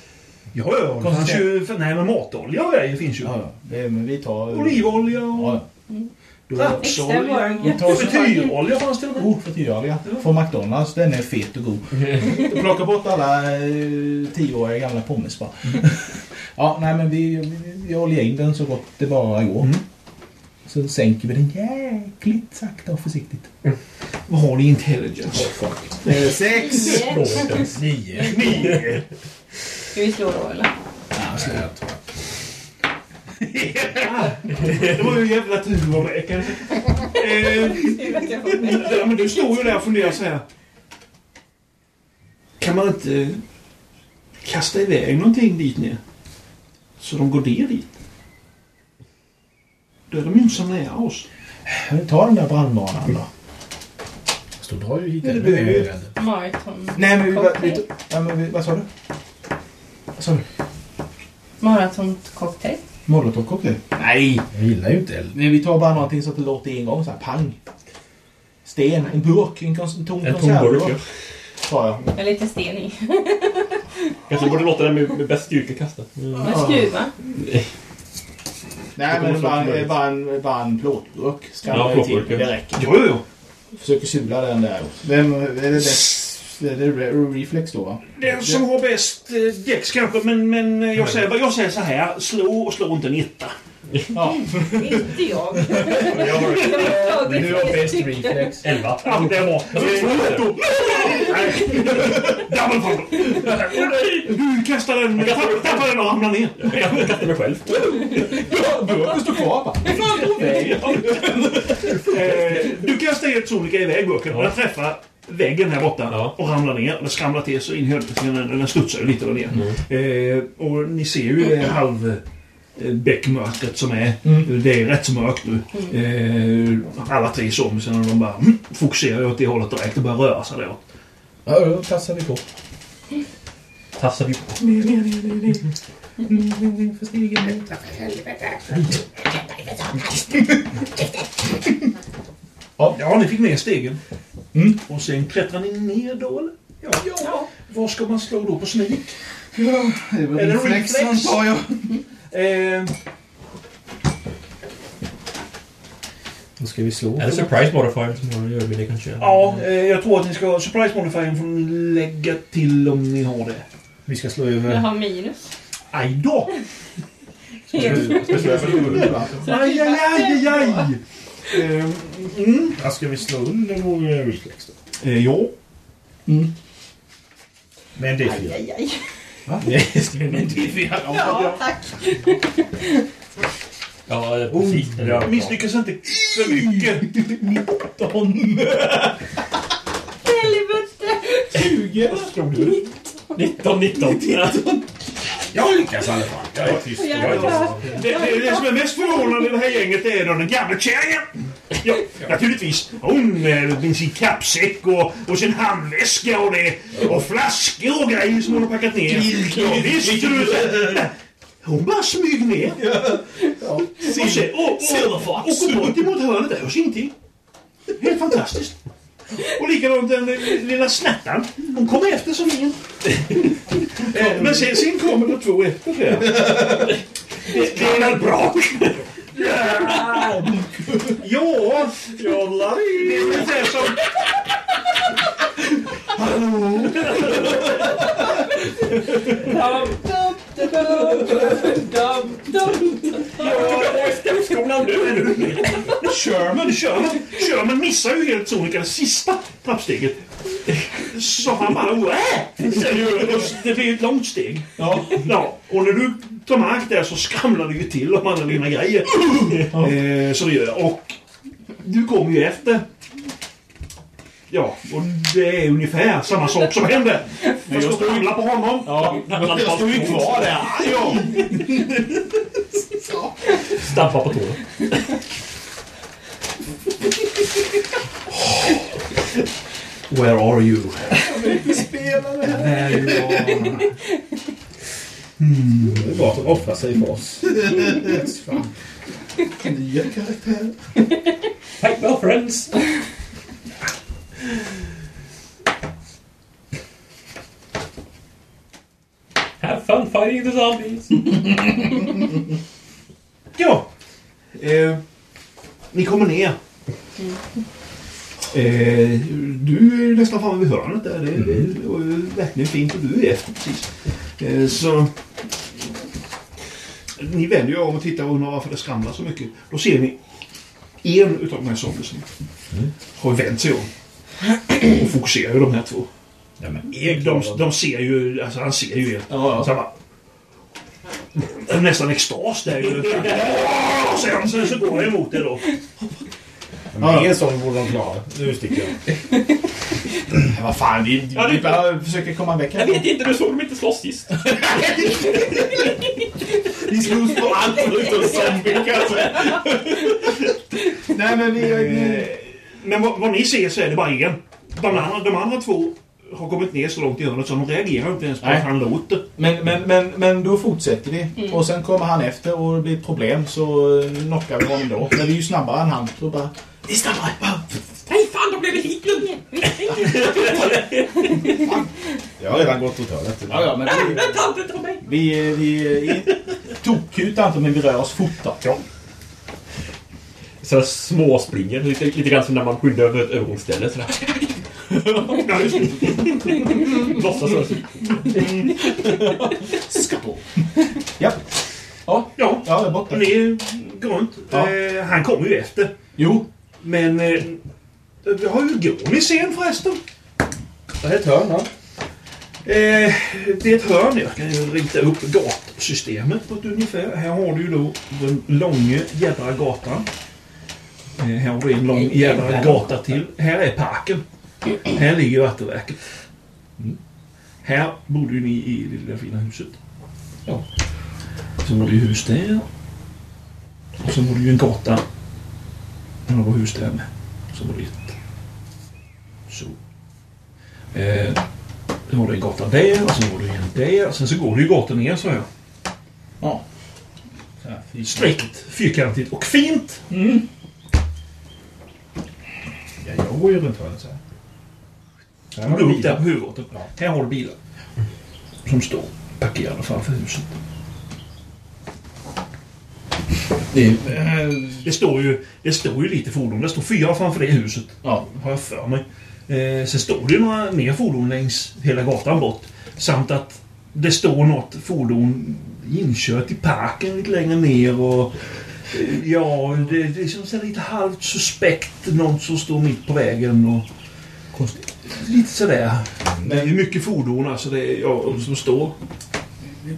Ja, ja. Det fanns ju... för- Nej, men matolja och grejer finns ju. Ja, ja. Det är, Mm. men vi tar... Olivolja och Ja, Extra rapsolja. varm. tar så- Frityrolja fanns till och med. God frityralia från McDonalds. Den är fet [LAUGHS] och god. Plocka bort alla eh, tioåriga gamla pommes bara. [LAUGHS] ja, nej men vi, vi, vi oljar in den så gott det bara går. Sen sänker vi den jäkligt sakta och försiktigt. Vad har ni i intelligence? Eh, sex! Nio. Ska vi slå då eller? Det var ju jävla tur du var med kanske. Eh, ja, men du står ju där och funderar så här. Kan man inte eh, kasta iväg någonting dit ner? Så de går ner dit. Då är de ju inte så nära oss. Kan vi ta den där brandbanan då? Står du har ju hit Ja, det behöver vi. Maraton. Nej men vi... vi, Cocktail. vi ja, men vi vad sa du? Vad sa du? Maratoncocktail. Molotovcocktail? Nej! Jag gillar ju inte eld. Nej, vi tar bara någonting så att det låter en gång så här pang. Sten, en burk, en, kons- en tom En tom burk, ja. konservburk. Tar jag. Med lite sten i. Kanske borde låta den med, med bäst styrka kasta. Med skruva. Nej, men kommer bara, snart bara, möjligt. bara, en, bara en plåtburk ska Ja, man ju till. plåtburk, ja. Det räcker. Jo, jo, jo. Försöker sula den där. Vem är det bäst? Det är det re- reflex då, va? Den som har bäst eh, däcks kanske, men, men eh, jag, säger, jag säger så här. Slå och slå inte en etta. Inte [LAUGHS] jag. Jag har tagit tre stycken. reflex. Elva. Ja, men det var... Nej. Double fumble. Du kastar den, tappar tappar den och hamnar ner. Jag kastar mig själv. Burken står kvar, va? Eh, Du kastar helt sonika iväg burken. Den träffar väggen här borta Ja. och ramlar ner. Den skramlar till sig in i helvete. Den, den studsar ju lite där ner. Eh, och ni ser ju det halv eh, bäckmörkret som är. Det är rätt så mörkt nu. Eh, alla tre zombiesarna de bara mm, fokuserar åt det hållet direkt och börjar röra sig däråt. Ja, då tassar vi på. Tassar vi på. Ner, ner, ner, ner, ner. Ner, ner, ner för stegen. ner. Ja, ni fick med stegen. Mm. Och sen klättrar ni ner då eller? Ja. ja. Var ska man slå då på sneak? Det var Är det reflex, reflex? antar jag. Eh, Då ska vi slå. Eller surprise modifier som man gör med det kanske. ja, eh, jag tror att ni ska... Surprise modifiern får ni lägga till om ni har det. Vi ska slå Jag över... har minus. Aj då! Ska slå över hunden, va? Aj, aj, aj, aj, aj. Eh, mm. Ja, Ska vi slå under vår eh, reflex då? eh, ja. Men det är fyra. Aj, aj. Va? Det skulle ni inte vilja. Ja, tack. Ja, precis. det där. Misslyckas inte för mycket. 19. Helvete! 20. 19, 19. Jag lyckas i alla fall. Jag är tyst. Jag är tyst. Det, det, det som är mest förvånande i det här gänget är då den gamla kärringen. Ja, naturligtvis. Hon eh, med sin kappsäck och, och sin handväska och det. Och flaskor och grejer som hon har packat ner. Ja, visst, du, så- hon bara smyger ner. Och sen, och, och, och, och går bort emot hörnet där. Hörs ingenting. Helt fantastiskt. Och likadant den eh, lilla snattan. Hon kommer efter som ingen. Eh, Men sen, sen kommer det två efter det. Det är väl bra. Ja, jollar Det är ungefär som... Hallå? Skolan nu! Sherman, Sherman, Sherman missar ju helt sonika det sista trappsteget. Så han bara... äh!" "Wä!" säger och Det blir ett långt steg. Ja. Ja, och när du tar mark där så skramlar det ju till om alla dina grejer. Eh, Så det gör jag. Och du kommer ju efter. Ja, och det är ungefär samma sak som hände. Men jag står illa på honom. Ja, Jag står ju kvar där. Ja. Stampa på tårna. Where are you? Där jag var. Det är bra att de offrar sig för oss. Mm. Nya karaktärer. Fight well friends! Have fun fighting the zombies! Ja. Eh, ni kommer ner. Mm. Eh, du är nästan framme vid hörnet där. Det är, Mm. det är och, eh, verkligen fint och du är efter precis. Eh, så... Ni vänder ju av och tittar och undrar varför det skramlar så mycket. Då ser ni en utav de här zombiesarna Mm. har vänt sig om och fokuserar ju de här två. Ja, men De, de ser ju, alltså han ser ju er. Så han bara... Det är Nästan extas där ju. Och sen, sen så går jag emot er då. Men en sån borde de klara. Nu sticker [LAUGHS] jag. Vad fan, vi, Ja, det- vi bara försöker komma väck Jag här. vet inte, du såg dem inte slåss sist. Vi slogs på allt förutom zombie kanske. Nej men vi... vi Men vad, vad ni ser så är det bara en. De andra, de andra två har kommit ner så långt i hörnet så de reagerar inte ens på Nej. att han låter. men, men, men, men då fortsätter vi. Och sen kommer han efter och det blir ett problem så eh, knockar vi honom då. Men vi är ju snabbare än han. Så bara... Vi är snabbare! Va? Nej fan, de blev Hitler! Jag har redan gått åt hörnet. Ja, ja, men vi, Tanten tar mig! vi, eh, vi är tokkuta inte men vi rör oss fortare. Ja. Så jag småspringer, lite, lite grann som när man skyddar över ett övergångsställe. sådär. Låtsas så. Ska på. Ja. Ja, Ja, ja, jag är borta. ni går runt. Ja. Eh, han kommer ju efter. Jo. Men... Eh, vi har ju Gorm i scen förresten. Det här är ett hörn, va? Eh, det är ett hörn. Jag kan ju rita upp gatsystemet på ett ungefär. Här har du ju då den långa jädra gatan. Eh, här har du en lång jädra gata till. Här är parken. Här ligger vattenverket. Mm. Här bodde ju ni i det lilla fina huset. Ja. Sen var det ju hus där. Och sen var det ju en gata. Och det var hus där med. Så var det ett. Så. Eh, sen var det en gata där och sen var det en där. Och sen så går det ju gator ner så här. Ja. Sträckt, fyrkantigt och fint. Ja, jag går ju runt hörnet så här. Här Och har du du upp där bilar. på huvudgatan. Ja. Här har du bilar. Som står parkerade framför huset. Det är, Det står ju, det står ju lite fordon. Det står fyra framför det huset. ja. har jag för mig. Eh, sen står det ju några mer fordon längs hela gatan bort. Samt att det står något fordon inkört i parken lite längre ner och... eh, Ja, det, det är liksom så här lite halvt suspekt. Någon som står mitt på vägen och... Konstigt. Lite sådär. Men det är mycket fordon alltså det, är- ja, som står.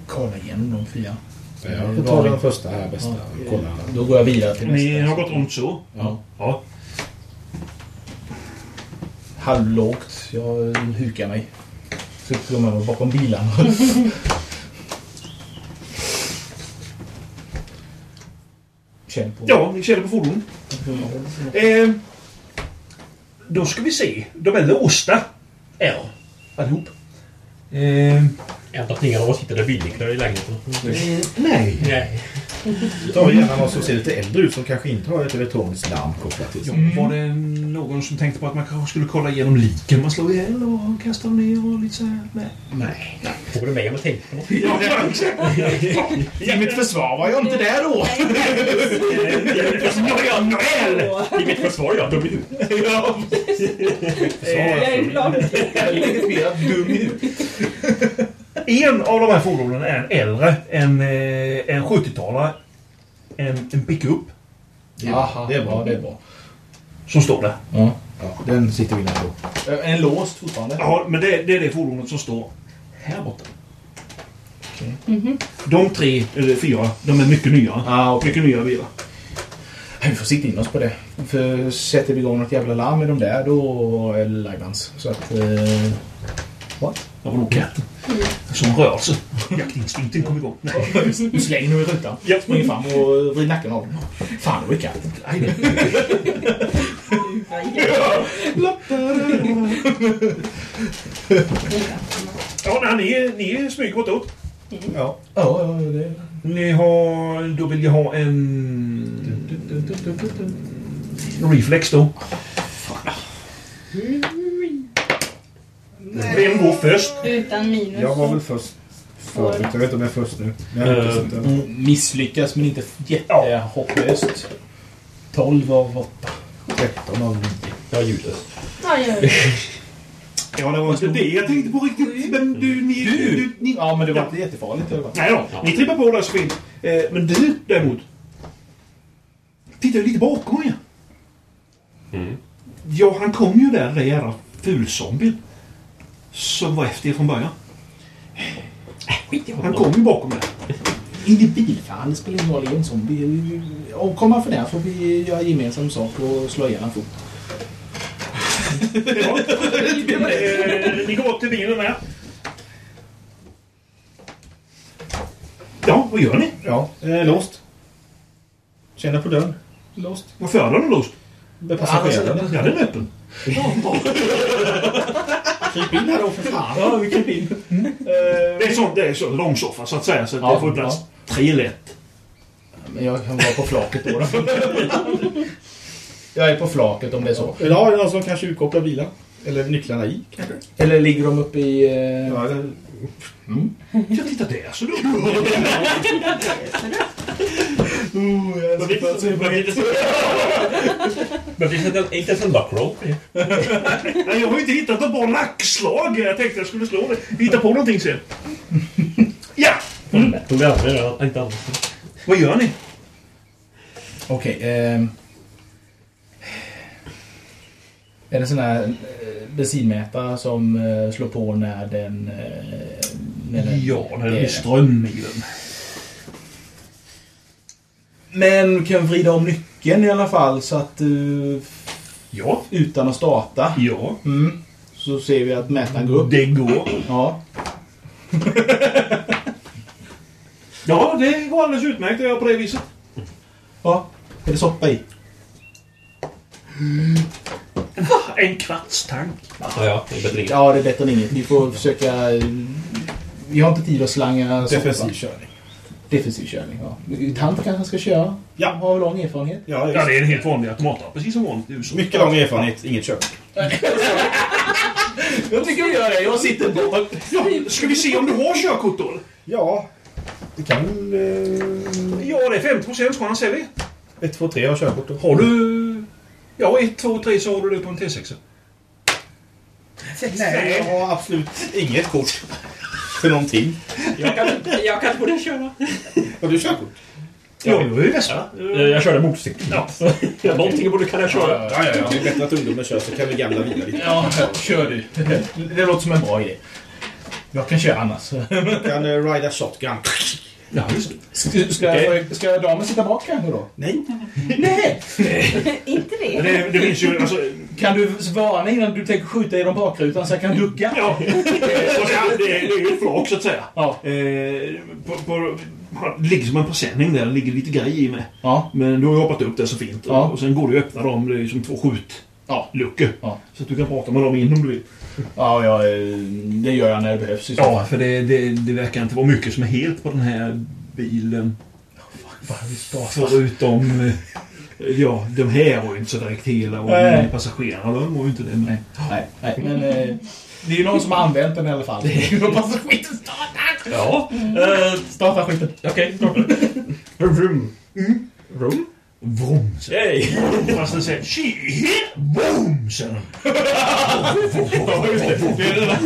kolla igenom de fyra. Ja, jag får ta den första här bästa. Kolla. Då går jag vidare till nästa. Ni har gått runt så? Ja. ja. Halvlågt. Jag hukar mig. Så kommer jag bakom bilarna. Känn på. Ja, ni känner på fordon. Eh, då ska vi se. De är låsta. Är de, allihop. Eh, Att ingen av oss hittade bilnycklar i lägenheten. Nej. Nej. Ta gärna någon som ser lite äldre ut som kanske inte har ett elektroniskt larm kopplat till ja, sig. Var det någon som tänkte på att man kanske skulle kolla igenom liken man slog ihjäl och kastade ner och lite så här? Nej. Nej. Frågar du mig om jag tänkte på något? Ja, exakt. I mitt försvar var jag inte där då. Ja, ja, Noel! I mitt försvar, ja. Dum i huvudet. Ja. Jag är glad. En av de här fordonen är en äldre, en, eh, en 70-talare. En, en pickup Jaha. Det är bra. Ja, det är bra. som står där. Ja. Ja, den sitter vi inne på. Är Eh, den låst fortfarande? Ja, men det, det är det fordonet som står här borta. Mhm. De tre, eller fyra, de är mycket nyare. Ah, okej. Mycket nyare bilar. Vi får sikta in oss på det. För sätter vi igång något jävla larm med de där då är det lagdans. Så att... Eh, what? Det var nog katten. Som rör sig. Jaktinstinkten kom igång. Nej. Du slänger dem i rutan. Ja. Springer fram och vrider nacken av dem. Fan, det var ju katten. Ja, nej, ni, ni smyger bortåt. Ja. Ja, ja, ja, det... Mm. Ni har... Då vill jag ha en... Reflex då. Vem går först? Utan minus. Jag var väl först förut. Jag vet inte om jag är först nu. Men jag Eh, är inte sånt Misslyckas men inte jättehopplöst. 12 av 8. 13 av 9. Jag är ljudlös. Ja, jag gör det. Ja, det var inte Alltså, det jag tänkte på riktigt. Men du, ni... du, ni Ja, men det var inte jättefarligt. Det var. Nej då, ni trippar på där så fint. Eh, men du däremot. Tittar ju lite bakom er. Mm. Ja, han kom ju där, den där jävla fulzombien. Som var efter er från början. Han kom ju bakom er. In i bilfan, det spelar ingen roll. Det är en zombie. Och kommer för det här får vi göra gemensam sak och slå ihjäl en fot. Eh, ni går upp till bilen med. Ja, vad gör ni? Ja, eh, låst. Känner på dörren. Låst. Varför har den låst? Med passageraren. Ja, den är öppen. Kryp in här då för fan. Eh. Ja, vi kryper in. Det är så, det är så långsoffa så att säga, så att Ja, det får plats tre lätt. Men jag kan vara på flaket då. då. jag är på flaket om det är så. Eller har jag någon som kanske utkopplar bilen? Eller nycklarna i kanske? Eller ligger de uppe i... Eh, Ja, eller- Ja, titta där [LAUGHS] [LAUGHS] så du. Oh, Men vi sätter inte ens en backroll. Nej, jag har ju inte hittat något bra nackslag. Jag tänkte jag skulle slå det. Hitta på någonting sen. Ja! Tog det aldrig det? Inte alls. Vad gör ni? Okej. ehm. är det en sån här eh, bensinmätare som eh, slår på när den... Eh, när den Ja, det är det. ström i den. Men du kan vrida om nyckeln i alla fall så att eh, Ja. utan att starta. Ja. Mm. Så ser vi att mätaren går upp. Det går. Ja. Ja, det går alldeles utmärkt att göra på det viset. ja. Är det soppa i? En kvartstank. Ja, ja. Det är bättre inget. Ja, det är bättre än inget. Vi får försöka... eh, Vi har inte tid att slanga soppa. Defensiv körning. Defensiv körning, ja. Tant kanske ska köra? Ja. Har väl lång erfarenhet? Ja, Ja, just. det är en helt vanlig automat. Precis som vanligt i USA. Mycket lång erfarenhet, inget kök. Jag tycker vi gör det. Jag sitter bak. Ja, ska vi se om du har körkort då? eller? Ja, det kan väl... Eh, Ja, det är 50 procents chans är vi. 1, 2, 3 har körkort. då. Har du... Ja, 1, 2, 3 så har du det på en T6. Nej, jag har absolut inget kort. För någonting. Jag kan, jag kan borde köra. Har du körkort? Ja, du är ju västra. Eh, Jag körde motorcykel. Ja. Någonting borde kan jag köra. Ja, ja, ja. Det är bättre att ungdomen kör så kan vi gamla vila lite. Ja, kör du. Det låter som en bra idé. Jag kan köra annars. Du kan eh, rida shotgun. Ja, just Ska, ska, ska damen sitta bak kanske då? Nej. Nej! Inte det? alltså, Kan du varna innan du tänker skjuta genom bakrutan så jag kan ducka? Ja. Och sen, det, det är ju ett flak så att säga. Ja. Eh, på, på, det ligger som en presenning där. Det ligger lite grej i med. Men du har ju hoppat upp där så fint. Ja. Och sen går du och öppnar dem. Det är ju som två skjutluckor. Så att du kan prata med dem in om du vill. Ja, ja eh, det gör jag när det behövs. Ja, för det, det, det verkar inte vara mycket som är helt på den här bilen. Förutom... eh, Ja, de här var ju inte så direkt hela och Nej. passagerarna de var ju inte det. Men... Nej, nej, men eh, det är ju någon som har använt den i alla fall. Det [LAUGHS] är hoppas att skiten startar! Ja. Eh, starta skiten. Okej, starta. Vroom. Vroom? Vroom, Yay! Fast den säger She hit boom, säger den. Ja, just det. Det är den där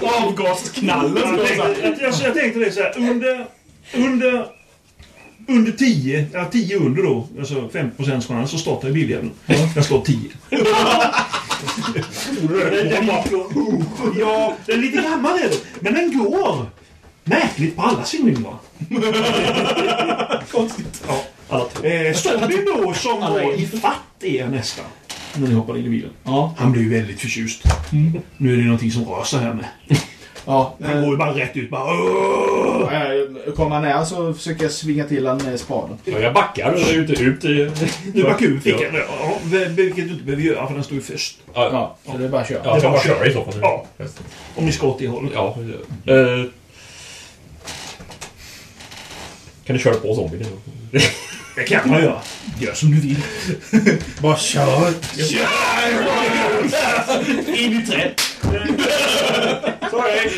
Oh, Avgasknallen som jag sa. Jag, jag, jag tänkte det så här, under... Under... Under 10, ja 10 under då, alltså 50 chans så startar ju biljäveln. Jag slår 10. Den- den gick- Ja, den är lite gammal är den. Men den går! Märkligt på alla cylindrar. Konstigt. Ja. Eh, Sonny då som var ifatt er nästan. När ni hoppade in i bilen. Mm. Han blev ju väldigt förtjust. Nu är det någonting som rör sig här med. Ja, Han går ju bara rätt ut. Bara, "Åh!" eh, kommer han nära så försöker jag svinga till han med spaden. Ja, jag backar och ut, ut i... Nu var kul fick jag. Ja, vilket du inte behöver göra för den står ju först. Ja, Så det är bara att köra. ja, jag bara köra i så fall. Ja. Om ni ska åt det hållet. Ja. Eh, kan du köra på zombien? nu? Det kan man göra. Gör som du vill. Bara kör. In i träd. Sorry!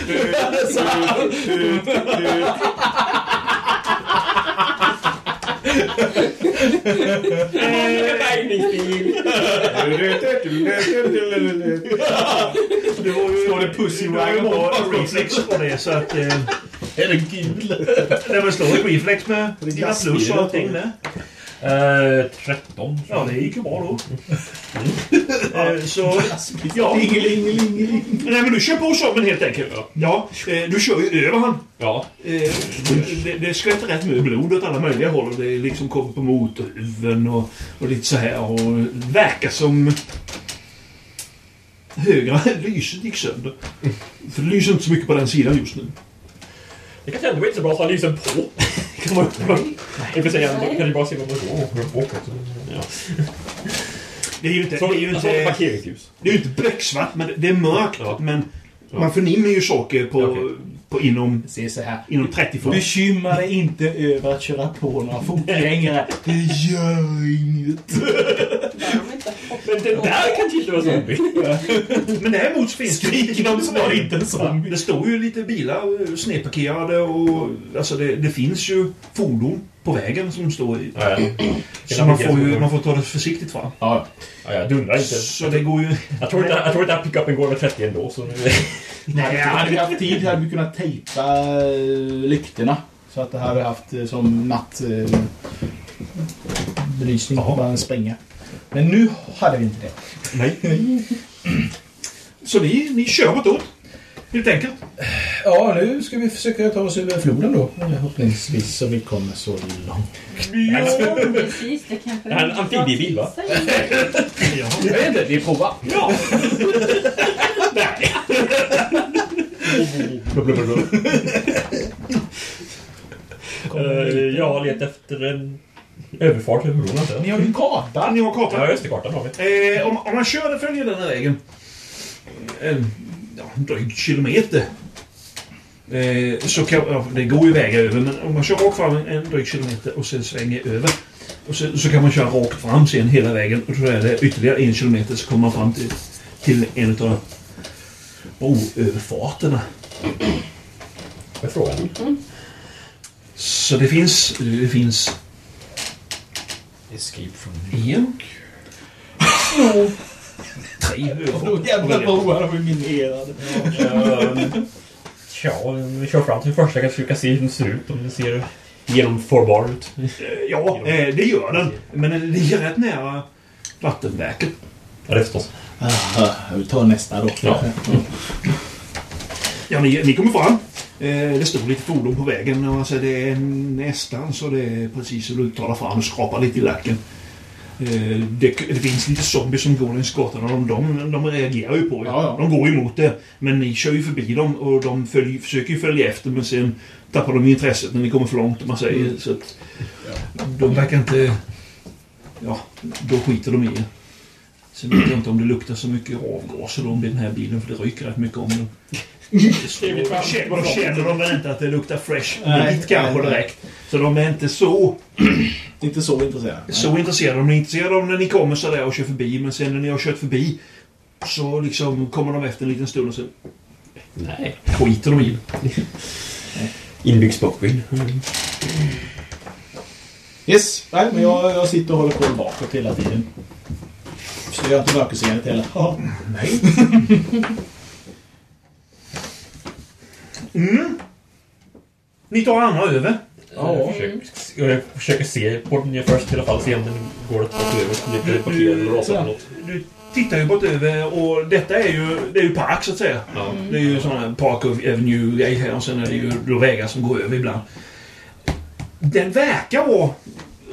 Bärgningsbil. Det var ju... Står det Pussy Wagon på? på? reflex på det så att... Eh, Är den gul? det var slår ett reflex med dina glassbilar, plus och allting tror jag. där. Eh, 13. Ja, det gick ju bra då. Eh, Så... Ja. Nej, men du kör på Samuel helt enkelt. Ja. eh, Du kör ju över han. Ja. Eh, Det, det skvätter rätt mycket blod åt alla möjliga håll. Och det liksom kommer på motorhuven och, och lite så här. Och verkar som... Högra [LAUGHS] lyset gick sönder. För det lyser inte så mycket på den sidan just nu. Det kanske ändå inte är så bra att ha lysen på. [LAUGHS] kan man Jag vill säga, man kan ju bara se vad man går. Ja. Det är ju inte... Så, det är ju så har vi inte, parkeringsljus. det är ju inte bläcksvart, men det- det är mörkt. Ja. Men Ja. man förnimmer ju saker på, Okej. på inom, Se så här. inom 30 fot. Bekymra dig inte över att köra på några fotgängare. Det gör inget. Men det där kan inte vara zombie. Men däremot så finns det ju... Skriker de så var det inte en zombie. Det står ju lite bilar eh, snedparkerade och alltså det, det finns ju fordon på vägen som står i. Ja, ja. [CLEARS THROAT] Så man får, ju, man får ta det försiktigt fram. Ja, Ja, jag dundrar inte. Så det går ju... Jag tror inte, jag tror inte att pickupen går över 30 ändå. Så nu... Nej, hade vi haft tid hade vi kunnat tejpa eh, lyktorna. Så att det hade haft eh, som nattbelysning. Bara en springa. Men nu hade vi inte det. Så ni, ni kör åt Helt enkelt. Ja, nu ska vi försöka ta oss över floden då. Förhoppningsvis så vi kommer så långt. Ja, precis. Det kanske... Det här är en amfibiebil, va? Jag vet inte, vi provar. [LAUGHS] Eh, jag letar efter en överfart över bron. antar jag. Ni har ju en karta. Ni har kartan. Ja, just det. Kartan har vi. Eh, om, om man kör och följer den här vägen. En, ja, en dryg kilometer. Eh, så kan, ja, det går ju vägar över, men om man kör rakt fram en, en dryg kilometer och sen svänger över. Och så, så kan man köra rakt fram sen hela vägen. Och så är det ytterligare en kilometer så kommer man fram till, till en av broöverfarterna. Vad är frågan? Så det finns... Det finns Escape from... en... Tre överfarter. Då jävla broar har vi minerade. Ehm, Tja, vi kör fram till första. Jag försöka se hur den ser ut. Om den ser genomförbar ut. Ja, eh, det gör den. Men den ligger rätt nära vattenverket. Ja, det förstås. [LAUGHS] Ah, vi tar nästa då. Ja. Ja, ni, ni kommer fram. Eh, det står lite fordon på vägen. Och alltså, det är nästan så det är precis hur du tar dig fram och skrapar lite i lacken. Eh, det, det finns lite zombies som går längs gatan och de, de, de reagerar ju på er. De går ju emot det. Men ni kör ju förbi dem och de följ, försöker ju följa efter men sen tappar de intresset när ni kommer för långt om man säger. Så att, de verkar inte... Ja, då skiter de i er. Sen vet jag inte om det luktar så mycket avgaser då om det är den här bilen för det ryker rätt mycket om den. Så Då känner- då känner de väl inte att det luktar fresh Nej, meat kanske nej, nej. direkt. Så de är inte så... Inte så intresserad. Så intresserade. De är intresserade av när ni kommer sådär och kör förbi. Men sen när ni har kört förbi så liksom kommer de efter en liten stund och så... Nej. Skiter de i det. Inbyggd spottbild. Yes, nej, men jag, jag sitter och håller på bakåt hela tiden. Så jag är inte mörkerseendet heller. Nej. Mm. Ni tar andra över. Jag försöker, jag försöker se på den först i alla fall, se om den går att ta sig över, om den inte är parkerad eller rasar på något. Du tittar ju bort över och detta är ju, det är ju park så att säga. Ja. Det är ju sådana här Park Avenue-grej här och sen är det ju då vägar som går över ibland. Den verkar vara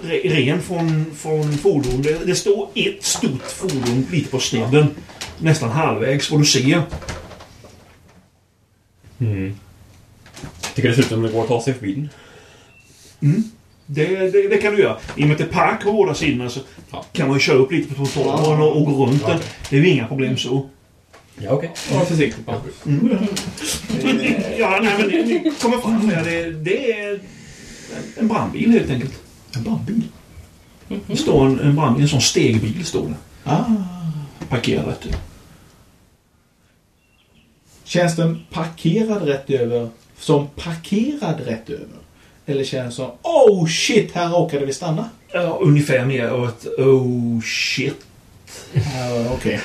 re- ren från, från fordon. Det, det står ett stort fordon lite på snedden. Nästan halvvägs vad du ser. Mm. Tycker dessutom det går att ta sig förbi den. Mm. Det, det, det kan du göra. I och med att det är park på båda sidorna så kan man ju köra upp lite på trottoaren och, och gå runt den. Det är ju inga problem så. Ja, okej. Var försiktig pappa. [LAUGHS] ja, nej, men ni, ni kommer fram där. Det, det är en- en brandbil helt enkelt. En brandbil? Det står en, en brandbil, en sån stegbil står det. Parkerad rätt ut. Känns den parkerad rätt över som parkerad rätt över? Eller känns den som oh shit, här råkade vi stanna? Ja, ungefär mer åt oh shit. Ja, [LAUGHS] Okej.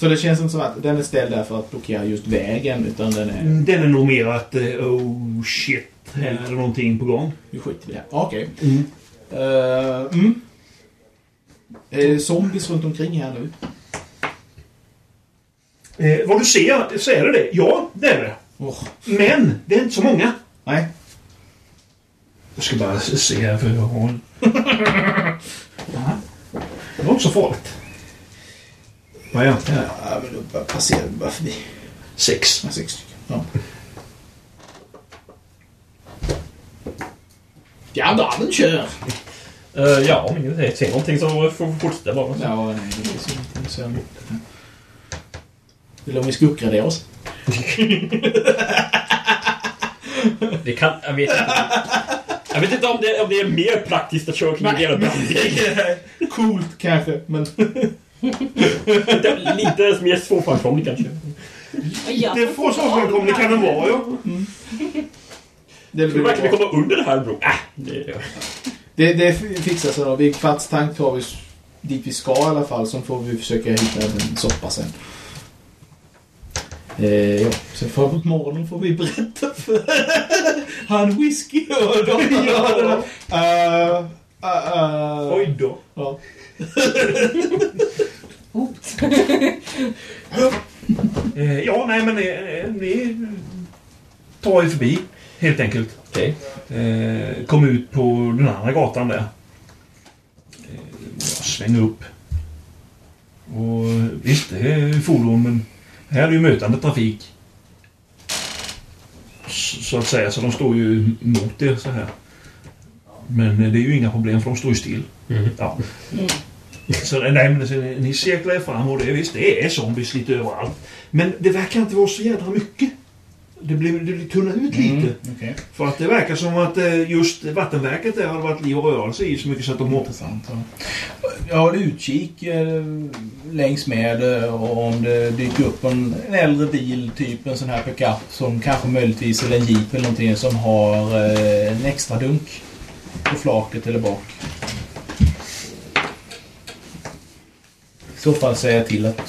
Så det känns inte som att den är ställd där för att blockera just vägen utan den är... Mm, Den är nog mer att eh, oh shit, här är det någonting på gång. Nu skiter vi i det. Okej. Mm. Eh, mm. Är det zombies runt omkring här nu? Eh, vad du ser, så är det det. Ja, det är det. Men det är inte så många. Nej. Jag ska bara se här för jag har [LAUGHS] en... Det var inte så farligt. Vad är det? Ja, men då bara passerar vi bara förbi. Sex. Ja, sex stycken. Ja. Ja, damen kör! Eh, ja, om ingen säger- säger någonting så får vi fortsätta bara. Ja, nej, det finns ingenting sen. Vill du om vi ska uppgradera oss? Det kan... Jag vet inte. Jag vet inte om det, om det är mer praktiskt att köra kring en jävla brandbil. Coolt kanske, men... Lite- Lite mer svårframkomlig kanske. Det får så framkomligt kan det vara, ja. Det, Tror du verkligen vi kommer under det här bron? Äh, det, det, det fixar sig då. Vid kvartstank tar vi s- dit vi ska i alla fall. Sen får vi försöka hitta en soppa sen. Eh, ja. Sen framåt morgonen får vi berätta för [LAUGHS] han whisky och de [LAUGHS] ja, det där. Eh, eh, eh, Oj då. Ja. Eh, ja, nej men eh, ni tar er förbi helt enkelt. Okej. Eh, kom ut på den andra gatan där. Eh, jag svänger upp. Och visst, det är fordon men här är ju mötande trafik. S- Så att säga, så de står ju mot er så här. Men eh, det är ju inga problem för de står ju still. Ja. Så, eh, nej, men, så, ni- ni cirklar er fram och det, är- visst, det är zombies lite överallt. Men det verkar inte vara så jädra mycket. Det blir, det blir tunna ut lite. Okej. För att det verkar som att eh, just vattenverket där har det varit liv och rörelse i så mycket så att de har... Intressant. Ja. Jag har utkik eh, längs med eh, och om det dyker upp en, en äldre bil, typ en sån här pickup som kanske möjligtvis, eller en jeep eller någonting som har eh, en extra dunk på flaket eller bak. I så fall säger jag till att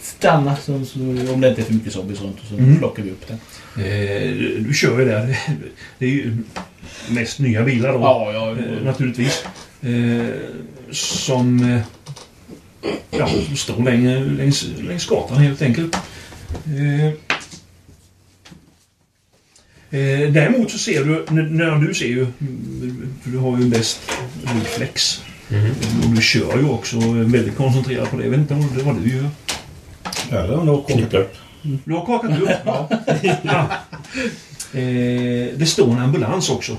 stanna så, så, om det inte är för mycket zombies runt och så Mm. plockar vi upp den. Eh, du- du kör ju där. Det är ju mest nya bilar då. Ja, ja, eh, naturligtvis. Eh, som eh, ja, som står länge, längs, längs gatan helt enkelt. Eh, eh, däremot så ser du, n- när du ser ju, mm, för du har ju bäst reflex. Och du kör ju också och är väldigt koncentrerad på det. Jag vet inte om det var du gör. Ja, det har nog kokat upp. Du har kakat upp? ja. Eh, det står en ambulans också.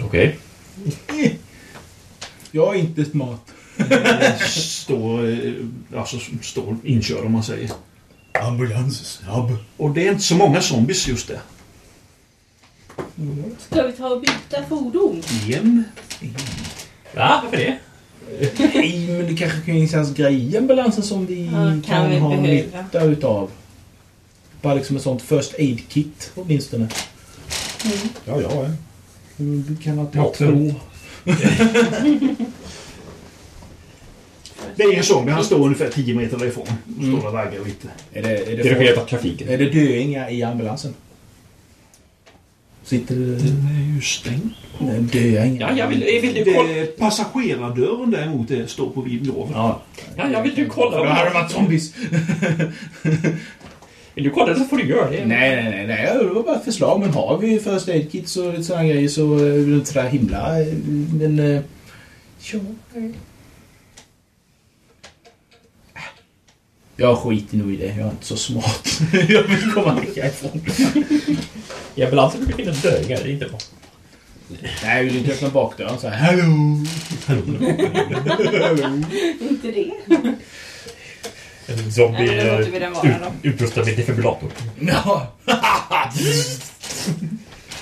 Okej. Jag är inte smart. står, eh, alltså, står inkörd om man säger. Ambulans snabb. Och det är inte så många zombies just det. Ska vi ta och byta fordon? Igen. Ja, varför det? Nej, men det kanske finns grejer i ambulansen som vi Ja, kan kan, vi ha behöva. nytta utav. Bara liksom ett sånt first aid kit åtminstone. Mm. Ja, jag är. Du kan alltid Ja, två. Det är en zombie. Han står ungefär 10 meter därifrån. Och Står och vaggar lite. Är det, är det, Dirigerat av trafiken. Är det döingar i ambulansen? Sitter det... Den är ju stängd. Nej, döingar. Ja, jag vill, jag vill ju kolla. Det, passagerardörren däremot är, står på vid gavel. Ja. Ja, jag vill ju kolla. Då hade det varit [LAUGHS] zombies. Vill du kolla så får du göra det. Nej, nej, nej, nej. Det var bara ett förslag. Men har vi first aid kits och lite sådana grejer så är det inte sådär himla... eh, Men... eh, Ja. eh. Äh. Jag skiter nog i det. Jag är inte så smart. [LAUGHS] jag vill komma härifrån. I ambulansen brukar finnas döingar, det är inte bra. Nej, jag vill inte öppna bakdörren så här. [LAUGHS] Hallå! Inte det. En Nej, zombie men då låter vi den vara eh, ut, utrustad med defibrillator. Ja.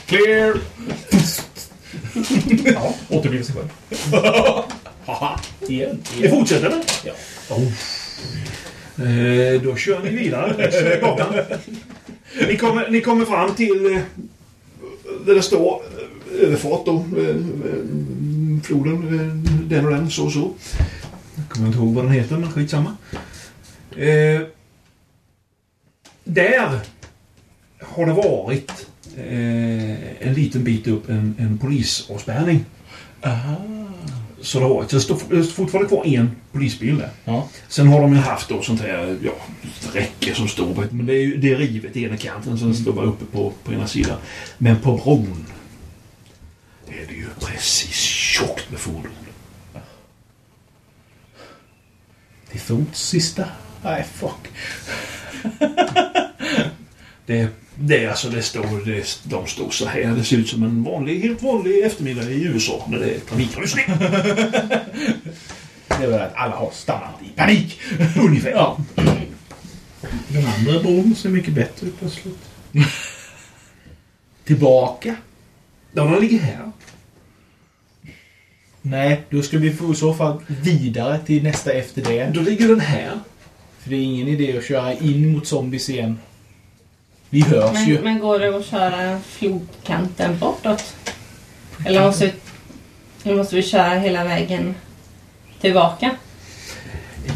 Clear! Ja, återbliver sig själv. Igen. Det fortsätter eller? Ja. Eh, då kör ni vidare längs eh, gatan. Ni kommer, ni kommer fram till eh, där det står eh, överfart då. Eh, eh, floden, eh, den och den, så och så. Jag kommer inte ihåg vad den heter, men skitsamma. Eh, där har det varit eh, en liten bit upp en, en polisavspärrning. Så det har varit. Det står det står fortfarande kvar en polisbil där. Ja. Sen har de ju haft då sånt här ja, räcke som står på ett- Men det är, ju- det är rivet i ena kanten så det står bara uppe på, på ena sidan. Men på bron är det ju precis tjockt med fordon. Till fots sista. Nej, fuck. [LAUGHS] Det, det är alltså, det står, det, de står så här. Det ser ut som en vanlig, helt vanlig eftermiddag i USA när det är trafikrusning. Det är väl att alla har stannat i. [LAUGHS] Panik! Ungefär. Ja. Den andra bron ser mycket bättre ut plötsligt. Tillbaka. De ligger här. Nej, då ska vi få i så fall vidare till nästa efter det. Då ligger den här. För det är ingen idé att köra in mot zombies igen. Vi hörs Men, ju. men går det att köra flodkanten bortåt? Eller måste vi, nu måste vi köra hela vägen tillbaka?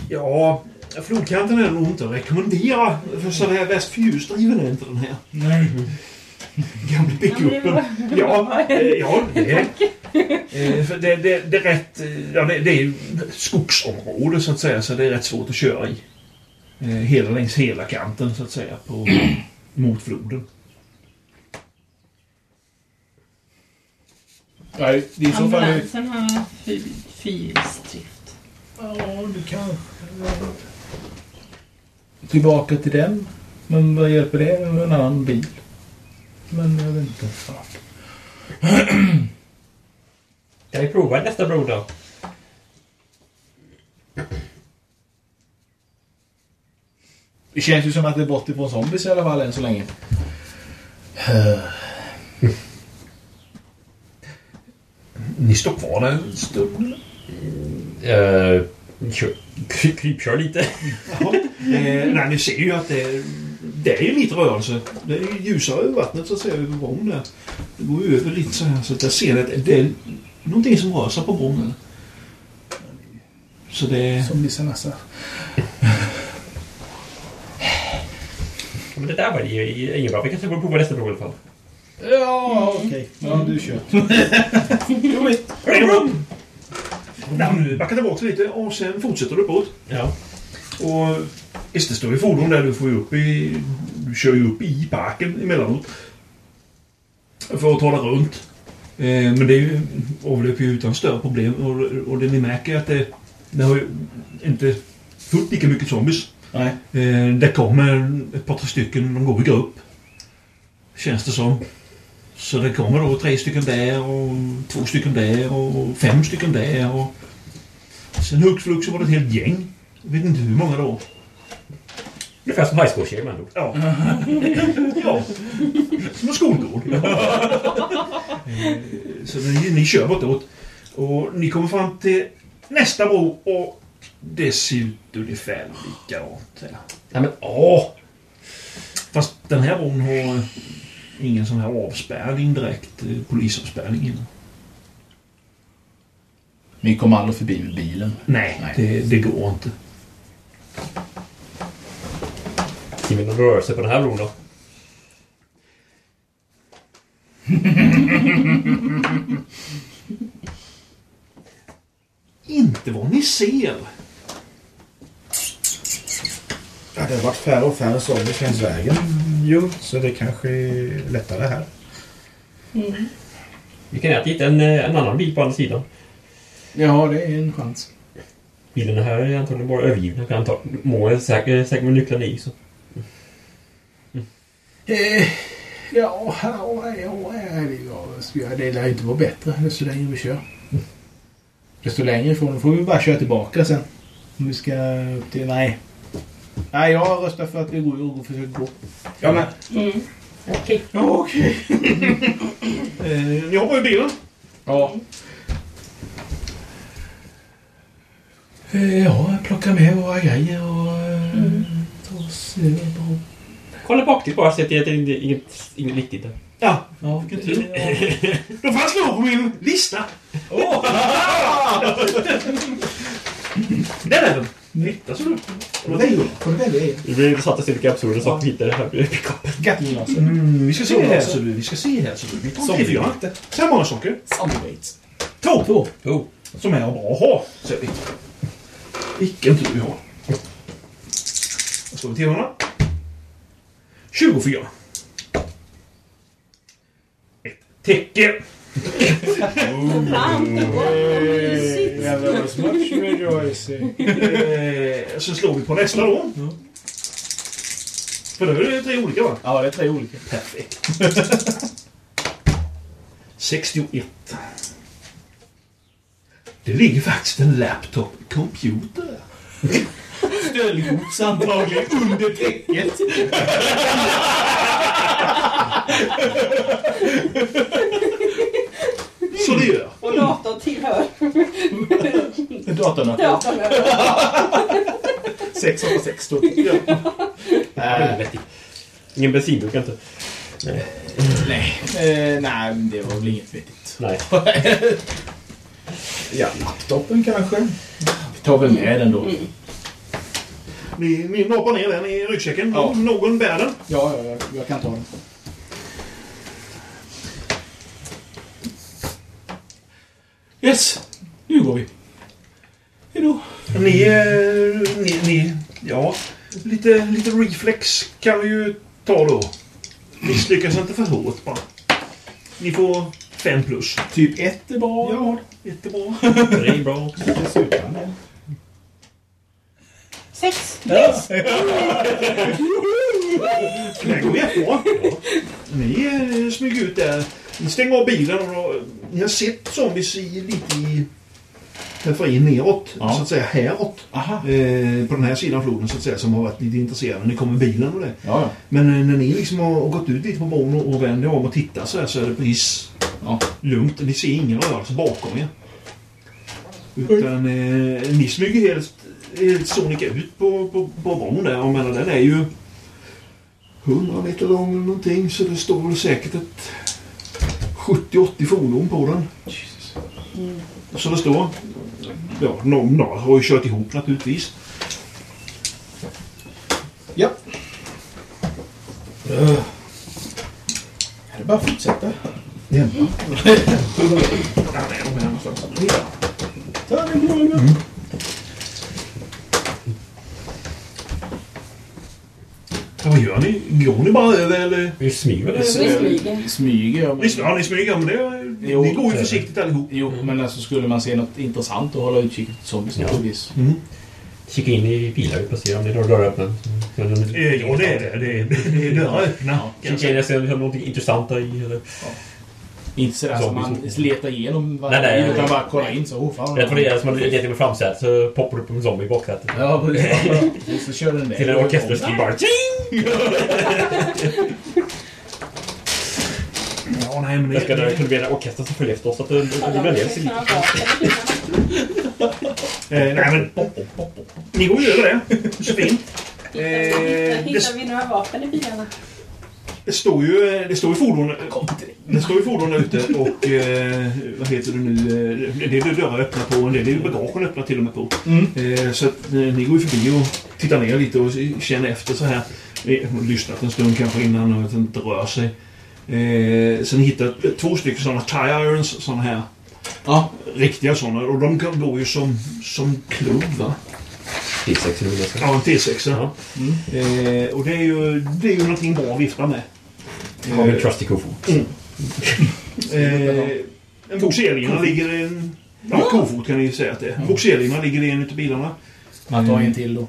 Ja, flodkanten är nog inte att rekommendera. För så här väst för ljusdriven är inte den här. Nej. Gamla pickupen. Ja, eh, ja det är Eh, för det. Det, det är rätt... eh, Ja, det, det är ju skogsområde så att säga, så det är rätt svårt att köra i. Eh, Hela längs hela kanten så att säga, på, mot floden. Nej, det är i så fall... Ambulansen har fy- fyrhjulsdrift. Ja, du kanske... Tillbaka till den. Men vad hjälper det med en annan bil? Men jag vet inte. Fan. Kan vi prova nästa bro då? Det känns ju som att det är bort ifrån zombies i alla fall än så länge. Eh. Ni står kvar där en stund. eller? Eh, Uh, Krypkör lite. [LAUGHS] Eh, nej, ni ser ju att det, det är ju lite rörelse. Det är ju ljusare över vattnet så att säga, över bron där. Det går ju över lite så här, så att jag ser att det är någonting som rör sig på bron. Eller? Så det... Zombiesarna så. Ja, Men det där var ju ju inget bra. Vi kanske borde prova nästa bro i alla fall. Ja, okej. Ja, du kör. Nej, backa tillbaka lite och sen fortsätter du uppåt. Ja. Och Just det, står ju fordon där. Du får ju upp i... Du kör ju upp i parken emellanåt. För att ta det runt. Eh, men det är ju, avlöper ju utan större problem. Och, och det ni märker är att det, det har ju inte fullt lika mycket zombies. Nej. Eh, det kommer ett par, tre stycken. De går i grupp. Känns det som. Så det kommer då tre stycken där och två stycken där och fem stycken där. Och... Sen hux flux så var det ett helt gäng. Jag vet inte hur många då. Ungefär som majskorvsgäng med andra ord. Ja. [LAUGHS] ja. Som en skolgård. Eh, så ni, ni kör bortåt. Och ni kommer fram till nästa bro och det ser ut ungefär likadant. Nej men åh! Fast den här bron har ingen sån här avspärrning direkt. eh, Polisavspärrning innan. Ni kommer aldrig förbi med bilen. Nej, Det, det går inte. Skriv in om rörelse på den här bron då. Inte vad ni ser. Ja, det har varit färre och färre zombies längs vägen. Jo, så det kanske är lättare här. Mm. Vi kan äta hit en, eh, en annan bil på andra sidan. Ja, det är en chans. Bilen här är antagligen bara övergiven. Jag kan anta målet säkert, säkert med nycklarna i. Så. Eh, ja, ja, ja, ja, det lär ju inte vara bättre desto längre vi kör. Desto längre ifrån får vi bara köra tillbaka sen. Om vi ska upp till... Nej. Nej, jag röstar för att vi går och försöker gå. Ja, men... Mm. Okej. Okej. Eh, ni hoppar ur bilen. Ja. Eh, Ja, jag plockar med våra grejer och eh, Mm. tar oss över bron. Kolla bak till bara så att det är inget, inget, inget viktigt där. Ja. ja Då fanns nog på min lista. Oh. Där är den. Titta så du. Får du välja en? Det blir intressant att se vilka absurda saker vi hittar i den här pickupen. Gatlinlaser. Mm, vi ska se Så här också. så du. Vi ska se här så du. Vi tar Som tre, fyra. Så här många saker. Samarbete. Två. Två. Som är bra att ha, säger vi. Vilken tur vi har. Vad står det till honom? 24. Ett täcke. Mm. Jävlar vad smart rejoicing. Eh, så slår vi på nästa då. För nu är det tre olika va? Ja, det är tre olika. [LAUGHS] Perfekt. 61. Det ligger faktiskt en laptop computer där. Stöldgods antagligen under täcket. Så det gör. Och datorn tillhör. Datorn. datorn Sex av sex står Helvete. Ingen bensinburk inte. Nej. Eh, nej, det var väl inget vettigt. Nej. Ja, laptopen kanske. Vi tar väl med den då. Ni, ni noppar ner den i ryggsäcken. Någon- Någon bär den. Ja, ja, jag, jag kan ta den. Yes, nu går vi. Hejdå. Ni, eh, ni, ni, ja, lite, lite reflex kan vi ju ta då. Misslyckas inte för hårt bara. Ni får fem plus. Typ ett är bra. Ja, jättebra. [LAUGHS] Det är bra. Sex. Det här går jättebra. Ni eh, smyger ut där. Ni stänger av bilen och då, ni har sett zombies i, lite i periferin neråt. Så att säga häråt. Eh, på den här sidan floden så att säga som har varit lite intresserade. Ni kommer bilen och det. Ja, ja. Men eh, när ni liksom har gått ut lite på bron och, och vänder om och tittar så här så är det precis Ja. lugnt. Ni ser ingen rörelse bakom er. Utan eh, ni smyger helt, helt sonika ut på, på, på bron där. Och menar, den är ju 100 meter lång eller någonting så det står väl säkert ett 70-80 fordon på den. Så det står. Ja, någon, någon har ju kört ihop naturligtvis. Ja. Eh, Det är bara att fortsätta. Ja, nej, de är någonstans. Ta den på Ja, vad gör ni? Går ni bara över eller? Vi smyger eh, Vi smyger. Ni smyger, ja. Ni, ja, ni smyger, men det, Jo. ni går ju försiktigt allihop. Jo, men alltså skulle man se något intressant att hålla utkik efter zombies Ja. naturligtvis. Kika in i bilar och se om det är några dörrar öppna. Ja, Eh, Ja, det är det. Det är, det är dörrar öppna. Kika in och se om det är någonting intressant där i. Eller? Inte sådär som Alltså, man Zombies. letar igenom Nej, nej, varje bil nej. utan bara kolla in så. Oh, fan, Jag tror det är som att du letar med framsätet så poppar det upp en zombie i baksätet. Ja, precis. Så kör den där. Till en orkesterstrid bara. Tjing! Ja, nej, men Jag ska det ni, kunde bli en orkester som följer efter oss. Så att det det blir en del civil. eh, nej, men ni går ju över det. Så fint. Eh, Hittar vi några vapen i bilarna? Det står ju, det står ju fordon... Det står ju fordon där ute och... Eh, vad heter det nu? Eh, Det är ju dörrar öppna på en del är ju bagagen öppna till och med på. Eh, så att eh, ni går ju förbi och tittar ner lite och känner efter så här. Eh, och Lyssnat en stund kanske innan och att det inte rör sig. Eh, sen hittar två stycken sådana tie irons, sådana här. Ja. Riktiga sådana. Och de kan- går ju som, som klubb va? Ja, en T6. Ja. Eh, och det är ju, det är ju någonting bra att vifta med. Har vi en trusty kofot? Eh, en bogserlina ligger i en... Ja, kofot kan ni ju säga att det är. En bogserlina ligger i en utav bilarna. Man tar en till då.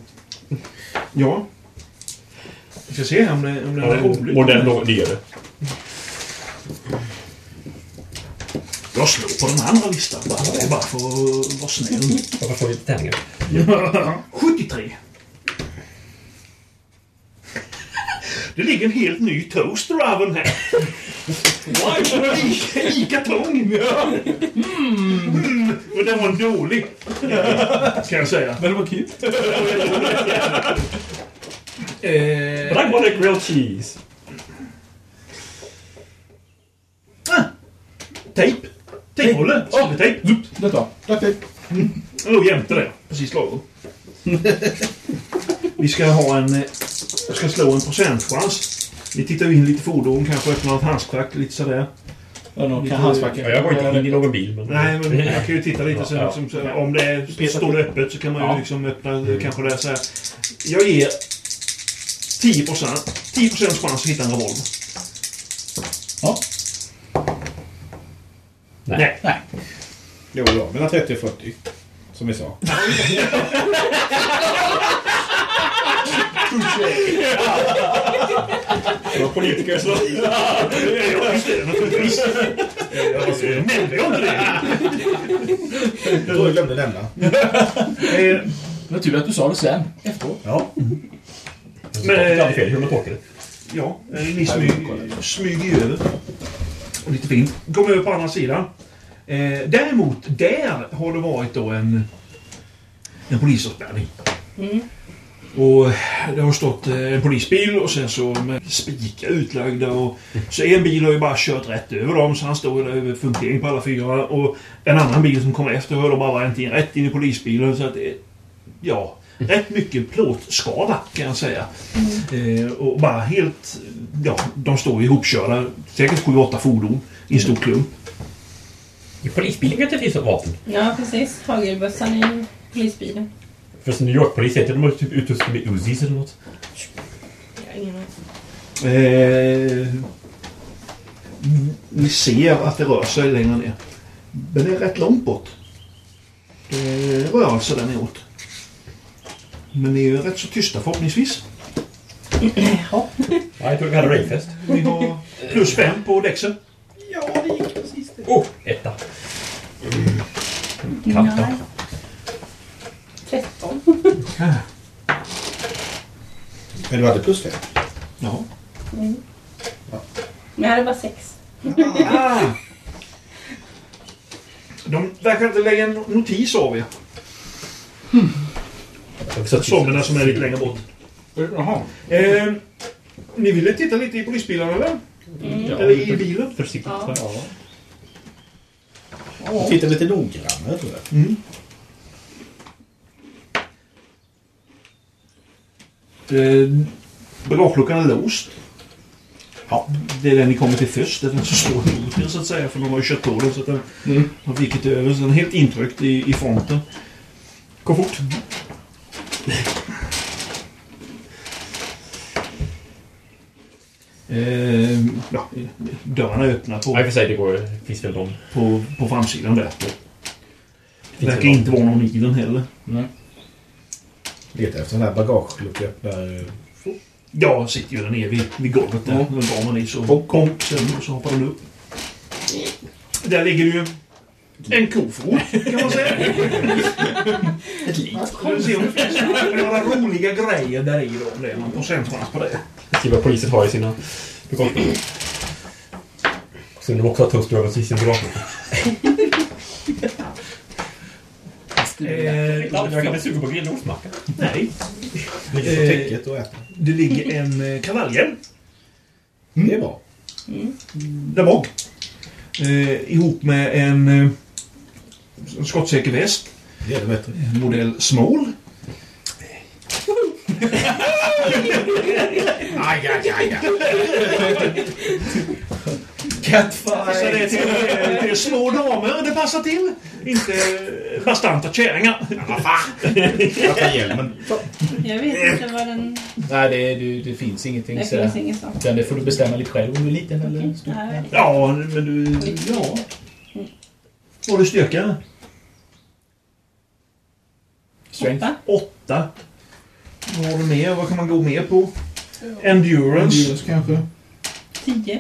Ja. Vi ska se här om, det, om den är rolig. Och den då, det gör det. Jag slår på den andra listan bara, bara för att vara snäll. Varför får vi inte tärningar? 73. Det ligger en helt ny toaster oven här. I- I kartong. Mm, och den var dålig. Kan jag säga. Men det var kul. Eh, But I want a grilled cheese. Ah. Tejp. Tejphållare. Silvertejp. Detta. Detta. Den låg jämte det. Precis lagom. Vi ska ha en... eh, Jag ska slå en procentchans. Vi tittar ju in lite fordon, kanske öppnar ett handskfack, lite sådär. Ja, då Lite- kan handskfacken. Ja, jag går inte in i någon bil. Men... [LAUGHS] Nej, men man kan ju titta lite sen. Ja. Liksom, så, om det är, står det öppet så kan man ju liksom öppna eh, kanske det är så här. Jag ger 10 10 chans att hitta en revolver. Ja. Nej. Nej. Jo, ja, mellan 30 och 40. Som vi sa. [LAUGHS] Det var politiker som... Ja, just det. Naturligtvis. Eh, Nämnde jag inte det? Jag glömde nämna. Eh, Det var tur att du sa det sen. Ja. Men... Det eh, är alltid fel hur man tolkar det. Ja, eh, ni smyger, smyger ju över. Och lite fint. Kommer över på andra sidan. Eh, däremot, där har det varit då en, en polisavspärrning. Mm. Och det har stått eh, en polisbil och sen så med spikar utlagda och så en bil har ju bara kört rätt över dem så han står där över punktering på alla fyra och en annan bil som kommer efter har då bara vänt in rätt in i polisbilen så att det, ja, rätt mycket plåtskada kan jag säga. Eh, och bara helt, ja, de står ihopkörda, säkert 7-8 fordon i en stor klump. I polisbilen kan inte finnas vapen. Ja, precis. Hagelbössan i polisbilen. Förresten, New York-polis heter de typ utrustade med Uzis eller något. Jag har ingen aning. Eh, ni ser att det rör sig längre ner. Men det är rätt långt bort. Det är rörelse där neråt. Men ni är ju rätt så tysta förhoppningsvis. Nej, jag trodde vi hade rayfest. Ni har plus fem på däcksen. Oh, etta. Kanta. 13. Men du hade plus 5. Ja. Men jag hade bara 6. De verkar inte lägga en notis av er. Sommarna som är lite längre bort. Jaha. Eh, ni ville titta lite i polisbilarna eller? Eller i bilen? Försiktigt. Ja. Ja. Du tittade lite noggrannare tror jag. Eh, Bagageluckan är låst. Ja, det är den ni kommer till först. Det är den som står emot er så att säga. För de har ju kört på den så att den har vikit över. Så den är helt intryckt i, i fronten. Gå fort. Eh, ja, dörrarna är öppna på... Ja, i och för sig, det går, finns väl de. På, på framsidan där. Det Finns verkar väl de. inte vara någon i den heller. Leta efter den här bagageluckan Eh, där. eh, Ja, sitter ju där nere vid, vid golvet där. Då drar man i så kom, sen, och så hoppar den upp. Där ligger ju en kofot kan man säga. Ett lik. Får vi se om det finns några roliga grejer där i då. Om det är någon procentsats på det. Jag ser vad polisen har i sina befolkning. Så de också har toastbröd i sin gran. Eh, Jag kan bli sugen på grillrosmacka. Nej. Ligger på Eh, täcket och äter. Det ligger en eh, Mm. kavallhjälm. Det är bra. där bak. Mm. Eh, ihop med en eh, skottsäker väst. Det är det bättre. En Modell Small. Aj, aj, aj, aj. Så det är till, eh, till små damer det passar till. Inte eh, bastanta kärringar. Jag tar hjälmen. Jag vet inte vad den... Nej, det, du, det finns ingenting Det sådär. finns inget sånt. Utan det får du bestämma lite själv om du är liten eller stor. Nej. Ja, men du... Ja. Vad har du styrka? Strength. Åtta. Vad har du mer? Vad kan man gå mer på? Endurance. Endurance kanske. Tio.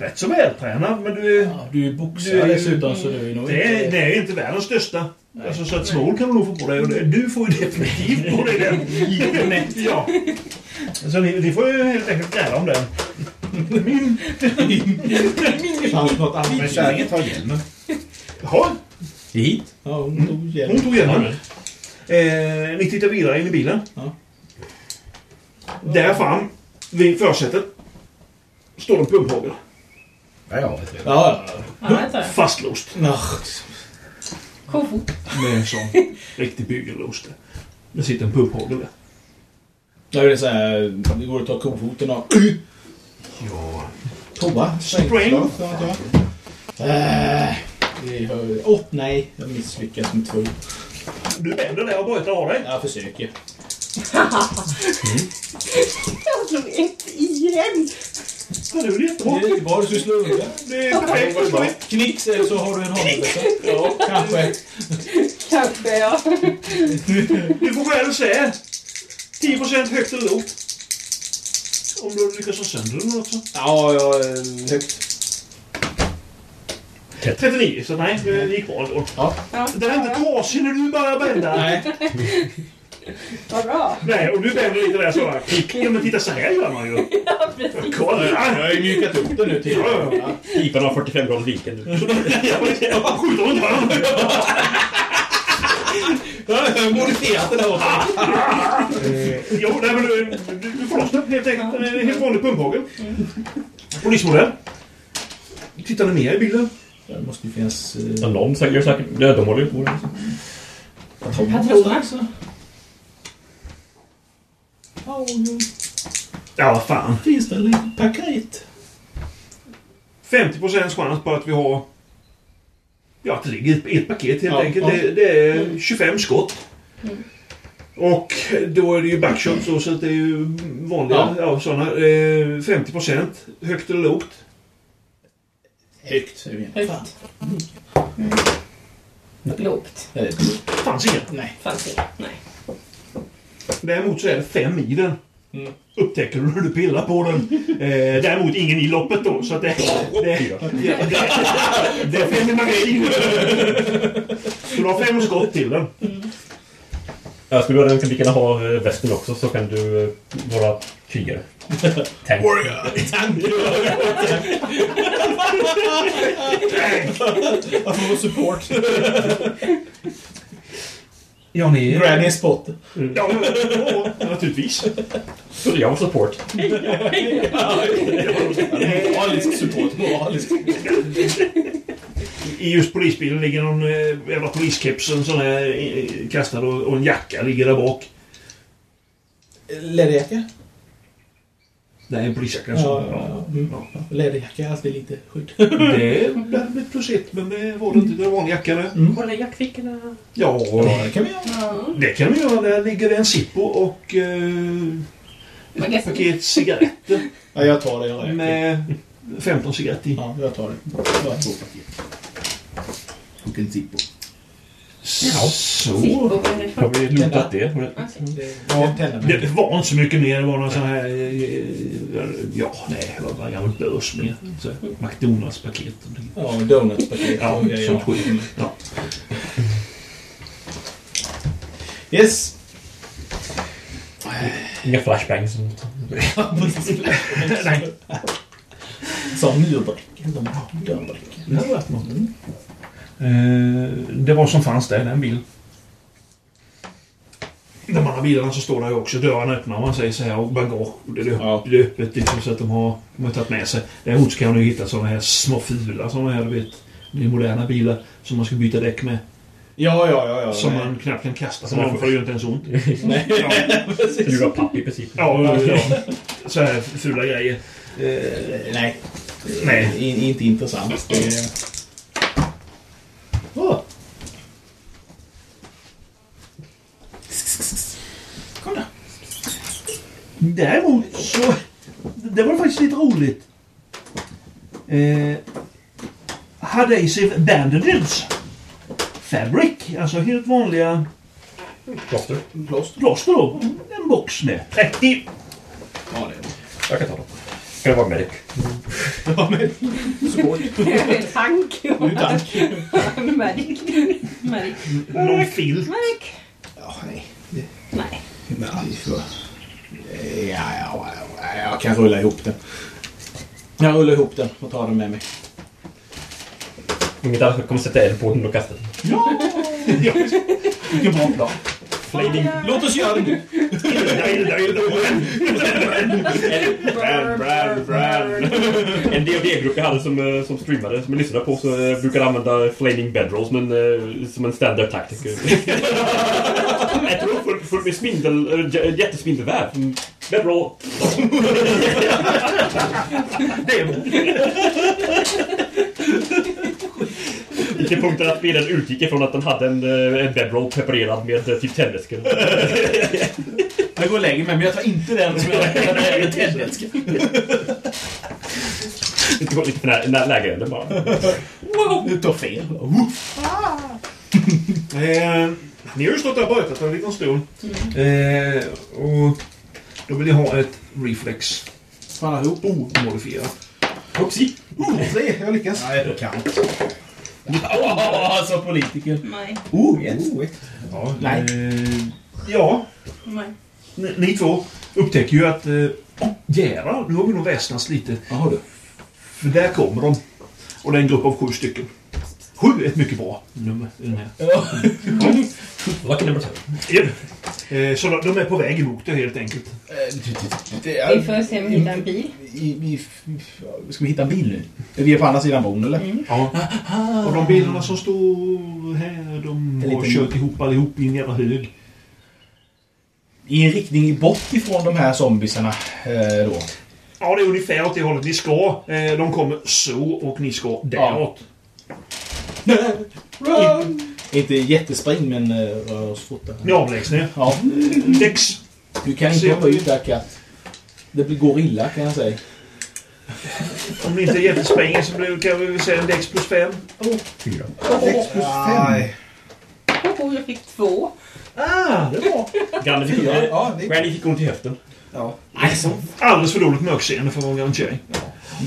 Rätt så vältränad, men du är... Ja, du är boxare Du- dessutom så du är nog Det är, inte... det är inte världens största. Alltså, så att snål kan du nog få på dig. Och det, du får ju definitivt på dig den. [LAUGHS] ja. Så ni, ni får ju helt enkelt gräla om den. Min... Fanns något Men annat? kärringen tar hjälmen. Jaha, Hit. Ja, hon tog hjälp. hon tog hjälmen. Eh, ni tittar vidare in i bilen. Ja. Där fram, vid försätet, står en pumphagel. Ja, ja. vet du. Ja, ja. Ja, jag tar den. Fastlåst. Nå, Kofot. Med en sån [LAUGHS] riktig bygelås där. Det sitter en pumphagel där. Ja, det är så här, det går att ta kofoten och... Ja. Prova. Strength. Äh, det hör- Åh, nej. Jag misslyckas med två. Du vänder där och bryter av dig. Jag försöker. Jag slog ett igen. Ja, det är väl Det jättebra. är lite bra. Du ska slå under. Det är perfekt. Det var bra. Knix eller så har du en hagelbössa. Ja, kanske. Kanske jag. Du får själv se. 10% högt eller lågt. Om du lyckas ha sönder den eller något så. Ja, ja. eh, Högt. 39, så nej, det gick bra ändå. Ja, Den är inte trasig när du börjar bända. Nej. Vad bra. Nej, och du vänder lite där så [LAUGHS] här. Ja, men titta så här gör man ju. Ja, precis. Kolla! Jag har ju mjukat upp den nu till. Ja, Pipan har 45 grader viken nu. Jag skjuter runt hörnet. Jag har modifierat den här åt dig. Jo, nej men du, du, du får loss den helt enkelt. Den är En helt vanlig pumphagel. Polismodell. Tittar ni mer i bilden? Det måste ju finnas... eh, Ja, Någon säkert, gör säkert, ja, de håller ju på. Patroner. Ja, jo. Ja, vad fan. Finns det lite paket? 50 chans på att vi har... Ja, att det ligger ett, ett paket helt Ja, enkelt. ja. Det, det är 25 skott. Och då är det ju backshot så, så att det är ju vanliga ja. Ja. sådana. Eh, 50 högt eller lågt. Högt. är det igen. Högt. Mm. Lågt. Ja, det är- Fanns inga. Nej. Fanns inget. Nej. Däremot så är det fem i den. Mm. Upptäcker du när du pillar på den. Eh, däremot ingen i loppet då. Så att det, det, [LAUGHS] det, det, det är fem i magin. Så du har fem skott till den. Jag skulle vilja att lika gärna ha eh, västen också så kan du eh, vara [LAUGHS] krigare. Tank. Jag får vara support. [LAUGHS] Ja, ni... Granny är spot. Ja, ja, naturligtvis. Så jag var support. Moralisk support. Moralisk. I just polisbilen ligger någon eh, jävla poliskeps, en sån här eh, kastad och, och en jacka ligger där bak. Läderjacka? Nej, en polisjacka. Ja, Ja, ja, ja. Mm. Läderjacka är alltid lite skydd. Det är det hade blivit plus ett, men det var det inte. Det var en vanlig jacka det. Kolla jackfickorna. Ja, det kan vi göra. Ja. det kan vi göra. Där ligger det en Zippo och eh, ett paket cigaretter. Ja, jag tar det. Jag räcker. Med 15 cigaretter i. Ja, jag tar det. Bara två paket. Och en Zippo. Så. Har vi lotat det? Ja, tänder mig. Det var inte så mycket mer. Det var någon sån här... eh, Ja, nej. Det var bara en gammal börs med. så här McDonalds-paket. Ja, donutspaket. Ja, och grejer. sånt skit. Ja. Yes. Inga flashbangs. Som murbräcken. De har dörrbräcken. Det hade varit något. Eh, Det var som fanns där, den bilen. De andra bilarna så står där ju också. Dörrarna öppnar man säger så här och bagage. Det är, Ja. det är öppet liksom, så att de har, de har tagit med sig. Däremot så kan man ju hitta sådana här små fula sådana här, du vet. Det är moderna bilar som man ska byta däck med. Ja, ja, ja. ja som nej. man knappt kan kasta Som på man dem får- för det gör inte ens ont. [LAUGHS] Du var papp i princip. Ja, ja. [LAUGHS] Så här fula grejer. Eh, nej. Nej. In, inte intressant. Det är... Åh. Kom då. Däremot så... Det var faktiskt lite roligt. Eh, Hadesive Bandages. Fabric, alltså helt vanliga Kloster. plåster då. En box med 30. Ja, det är det. Jag kan ta dem. Ska det vara medic? Ja, men... [LAUGHS] Tank. Nu tack. Medic. Medic. Någon filt. Medic. Ja, nej. Nej. Nej, vi får... Ja, ja, ja, jag kan rulla ihop den. Jag rullar ihop den och tar den med mig. Inget annat kommer sätta eld på den och kasta den. Vilken bra plan. Flaming. Låt oss göra det nu. [LAUGHS] Brand, brand, brand. En D&D-grupp jag hade som, eh, som streamade, som jag lyssnade på, så eh, brukade använda flaming bedrolls som en, eh, som [LAUGHS] en standard-taktik. Ett rum fullt full med spindel, eh, j- jättespindelväv. Mm. Bedroll. Till punkten att spelaren utgick ifrån att den hade en, eh, en bedroll preparerad med eh, typ tändvätskor. Jag går och lägger mig, men jag tar inte den som [LAUGHS] jag har i tändvätska. Det var lite nä- nä- lägre än den bara. Du tar fel. Eh, ni har ju stått där och bötat en liten stund. Eh, och då vill jag ha ett reflex. Fan ihop. Omodifierat. Oopsie. Mm. Tre, jag lyckas. Nej, på kant. Åh, sa politiker. Nej. Oh, yes. Ja, nej. Ja, Nej. ni, ni två upptäcker ju att... Eh, oh, jävlar, nu har vi nog väsnats lite. Jaha du. För där kommer de. Och det är en grupp av sju stycken. Sju är ett mycket bra nummer i den här. [LAUGHS] Lucky number seven. Eh, Så de- de är på väg emot det helt enkelt. Vi får se om vi hittar en bil. I, vi, ska vi hitta en bil nu? Är vi på andra sidan bron eller? Ja. Och de bilarna som står här, de En har liten- kört ihop allihop i en jävla hög. I en riktning bort ifrån de här zombisarna eh, då. Ja, det är ungefär åt det hållet ni ska. Eh, De kommer så och ni ska däråt. Inte jättespring men eh, rör oss fort. där. Ni avlägsnar er. Ja. Dex. Du kan inte Se- hoppa ut där katt. Det blir- går illa kan jag säga. Om ni inte är jättesprängda så blir- kan vi väl säga en Dex plus fem. Nej. Oh, jag fick två. Ah, det är bra. Granne fick, ja, Ja, det fick ont i höften. Alldeles för dåligt mörkseende för att vara en gammal tjej.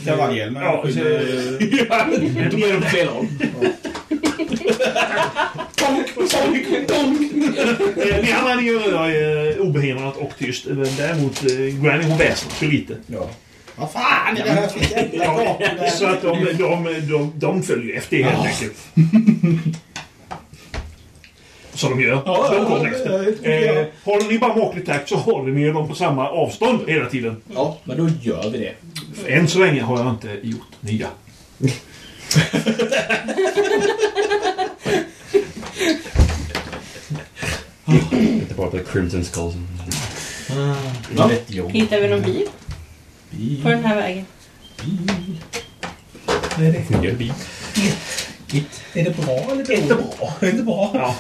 är kavallhjälmen. Ja, så- Då blir det på fel håll. Eh, Ni andra ni gör eh, obehindrat och tyst. Eh, Däremot eh, Granny hon väsnas ju lite. Vad fan är det här för jävla gatan? [LAUGHS] Så att de, de, de, de följer efter er helt enkelt. Som de gör. De kommer efter. Eh, håller ni bara måttlig takt så håller ni dem på samma avstånd hela tiden. Ja, men då gör vi det. För än så länge har jag inte gjort nya. Inte bara på Crimson Skulls. Hittar vi någon bil? På den här vägen. Fungerande bil. Är det bra eller dåligt? Inte bra. Inte bra. Ja.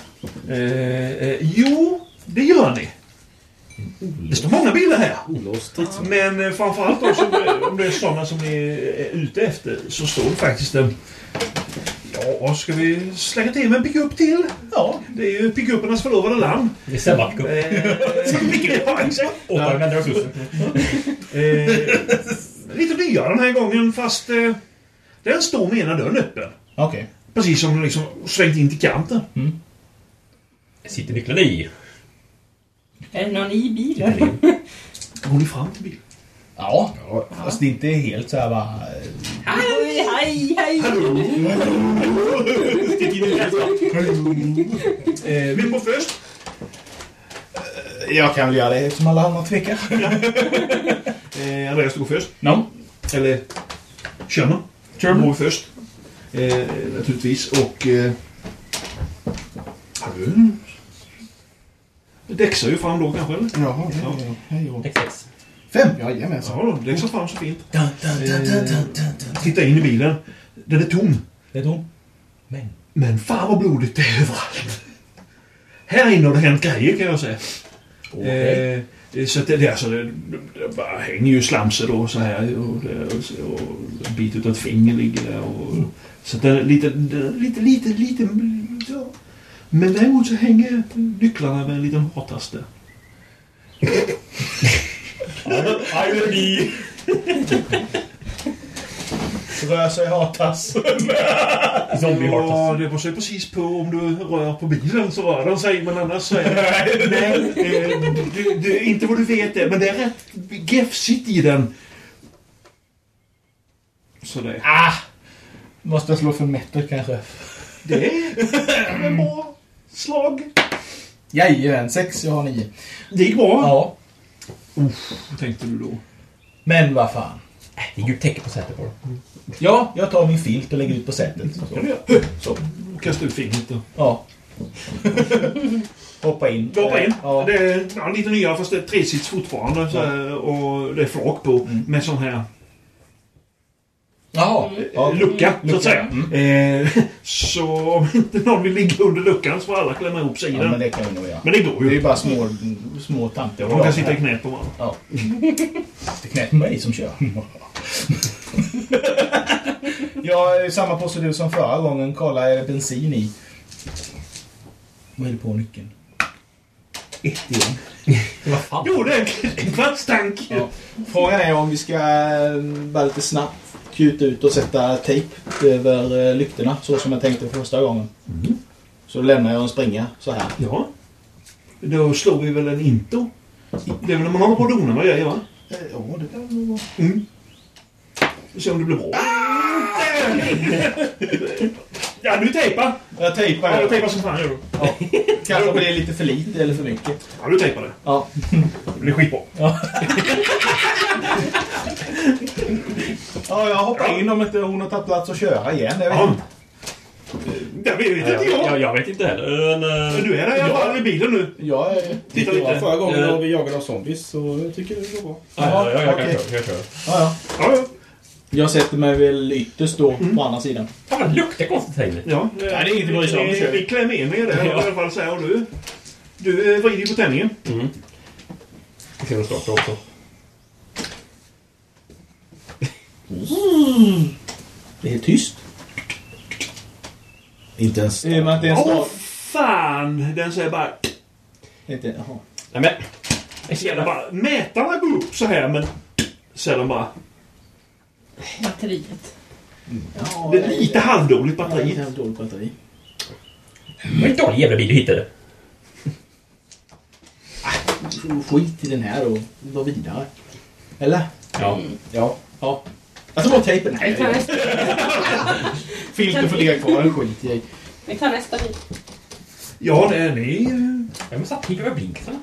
Eh, eh, jo, det gör ni. Det står många bilder här. Men eh, framförallt då, som, det- om det är sådana som ni är ute efter så står det faktiskt eh, Ja, ska vi slänga till med en pickup till? Ja, det är ju pickupernas förlovade [LAUGHS] lamm. Det är Sebba pickup. Eh, Ja, exakt. Återanvänder resurser. Eh, Lite dyrare den här gången fast eh, den står med ena dörren öppen. Okej. Precis som den liksom svängt in till kanten. Sitter nycklarna i? Är det någon i [LAUGHS] bilen? Går ni fram till bilen? Ja, fast det är inte helt så här bara... eh, Hej, hej, hej! Eh, Vem går först? Jag kan väl göra det eftersom alla andra tvekar. Eh, Andreas, du går först. No. Eller Sherman. Sherman går först. Eh, naturligtvis. Och... Eh, har du en- Du däcksar ju fram då kanske, eller? Jaha, ja. Exakt. Fem? Jajamensan. Ja, då. Däcksar fram så fint. Eh, titta in i bilen. Den är tom. Det är tom. Men. Men fan vad blodigt det är överallt. Här inne har det hänt grejer kan jag säga. Eh, det- så att det, det, alltså, det, det bara hänger ju slamser då så här och, det, och, så- och en bit utav ett finger ligger där. Och, så att det är lite, det är lite, lite, lite... Ja. Men däremot så hänger nycklarna med en liten hartass där. Irony! Rör [LAUGHS] sig hatas. Ja, det beror precis på om du rör på bilen så rör den sig, men annars så är [LAUGHS] det... Nej, eh, du, du, inte vad du vet det, men det är rätt gefsigt i den. Så det... Ah! Måste jag slå för metal kanske? Det Mm. är en bra slag. Jajamän, sex, jag har nio. Det gick bra. Ja. Vad tänkte du då? Men vad fan. Äh, Det är ju täcke på sätet på Ja, jag tar min filt och lägger ut på sätet. Så. Kan du göra? Så, kasta ut fingret då. Ja. [LAUGHS] Hoppa in. Du hoppar in. Ja. Det är ja, lite nyare fast det är tresits fortfarande. Så, här, och det är flak på Mm. med sån här Jaha. Ja. eh, Mm. lucka, så att säga. Eh, [LAUGHS] så om inte någon vill ligga under luckan så får alla klämma ihop sig i ja, men den. det kan vi nog göra. Men det går Det är ju ju. bara små, små tanter. De kan sitta i knät på varandra. [LAUGHS] Ja. Det är knät på mig [LAUGHS] som kör. Jag är samma procedur som förra gången. Kolla, är det bensin i? Vad är det på nyckeln? Ett igen. Jo, det är en kvartstank. Ja. Frågan är om vi ska eh, bara lite snabbt kuta ut och sätta tejp över eh, lyktorna så som jag tänkte första gången. Så då lämnar jag en springa så här. Ja. Då slår vi väl en into. Det är väl när man håller på och donar med grejer, va? Eh, Ja, det kan nog vara. Vi ser om det blir Ah! bra. ja, du tejpar. Jag tejpar. Ja, du Ja, tejpar som fan gör du. Kanske om det är lite för lite eller för mycket. Ja, du tejpar det. Ja. Det blir skitbra. Ja, jag hoppar in om inte hon har tagit plats att köra igen. Jag vet inte. Det vet inte Jag, jag. jag, jag vet inte heller. Men, eh, Men du är där i alla fall i bilen nu. Jag är... Titta lite. Förra gången Eh. var vi jagade av zombies så jag tycker det var bra. ja, ja, jag kan okej. köra. Jag kan köra. Ja, ja. Ja, ja. Jag sätter mig väl ytterst då, på andra sidan. Fan vad det luktar konstigt här inne. Ja, det är inget att bry sig om, Vi, kör vi. vi klämmer in er där i alla fall. Så här, och du, du eh, vrider ju på tändningen. Vi ser om det startar också. Det är tyst. Inte ens... I och med att det är en Åh, stad. fan! Den säger bara... Inte, jaha. Nej men, Den säger bara mätarna går upp så här, men... Säger den bara... Batteriet. Ja, Det är lite halvdåligt batteri. Batteri. Dåligt batteri. Det var en dålig jävla bil du hittade. Skit i den här och gå vidare. Eller? Ja. Ja. Ja. Jag tar bort tejpen. Vi tar nästa, Filter får ligga kvar. en Skit i. vi tar nästa bil. Ja, det är ni. eh, Jag måste ha pigg över blinkarna.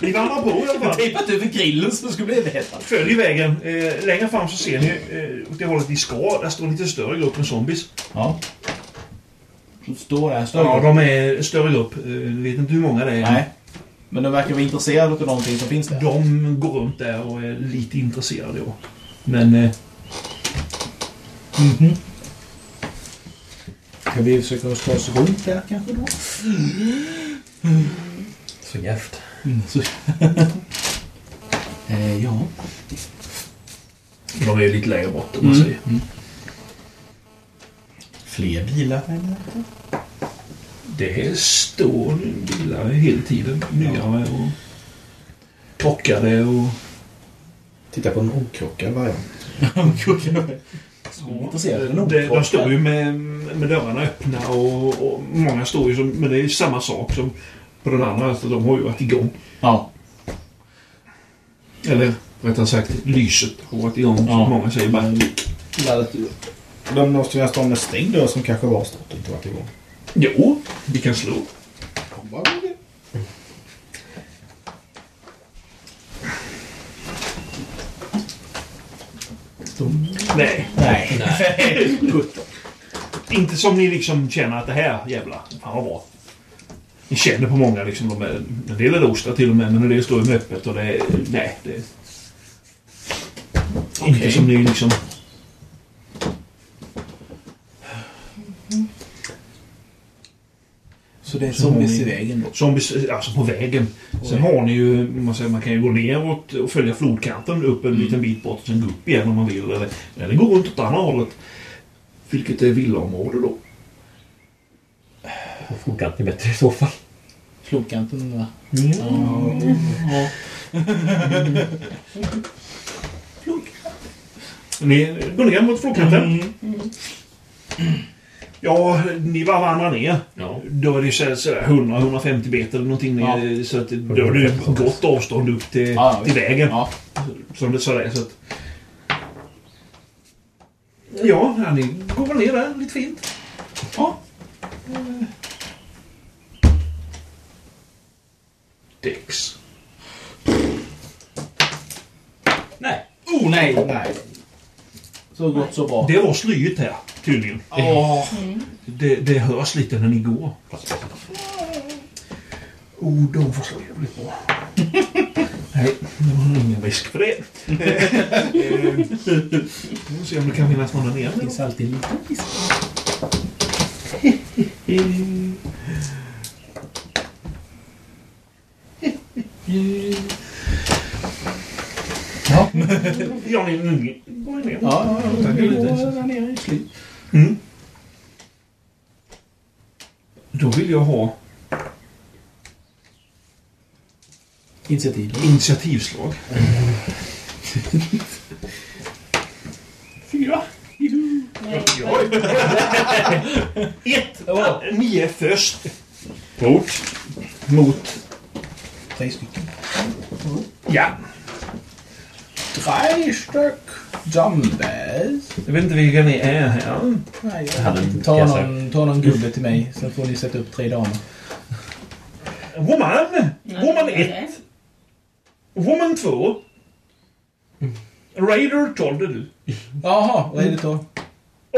Ni vandrar på i alla fall. Tejpat över grillen så det skulle bli överhettad. Följ vägen. Eh, längre fram så ser ni eh, åt det hållet ni ska. Där står en lite större grupp med zombies. Ja. Så Står där, står Ja, där. de är en större grupp. Eh, ni vet inte hur många det är. Nej. Men de verkar vara intresserade av någonting som finns där. De går runt där och är lite intresserade. Ja. Men... Eh, Ska vi försöka oss ta oss runt där kanske då? Så djärvt. Mm, så... [LAUGHS] eh, ja. De är ju lite längre bort om Mm, man säger. Fler bilar eller? Det står bilar hela tiden. Nyare och krockade och... Titta på en okrockad variant. De, de står ju med, med dörrarna öppna och, och många står ju som... Men det är ju samma sak som på den andra. Alltså de har ju varit igång. Ja. Eller rättare sagt, lyset har varit igång. som Ja. Många säger bara... De måste ju ha stått med stängd dörr som kanske var stått och inte varit igång. Jo, vi kan slå. Nej. Nej. Nej. Sjutton. Inte som ni liksom känner att det här jävla fan vad bra. Ni känner på många liksom. De är, en del är låsta till och med, men en del står ju med öppet och det är... Nej, det är... Inte som ni liksom... Så det är Sen har zombies ni- i vägen då? Zombies, alltså på vägen. Sen har ni ju, man, säger, man kan ju gå neråt och följa flodkanten upp en liten bit bort och sen gå upp igen om man vill. Eller, eller gå runt åt andra hållet. Vilket är villaområde då. Och Flodkanten är bättre i så fall. Mm. Flodkanten va? Ja. Ni går ner mot flodkanten. Mm. Ja, ni var varandra ner. Då är det så- så 100-150 meter eller någonting ner. Så att, då är det ju gott avstånd upp till, Ja, till vägen. Som det så där. Så att... Ja, ja, ni går väl ner där lite fint. Ja. Eh. Dex. Nej. Oh nej! nej. Så gott så bra. Det var slyigt här, tydligen. Mm. Åh. Det, det hörs lite när ni går. Oh, de får slå jävligt [LAUGHS] bra. Nej, det var ingen risk för det. Eh, Vi får se om det kan finnas någon där nere. Det finns alltid lite Ja. ja, ni ni går ner. Ja, ja, ja. Tack, Vi går lite. där nere i slit. Mm. Då vill jag ha Initiativ. initiativslag. Fyra. Ett. Ni är först. Mot? Mot? Tre stycken. Ja. Tre styck zombies. Jag vet inte vilka ni är här. Nej, Jag hade jag en ta, pjäs här. någon, ta någon gubbe till mig, sen får ni sätta upp tre damer. Woman! Woman 1. Woman 2. Raider 12 är du. Jaha, vad är det då?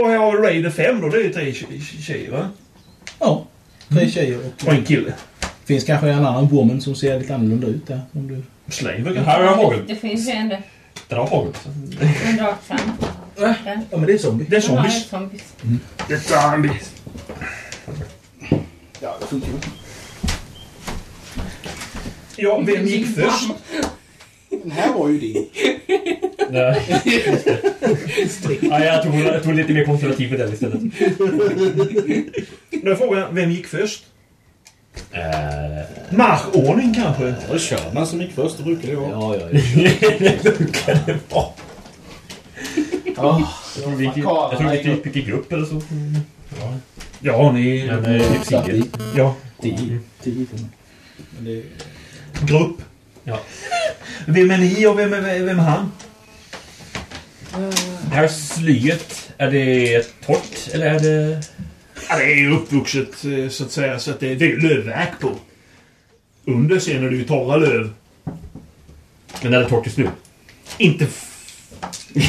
Och jag har Raider 5 då. Det är tre tje- tjejer va? Ja, tre tjejer och... Och en kille. Finns kanske en annan woman som ser lite annorlunda ut där. Om du... Slaver Det finns ju en där. Där har hagel. En draksam. Där. Ja, men det är zombie. Det är Den har en zombies. Zombies. Det är zombies. Ja, det funkar ju. Ja, vem gick först? Den här var ju din. Nej. ja, jag, tog, jag tog lite mer konservativ för den istället. Då är frågan, vem gick först? Eh, Marschordning kanske? Då kör man som gick först, det brukar det vara. Ja, ja. ja. Jag tror vi gick i- jag tror vi gick i grupp eller så. Ja, ni... Men eh, typ tio. Ja, Tio. Tio. grupp. Ja. Vem är ni och vem är, vem är han? Det här slyet, är det torrt eller är det... Ja, det är ju uppvuxet eh, så att säga, så att det är, det är ju lövverk på. Under sen är det ju torra löv. Men är det torrt just nu? Inte f-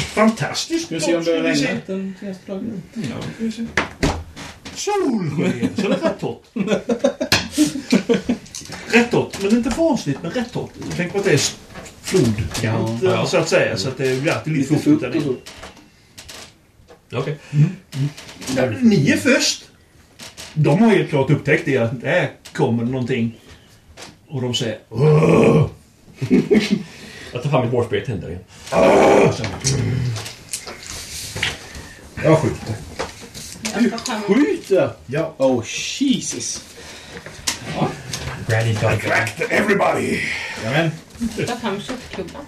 fantastiskt Ska vi se om det har torrt, ska vi regnat den senaste dagen? se. Ja, ska vi se. Solsken! Så det är rätt torrt. rätt torrt, men inte fasligt, men rätt torrt. Tänk på att det är s- flodkant Ja. eh, så att säga, så att det blir alltid lite fuktigt där nere. Okej. Ni är först! De har ju klart upptäckt det, att där kommer någonting. Och de säger Åh! Jag tar fram mitt vårspray och tänder igen. Jag skjuter. Jag ska fram- Skjuter? Ja. Oh, Jesus. Brandy tar Everybody! Jajamän. jag ska fram köttklubban.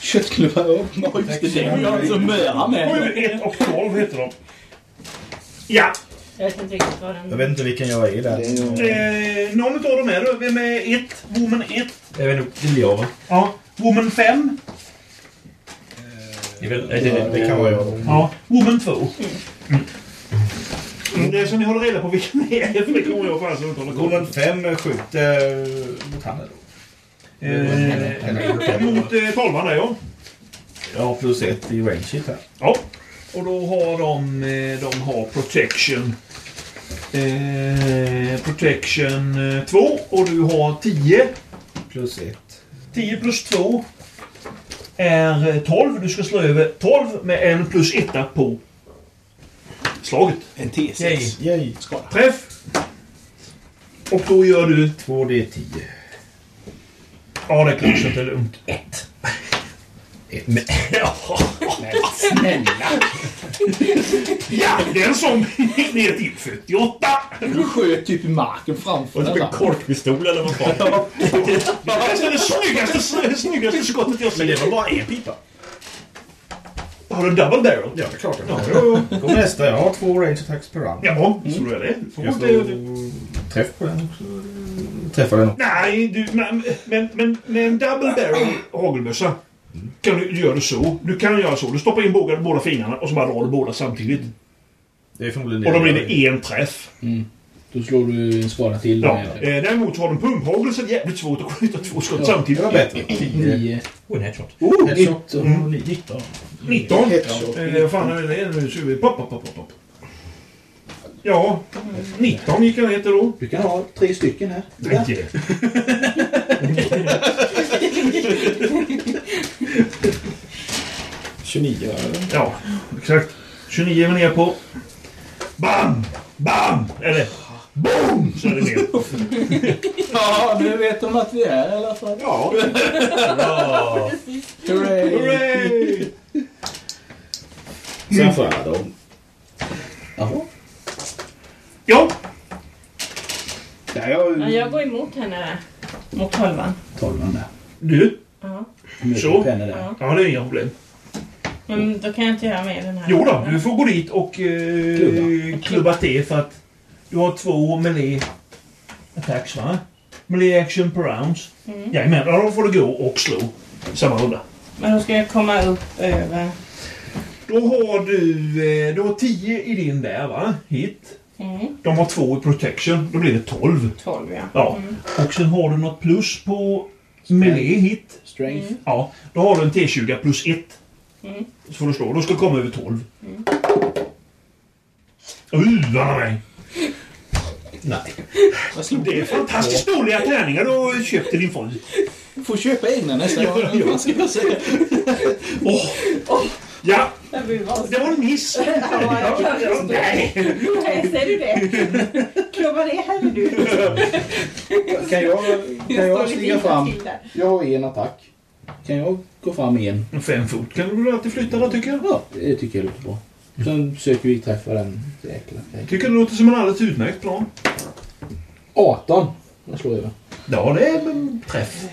Köttklubbar upp. Ja, just det. Det är ju allt som möra med. 1 och 12 heter de. Ja. Jag vet inte riktigt vad den... Jag vet inte vilken jag är där. Eh, någon av dem är det. Vem är 1? Woman 1. Jag vet inte, det blir jag va? Ja. Woman 5. Det, är väl, Det kan vara jag. Ja. Woman 2. Mm. Det är så ni håller reda på vilka ni är. För det kommer jag fan inte hålla koll på. Golden 5 skjuter mot handen då. Eh, mot eh, 12 där ja. Ja, plus ett i range hit här. Ja. Och då har de, eh, de har protection. Eh, protection 2 och du har 10. Plus ett. 10 plus 2 är eh, 12. Du ska slå över 12 med en plus 1 på slaget. En T6. Yay. Träff! Och då gör du... 2D10. Ja, det är klart så att det är lugnt. [LAUGHS] Ett. Ja, det är en sån ner till 48! Du sköt typ i marken framför Och typ en korkpistol eller vad fan. Det är det snyggaste, snyggaste skottet jag Men det sett. var bara en pipa. Har du double barrel? Ja, det är klart jag har. Då går nästa. Jag har två range attacks per round. Jaha, så då är det. Får Jag gå till- får träff på den också. Mm. Träffar den också. Nej, du, men, men, men med en double barrel hagelbössa kan du, du göra det så. Du kan göra så. Du stoppar in båda, båda fingrarna och så bara drar du båda samtidigt. Det är förmodligen Och då blir jag gör. det en träff. Då slår du en skada Mm. till. Ja. Eh, däremot så har du en pumphagel så är det jävligt svårt att skjuta två skott samtidigt. Det var bättre. 10. Nio. Oh, en headshot. Oh, Headshot och Mm. 19. 19. Headshot. Eh, vad fan är det nu? 20. Pop, pop, pop, pop, pop. Ja, 19 gick jag ner till då. Du kan ha tre stycken här. Nej. Ja, exakt. 29 är vi ner på. Bam! Bam! Eller boom! Så är det ner. Ja, nu vet de att vi är i alla fall. Ja. Hurray! Hurray! Sen får jag dem. Jaha. Ja, Där har Ja, vi jag går emot henne där. Mot tolvan. tolvan där. du. Ja. Så. Penne där. Ja, det är inga problem. Men då kan jag inte göra mer den här. Jo då, du får gå dit och eh, klubba. Klubba. till för att du har två melee attacks va? Melee action per rounds. Mm. Jajamän, ja, då får du gå och slå samma runda. Men då ska jag komma upp över... Då har du, eh, du har 10 i din där va? Hit. Mm. De har två i protection, då blir det 12. 12 ja. Mm. Ja. Och sen har du något plus på melee hit. Strength. Ja, då har du en T20 plus 1. Mm. Så får du slå. Då ska du komma över 12. Uh, vad nej. Jag slog Det är fantastiskt dåliga tärningar du har köpt till din fru. Får köpa egna nästa gång. Vad ska jag säga? Ja, Jag vill vara det var en miss. Nej! Nej, ser du det? [LAUGHS] Klubba det här nu. Kan jag, kan Står [LAUGHS] jag det stiga fina fram? till där. Jag har en attack. Kan jag gå fram en? En eh, Fem fot kan du väl alltid flytta då tycker jag. Ja, det tycker jag låter bra. Sen försöker vi träffa den jäkla grejen. Tycker det låter som en alldeles utmärkt plan. 18. Jag slår över. Ja, det är en träff.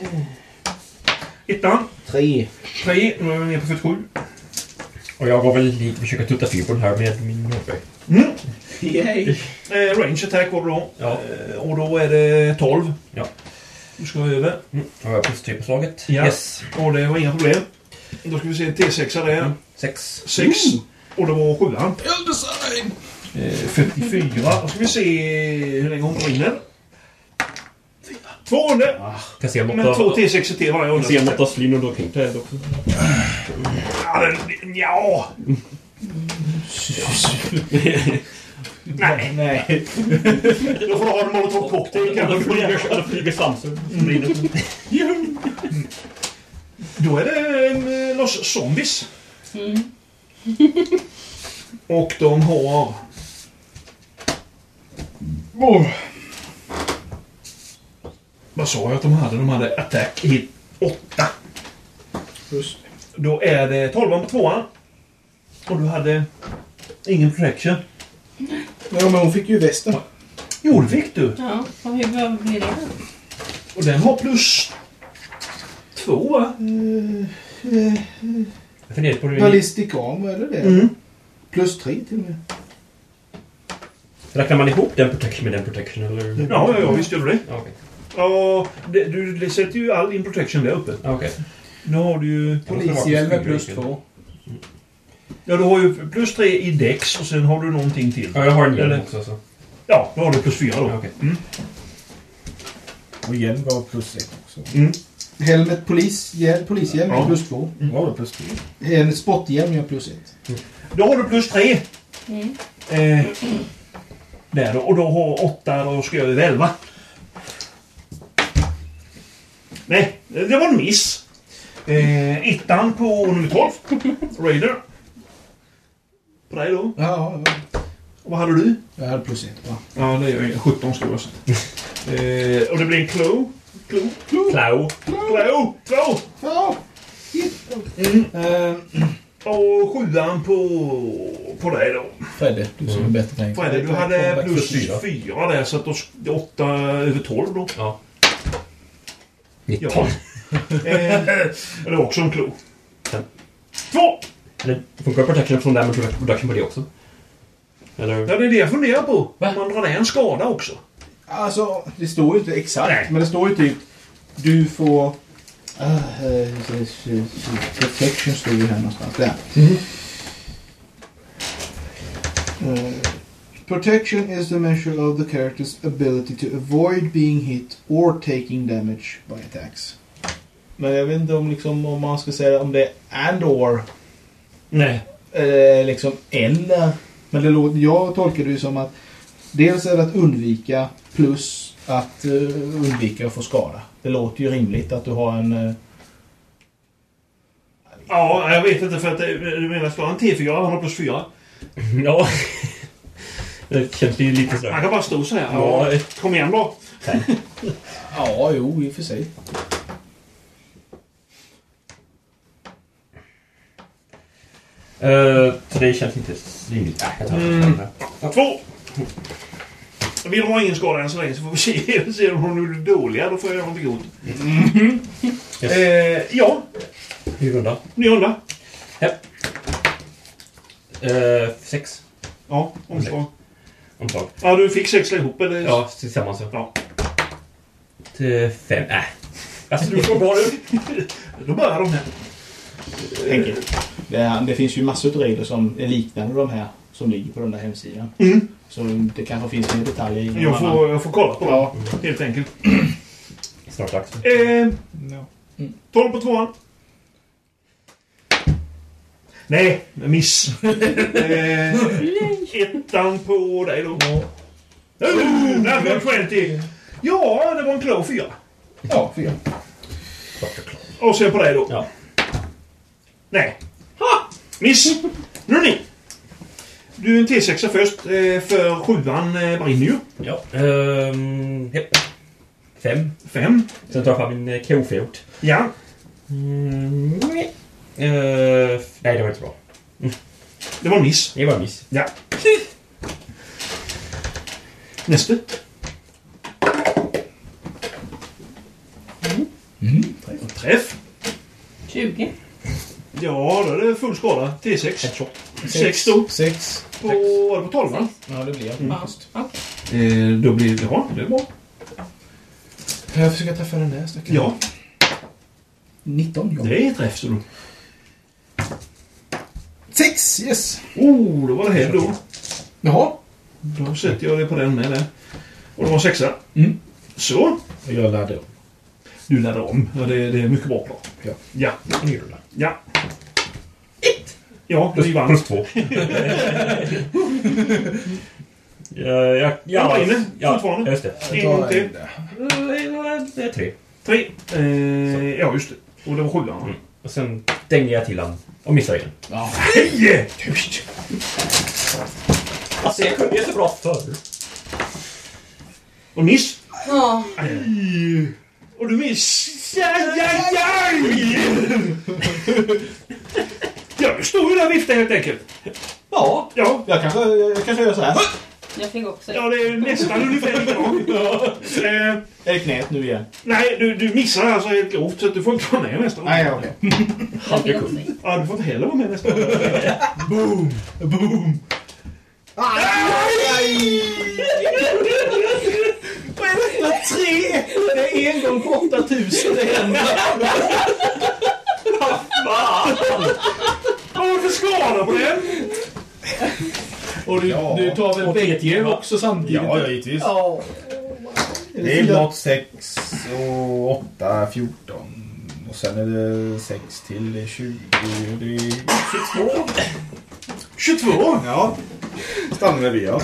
Ettan, 3. tre, nu är vi nere på 47. Och jag går väl dit och försöker tutta fyr på den här med min HP. Mm. Yay! Eh, range attack var det då. Ja. Eh, och då är det 12. Ja. Du ska över. Då har jag plus 3 på slaget. Ja. Yes. Och det var inga problem. Då ska vi se en T6 där. 6. 6. Och det var 7 Eh, 54. Då ska vi se hur länge hon brinner. 200! Kan se om Men två åtta... T6 till varje Kan se om under. åtta slyn och drar kring det här också. Ja, den- ja. Nej. Nej. Då får du ha en molotov cocktail Eller kanske. flyger- eller flyger svansen. Då är det en eh, loss zombies. Mm. Och de har... Vad sa jag att de hade? De hade attack hit 8. Just Då är det 12 på tvåan. Och du hade ingen protection. Ja, men hon fick ju västen. Jo, det fick du. Ja, och hur vad blir det då? Och den har plus två, va? Jag funderar på hur- Ballistic arm, vad är det det? Mm. Plus tre till och med. Räknar man ihop den protection med den protection eller? Ja, ja, ja visst gör du det. Ja, okej. Ja, det, du det sätter ju all din protection där uppe. Ja, Okej. Nu har du ju... Polishjälm är plus två. Ja, du har ju plus tre i dex och sen har du någonting till. Ja, jag har en hjälm Eller- också. Så. Ja, då har du plus fyra då. Okej. Mm. Och hjälm var plus ett också. Mm. Helmet polis, hjäl, polishjälm Ja. är plus två. Var det plus tre? En sporthjälm är plus ett. Då har du plus tre. Eh, där då. Och då har åtta, då ska jag över elva. Nej, det var en miss. Eh, ettan på nummer 12. Raider. På dig då. Ja, ja. Och vad hade du? Jag hade plus ett, va? Ja, det gör jag. 17 skulle jag eh, Och det blir en klo. Klo. Klo. Plow. Klo. Två. Ja. Eh, och sjuan på, på dig då. Fredde, du Mm. som är bättre tänkt. Fredde, du hade Comeback plus för fyra. fyra där, så att då, sk- det är åtta över tolv då. Ja. Ja. eh, det var också en klo. Fem. Två! Eller funkar protection från den med protection på det också? Eller? Ja, det är det jag funderar på. Om man drar ner en skada också. Alltså, det står ju inte exakt, Nej. men det står ju typ du får... Uh, protection står ju här någonstans. Där. Eh, protection is the measure of the character's ability to avoid being hit or taking damage by attacks. Men jag vet inte om, liksom, om man ska säga om det är and or. Nej. Eh, liksom eller. Men det låter, jag tolkar det ju som att dels är det att undvika plus att eh, undvika att få skada. Det låter ju rimligt att du har en... eh, Ja, jag vet inte för att det- du menar skadan T4, han har plus fyra. Mm, Ja. [LAUGHS] Det känns ju lite Han sådär. kan bara stå så här. Ja. Ja. Kom igen då. ja, jo, i och för sig. Eh, så det känns inte rimligt. Äh, jag tar Mm. det. Två! Vi har ingen skada än så länge så får vi se, [LAUGHS] se om hon är dåliga. Då får jag göra någonting ont. Yes. Eh, ja, Ny runda. ny runda. Eh, sex. Ja, omslag. Omslag. Ja, du fick sexla ihop eller? Ja, tillsammans ja. Ja. Till fem. Äh. Alltså du får bra du. Då börjar de här. Det, är, det finns ju massor av regler som är liknande de här som ligger på den där hemsidan. Mm. Så det kanske finns mer detaljer Mm. i någon Jag annan. får, jag får kolla på dem. Ja. Helt enkelt. Snart dags. Eh, Ja. 12 på tvåan. Nej, miss. eh, ettan på dig då. Ja. Oh, number 20! Ja, det var en klar fyra. ja, fyra. Och sen på dig då. Ja. Nej. Ha! Miss! Nu är det ni. Du är en T6 först, eh, för sjuan eh, brinner ju. Ja. Ehm, ja. Fem. Fem. Sen tar jag fram min eh, K-fjort. Ja. Mm. nej. Eh, f- nej, det var inte bra. Det var en miss. Det var en miss. Ja. Nästa. Mm. Träff. Träff. 20? Ja, då är det full skada. T6. Ett shot. Sex då. Sex. På, var det på 12 va? Ja, det blir jag. Mm. Ja. okej. Eh, då blir det... Ja, det är bra. Kan jag försöka träffa den där stackaren? Ja, 19 gånger. det är träff så då. Sex! Yes! Oh, då var det här då. Jaha. Då sätter jag det på den med där. Och det var en sexa. Mm. Så. Och jag laddade om. Du laddar om. Ja, det, det är mycket bra plan. Ja. Ja. Ny runda. Ja. Ett! Ja, du vann. Plus två. Jag, jag, Ja, var inne. Eh, ja, Fortfarande. just det. En gång till. Det är tre. Tre. Eh, ja, just det. Och det var sjuan. va? Mm. Och sen dänger jag till han och missar igen. Nio! Alltså jag kunde ju så bra förr. Och miss. Ja. Och du minns... Jajajaj! [LAUGHS] Ja, du stod ju där och viftade helt enkelt. Ja, ja. Jag, kanske, jag kanske gör så här. Jag fick också Ja, det är nästan ungefär likadant. Ja. Eh, Är det knät nu igen? nej, du, du missar alltså helt grovt så att du får inte vara med nästa gång. Nej, okej. Ja, du får inte heller vara med nästa gång. Boom! Boom! Tre! Det är en gång på 8000 det händer. Vad var det för skada på den? Och du, du tar väl bägge också samtidigt? Ja, ja, givetvis. Ja. Det är blott 6 och 8, 14. Och sen är det 6 till det är 20. och Det är 22. 22? Ja. Stannar där vi gör.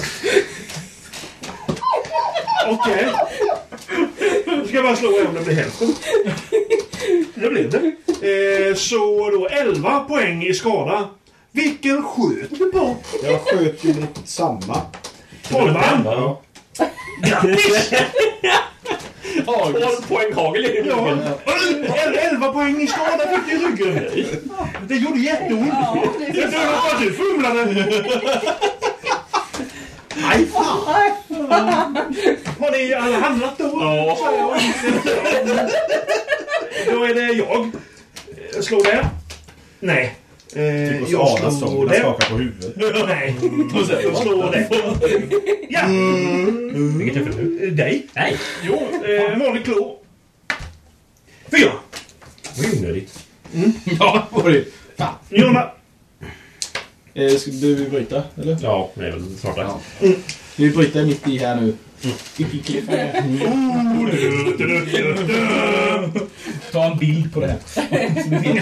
Okej. Nu ska jag bara slå om det blir hälften. Det blev det. Eh, så då 11 poäng i skada. Vilken sköt du på? Jag sköt ju mot samma. Tolvan? Ja. Grattis! Tolv poäng hagel i Ja. ryggen. El- 11 poäng i skada fick du i ryggen. Det gjorde jätteont. Det är därför att du fumlade. Nej, fan! Har ni alla hamnat då? Ja. Så jag inte- Då är det jag. Eh, Slå där. Nej. Eh, Och så jag Adam slår som jag där. skakar på huvudet. Nej. Jag slår där. Ja. Vilket är för nu? Eh, Dig. Nej. Jo. eh, Vanlig klå. Fyra. Det är onödigt. Ja, det var det. Jonna. Eh, Ska du bryta, eller? Ja, det är väl snart dags. Vi bryter mitt i här nu. Mm. Vilken cliffhanger. Ta en bild på det här. I will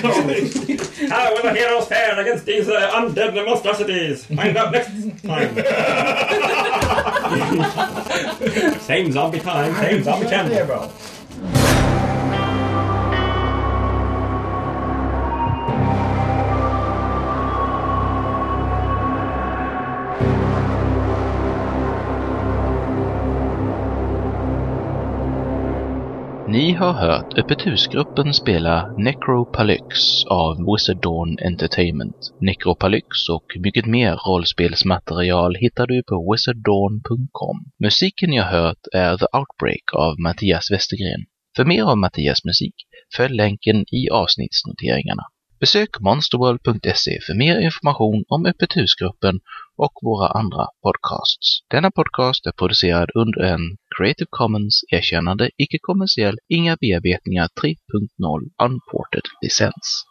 hear us stand against these uh, undead monstrosities. Find out next time. same zombie time, same zombie channel. Ni har hört Öppet husgruppen spela Necropalyx av Wizard Dawn Entertainment. Necropalyx och mycket mer rollspelsmaterial hittar du på wizarddawn.com. Musiken jag hört är The Outbreak av Mattias Westergren. För mer av Mattias musik, följ länken i avsnittsnoteringarna. Besök monsterworld.se för mer information om Öppet husgruppen och våra andra podcasts. Denna podcast är producerad under en Creative Commons erkännande, icke-kommersiell, inga bearbetningar 3.0 unported licens.